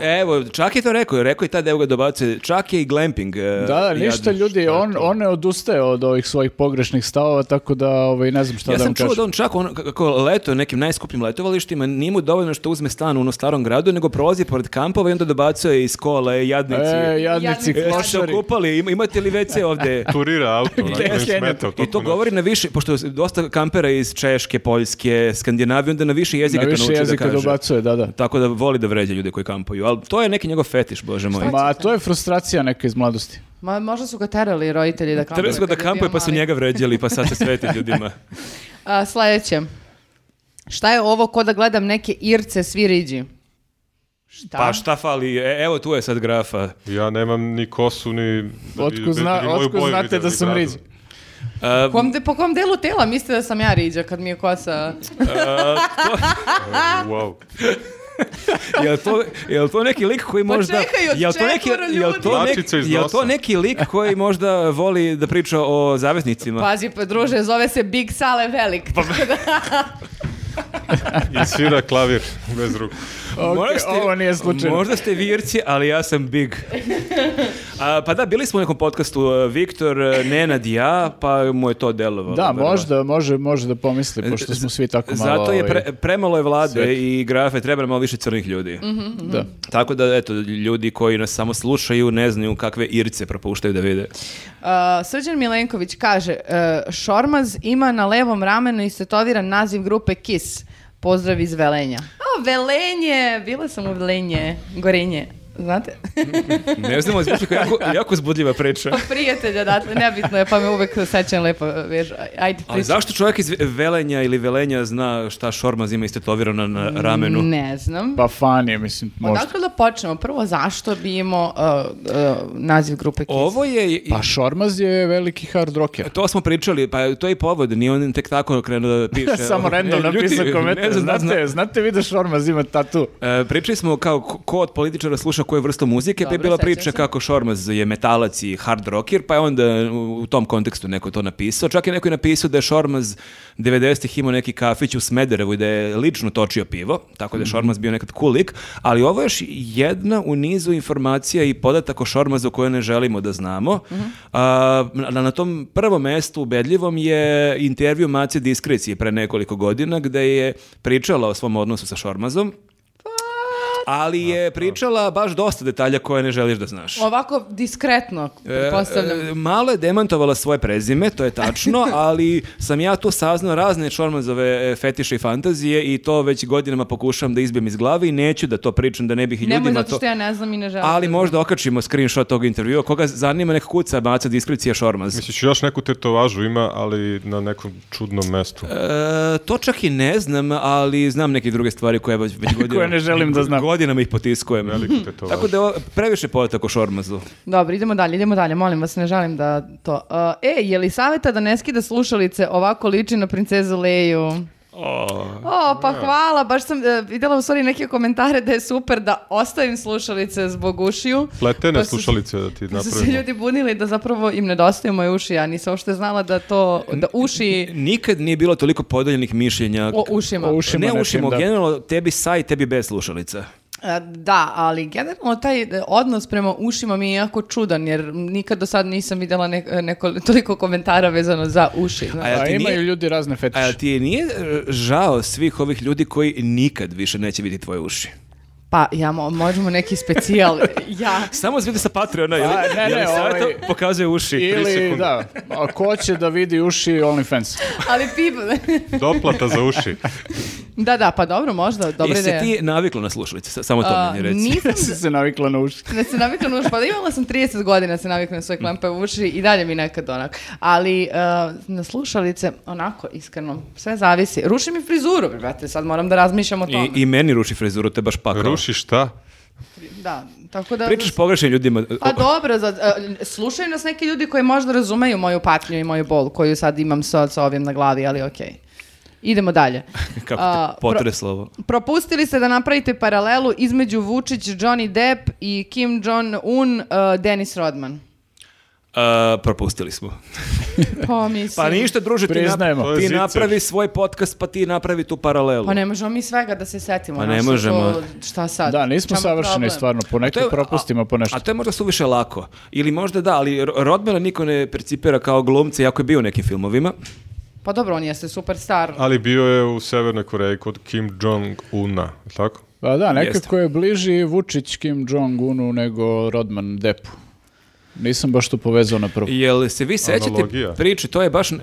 Evo, čak je to rekao, rekao je ta da evo ga dobacuje, čak je i glamping. e,
Da, da, ništa
jadno.
ljudi, on, on ne odustaje od ovih svojih pogrešnih stavova, tako da ovaj, ne znam šta
ja
da
sam
vam
čuo
kažem.
da on čak ono, kako letuje nekim najskupljim letovalištima, nije mu dovoljno što uzme stan u onom starom gradu, nego prolazi pored kampova i onda dobacuje iz kola, jadnici.
E,
Jadnici.
jadnici,
Jeste se
klošari.
okupali, Ima- imate li WC ovdje?
Da.
Turira auto. onako,
Gde
im
je sjenje?
smeta u
I to
toku
govori na više, pošto dosta kampera iz Češke, Poljske, Skandinavije, onda na više jezika
Na
to
više
nauči
jezika
da kaže.
dobacuje, da, da.
Tako da voli da vređa ljude koji kampuju, ali to je neki njegov fetiš, bože moj.
Ma, to je frustracija neka iz mladosti.
Ma, možda su ga terali roditelji da kampuje.
Trebali su ga da
kad je bio
kampuje pa su
mali.
njega vređali pa sad se sveti ljudima.
A, sledeće. Šta je ovo ko da gledam neke irce svi riđi? Šta?
Pa šta fali, e, evo tu je sad grafa.
Ja nemam ni kosu, ni...
Otko, zna,
ni moju
otko
boju
znate
videli
da sam
bradu.
riđi.
A,
Kom de- po kom delu tela mislite da sam ja riđa kad mi je kosa...
Wow.
jel, to, jel to neki lik koji možda...
Pa čekaj, od
jel to neki,
četvoro ljudi.
jel to, neki-
Mačica iz
jel
nosa.
to neki lik koji možda voli da priča o zavetnicima?
Pazi, pa druže, zove se Big Sale Velik.
Pa-
da-
I svira klavir bez ruku.
Ok,
Možda ste-
ovo nije slučajno.
Možda ste virci, ali ja sam big. A, pa da, bili smo u nekom podcastu e, Viktor, e, Nenad i ja, pa mu je to delovalo.
Da,
verovatno.
možda, može, može da pomisli, pošto smo svi tako malo...
E, Zato je pre-
ovaj,
premalo je vlade
svet.
i grafe, treba nam malo više crnih ljudi.
Da.
Tako da, eto, ljudi koji nas samo slušaju ne znaju kakve irce propuštaju da vide.
Uh, Srđan Milenković kaže uh, Šormaz ima na levom ramenu istetoviran naziv grupe KIS. Pozdrav iz Velenja. O, Velenje! Bila sam u Velenje. Gorenje. Znate?
Ne znamo, izvuči kao jako, jako zbudljiva priča.
Od prijatelja, da, nebitno je, pa me uvek sećam lepo. Viš, ajde,
Ali
pričaj.
zašto čovjek iz Velenja ili Velenja zna šta Šormaz ima istetovirano na ramenu?
Ne znam.
Pa fan je, mislim, možda.
Odakle da počnemo? Prvo, zašto bi imao uh, uh, naziv grupe Kiss?
Ovo je... i-
Pa Šormaz je veliki hard rocker.
To smo pričali, pa to je i povod, nije on tek tako krenuo da piše.
Samo random
E, ljudi,
napisao komentar.
ne znam, da,
znate, znate vi da Šormaz ima tatu?
E, pričali smo kao ko ko od političara sluša koju vrstu muzike, pa je
Dobro,
bila
sećam
priča
se.
kako Šormaz je metalac i hard rocker, pa je onda u u tom kontekstu neko to napisao. Čak je neko i napisao da je Šormaz 90-ih imao neki kafić u Smederevu i da je lično točio pivo, tako
Mhm.
da je Šormaz bio nekad cool lik, ali ovo je još jedna u nizu informacija i podatak o Šormazu koje ne želimo da znamo.
Mhm.
A, na, na tom prvom mestu ubedljivom je intervju Mace Diskrecije pre nekoliko godina gde je pričala o svom odnosu sa Šormazom ali je pričala baš dosta detalja koje ne želiš da znaš.
Ovako diskretno, pretpostavljam.
E, e, malo je demantovala svoje prezime, to je tačno, ali sam ja tu saznao razne Šormazove e, fetiše i fantazije i to već godinama pokušavam da izbijem iz glave i neću da to pričam, da ne bih i ljudima
Nemoj zato
to...
što ja ne znam i ne želim.
Ali možda okačimo screenshot tog intervjua, koga zanima neka kuca baca diskrecija Šormaz.
Misliš, još neku tetovažu ima, ali na nekom čudnom mestu.
E, to čak i ne znam, ali znam neke druge stvari koje već već godinama...
ne želim da znam.
Godinama ih potiskujem.
Veliku tetovažu.
Tako da je ovo previše podataka o Šormazu.
Dobro, idemo dalje, idemo dalje, molim vas, ne želim da to... Uh, e, je li savjeta da ne skida slušalice ovako liči na princezu Leju? O, pa hvala, baš sam e, vidjela u stvari neke komentare da je super da ostavim slušalice zbog ušiju.
Pletene
Pa su-
slušalice da ti
Pa su se
napravimo.
ljudi bunili da zapravo im nedostaju moje uši, ja nisam uopšte znala da to, da uši
Nikad nije bilo toliko podeljenih mišljenja.
o ušima.
O ušima
ne
nečim,
ušimo,
da.
generalno tebi sa i tebi bez slušalica.
E, Da, ali generalno taj e, odnos prema ušima mi je jako čudan, jer nikad do sad nisam vidjela ne- neko, toliko komentara vezano za uši. znaš.
A jel
A
E, ti
Pa imaju
nije,
ljudi
a
razne
jel
fetiše.
ti je nije e, žao svih ovih ljudi koji nikad više neće vidjeti tvoje uši?
Pa ja, mo- možemo neki specijal. ja.
Samo zvidi sa Patreona, ili,
A, ne,
jel
ne,
Saveta
ovaj-
pokazuje uši. tri
Ili,
sekunde.
da, a ko će da vidi uši OnlyFans?
Ali pip...
Doplata za uši.
da, da, pa dobro, možda. Dobre
Jesi
ideja.
ti navikla na slušalice? Sa- Samo to
A,
meni reci.
nisam
Da si se navikla na uši.
da se navikla na uši, pa da imala sam 30 godina da se navikla na svoje klampe uši i dalje mi nekad onak. Ali e, na slušalice, onako, iskreno, sve zavisi. Ruši mi frizuru, bre, brate, sad moram da razmišljam o tome.
I, I meni ruši frizuru, te baš pakao.
Ruši šta?
Da, tako da...
Pričaš pogrešnim ljudima.
Pa dobro, za, e, slušaju nas neki ljudi koji možda razumeju moju patnju i moju bol koju sad imam sa, sa ovim na glavi, ali okej. Idemo dalje.
Kako
A,
te
pro-
potreslo ovo.
Propustili ste da napravite paralelu između Vučić, Johnny Depp i Kim Jong-un, uh, Dennis Rodman.
A, propustili smo.
Pa mislim...
Pa ništa, druže, ti, nap-
Priznajemo.
To je
ti
zicer.
napravi svoj podcast, pa ti napravi tu paralelu.
Pa ne možemo mi svega da se setimo.
Pa
znaš,
ne
što-
možemo.
šta sad?
Da, nismo
Čemu
savršeni
problem?
stvarno,
E, To
ponekad
je-
propustimo po nešto.
A to je možda suviše lako. Ili možda da, ali Ro- Rodmana niko ne percipira kao glumca, jako je bio u nekim filmovima.
Pa dobro, on jeste superstar.
Ali bio je u Severnoj Koreji kod Kim Jong-una, je tako?
Pa da,
Jeste.
nekako je bliži Vučić Kim Jong-unu nego Rodman Depu. Nistam baš to povezao na prvu.
Jel se vi sećate
Analogija.
priče, to je baš, e,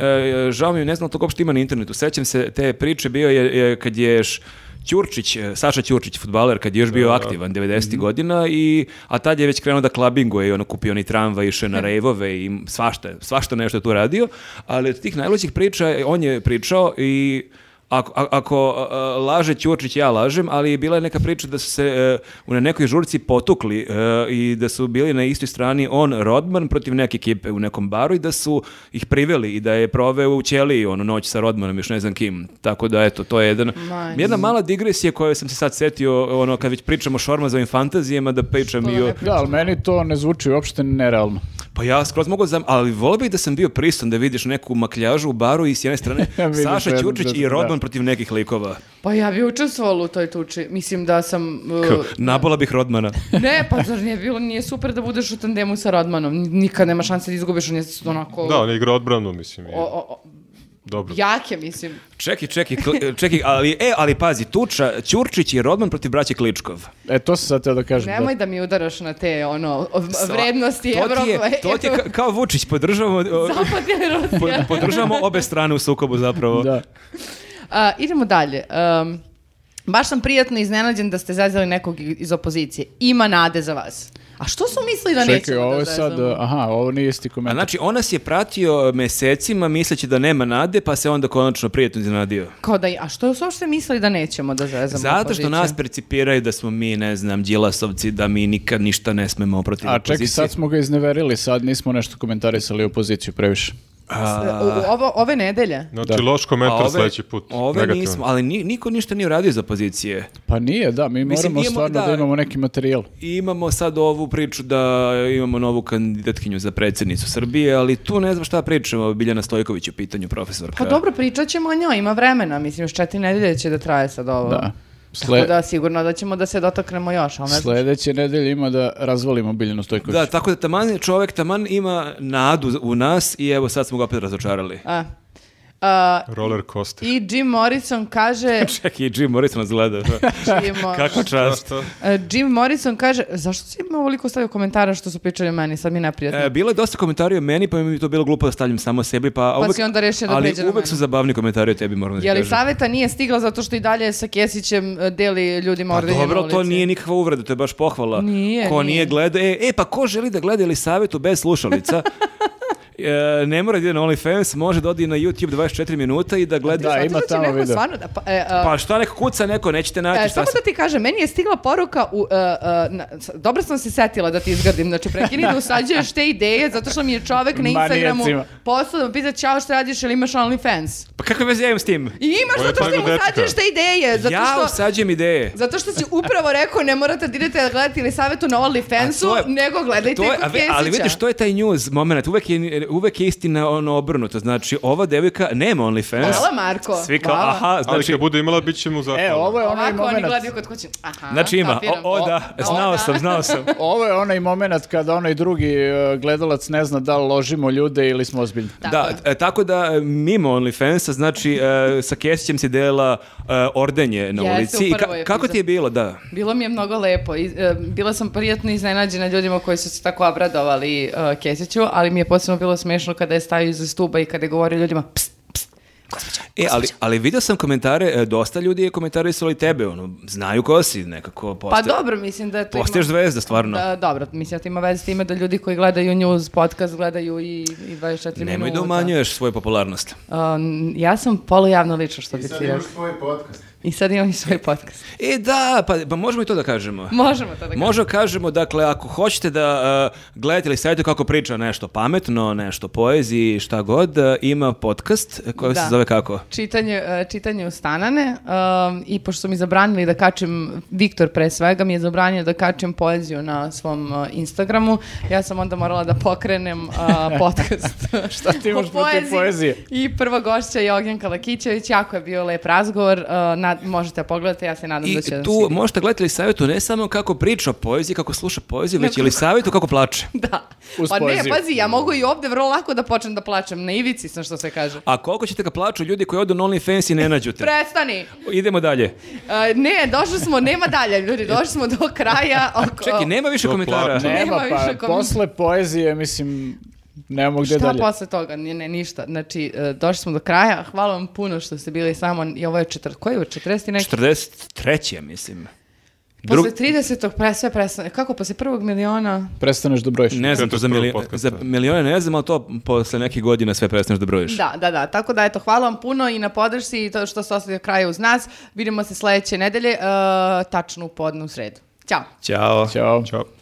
žao mi je, ne znam da to uopšte ima na internetu, sećam se te priče, bio je je e, kad je š- Ćurčić, e, Saša Ćurčić, futbaler, kad je još bio aktivan 90. godina, i, a tad je već krenuo da klabinguje i ono kupio ni tramvaj, išao na rejvove i svašta, svašta nešto je tu radio, ali od tih najluđih priča e, on je pričao i Ako, a- ako a, a, laže Ćurčić, ja lažem, ali bila je neka priča da su se e, u na nekoj žurci potukli e, i da su bili na istoj strani on Rodman protiv neke ekipe u nekom baru i da su ih priveli i da je proveo u ćeliji ono noć sa Rodmanom, još ne znam kim. Tako da eto, to je jedan,
Nice.
jedna mala digresija koju sam se sad setio, ono kad već pričamo o Šormazovim fantazijama, da pričam i o...
Da, ali meni to ne zvuči uopšte nerealno.
Pa ja skroz mogu zam, ali volio bih da sam bio pristojan da vidiš neku makljažu u baru i s jedne strane
Vidiš
Saša
jedno,
Ćurčić
da,
i
da.
Rodman protiv nekih likova.
Pa ja bi učestvovala u toj tuči. Mislim da sam... uh,
Nabola bih Rodmana.
Ne, pa zar nije bilo, nije super da budeš u tandemu sa Rodmanom. Nikad nema šanse da izgubiš, on je onako...
Da, on je igrao odbranu, mislim. i
o- o- o-
Dobro.
jake, mislim.
Čeki, čeki, kli- čeki, ali, e, ali pazi, Tuča, Ćurčić i Rodman protiv braće Kličkov.
E, to sam sad teo da kažem.
Nemoj da mi udaraš na te, ono, o- Pa, vrednosti
To ti je-
Evrope.
To ti je ka- kao Vučić, podržavamo, o,
Zapad ili Rusija?
po- podržavamo obe strane u sukobu zapravo.
Da. Da.
A, idemo dalje. Um, Baš sam prijatno iznenađen da ste zazeli nekog iz opozicije. Ima nade za vas. A što su mislili da
Čekaj,
nećemo
ovo
da
je sad,
zazovemo?
aha, ovo nije isti
A
komentar.
znači, on nas je pratio mesecima misleći da nema nade, pa se onda konačno prijetno iznenadio.
Kao da, a što su uopšte mislili da nećemo da zazamo
Zato što nas percipiraju da smo mi, ne znam, Đilasovci, da mi nikad ništa ne smemo protiv
A
opozicije.
čekaj, sad smo ga izneverili, sad nismo nešto komentarisali opoziciju previše.
Ovo, ove nedelje?
Znači, loš komentar
Da. ove-
sledeći put.
Ove
negativan.
nismo, ali ni- niko ništa nije uradio za opozicije.
Pa nije, da, mi
Mislim,
moramo
imamo-
stvarno da.
da.
imamo neki materijal.
I imamo sad ovu priču da imamo novu kandidatkinju za predsjednicu Srbije, ali tu ne znam šta pričamo, Biljana Stojković je u pitanju profesorka.
Pa dobro, pričat ćemo o njoj, ima vremena, mislim, još četiri nedelje će da traje sad ovo.
Da.
Tako
Sle,
da sigurno da ćemo da se dotaknemo još, ali ne znam.
sledeće nedelje ima da razvalimo Biljanu Stojković.
Da, tako da taman je čovek taman ima nadu u nas i evo sad smo ga opet razočarali.
A. A,
Roller coaster.
I Jim Morrison kaže... da
Čak i Jim Morrison nas gleda.
Jim, Mor-
Kako čast.
Šta?
E, Jim Morrison kaže... Zašto si ima ovoliko stavio komentara što su pričali o meni? Sad mi je neprijatno.
E, bilo je dosta komentari o meni, pa mi je to bilo glupo da stavljam samo sebi, pa,
Pa si onda rešio da
ali
pređe na
uvek
mene.
su zabavni komentari o tebi, moram da ti
Je li
kažem.
saveta nije stigla zato što i dalje sa Kesićem e, deli ljudima
Pa
ordenje na
dobro, to
ulici?
nije nikakva uvreda, to je baš pohvala.
Nije,
ko nije,
nije.
gleda, e, e, pa ko želi da gleda ili savjetu bez slušalica, e, ne mora da ide na OnlyFans, može da odi na YouTube 24 minuta i da gleda.
Da,
Zato
ima
što će
tamo
neko
video.
stvarno da- pa, e, a,
Pa šta neko kuca, neko nećete naći
E,
šta
samo
se...
da ti kažem, meni je stigla poruka u, e, e, na- s- dobro sam se setila da ti izgradim, znači prekini da usađuješ te ideje zato što mi je čovek na Instagramu
Manijacima.
poslao da me pita čao šta radiš ili imaš OnlyFans.
Pa kakve veze ja imam s tim?
I imaš
Ovo je
zato što
tajna
im
dečka.
usađuješ te ideje, zato
ja
što...
usađujem ideje.
Zato što si upravo rekao ne morate da idete da gledate ili savjetu na
A to
OnlyFansu,
je-
nego gledajte
To je,
kod
a ve- ali
Kesića.
vidiš, to je taj news moment. Uvek je, uvek je istina ono obrnuto. Znači, ova devojka nema OnlyFans.
Hvala Marko.
Svi kao,
hvala.
aha,
Ali
znači...
kad bude imala, bit će mu zahvalno.
E, ovo je onaj
da. Ovako oni
moment.
gledaju kod kuće. Aha,
Znači ima,
kapiram.
o, o da,
O,
znao
da.
sam, znao sam.
Ovo je onaj moment kada onaj drugi e, gledalac ne zna da li ložimo ljude ili smo ozbiljni.
Tako
Da,
je.
e, tako da e, mimo OnlyFansa, znači e, sa Kesićem si delila e, ordenje na
Jeste,
ulici.
u
I ka-
prvoj
kako
epizodi.
ti je bilo, da?
Bilo mi je mnogo lepo. I, e, bila sam prijatno iznenađena ljudima koji su se tako obradovali e, Kesiću, ali mi je posebno bilo smešno kada je stavio iza stuba i kada je govorio ljudima pst, pa
E, ali, ali video sam komentare, e, dosta ljudi je komentarisalo i tebe, ono, znaju ko si nekako.
pa
Postaje,
dobro, mislim da to
Postaješ
ima...
zvezda, stvarno.
Da, dobro, mislim da to ima veze s time da ljudi koji gledaju news podcast gledaju i, i 24
Nemoj
minuta.
da umanjuješ svoju popularnost.
Um, ja sam polujavno lično što bi ti rekao. I sad imam i svoj podcast.
E, da, pa, pa možemo i to da kažemo.
Možemo to da kažemo.
Možda kažemo, dakle, ako hoćete da e, gledate ili savjetujete kako priča nešto pametno, nešto poeziji, šta god, e, ima podcast e, koji se
Da.
zove kako?
Čitanje, e, čitanje u stanane um, i pošto su mi zabranili da kačem, Viktor pre svega mi je zabranio da kačem poeziju na svom e, Instagramu, ja sam onda morala da pokrenem a, podcast. Šta
ti imaš protiv poezije?
I prva gošća je Ognjenka Lakićević, jako je bio lep razgovor, e, nad- možete da pogledate, ja se nadam da
I
će da
tu
svidi.
možete gledati ili savjetu ne samo kako priča o poeziji, kako sluša poeziju, već ili savjetu kako plače.
Da.
Uz
Pa ne,
poeziju.
pazi, ja mogu i ovde vrlo lako da počnem da plačem, na ivici sam što se kaže.
A koliko ćete ga plaću ljudi koji odu na OnlyFans i ne nađu te?
Prestani!
Idemo dalje.
E, ne, došli smo, nema dalje, ljudi, došli smo do kraja. Oko-
Čekaj, nema više
To
komentara.
plače.
Ne.
Nema,
da. Nema
pa,
više kom-
posle poezije, mislim, nemamo gde
Šta
dalje.
posle toga? Ne, ne, ništa. Znači, e, došli smo do kraja. Hvala vam puno što ste bili samo. I ovo je četvr... Koji je ovo? 40 i neki?
43. mislim. Drug...
Posle 30. pre sve prestane. Kako? Posle prvog miliona?
Prestaneš da brojiš.
Ne znam to za,
41.
milio-
podcasta.
za milione, ne znam, ali to posle nekih godina sve prestaneš da brojiš.
Da, da, da. Tako da, eto, hvala vam puno i na podršci i to što ste ostali do kraja uz nas. Vidimo se sledeće nedelje, e, tačno u podnu u sredu. Ćao!
Ćao.
Ćao.
Ćao.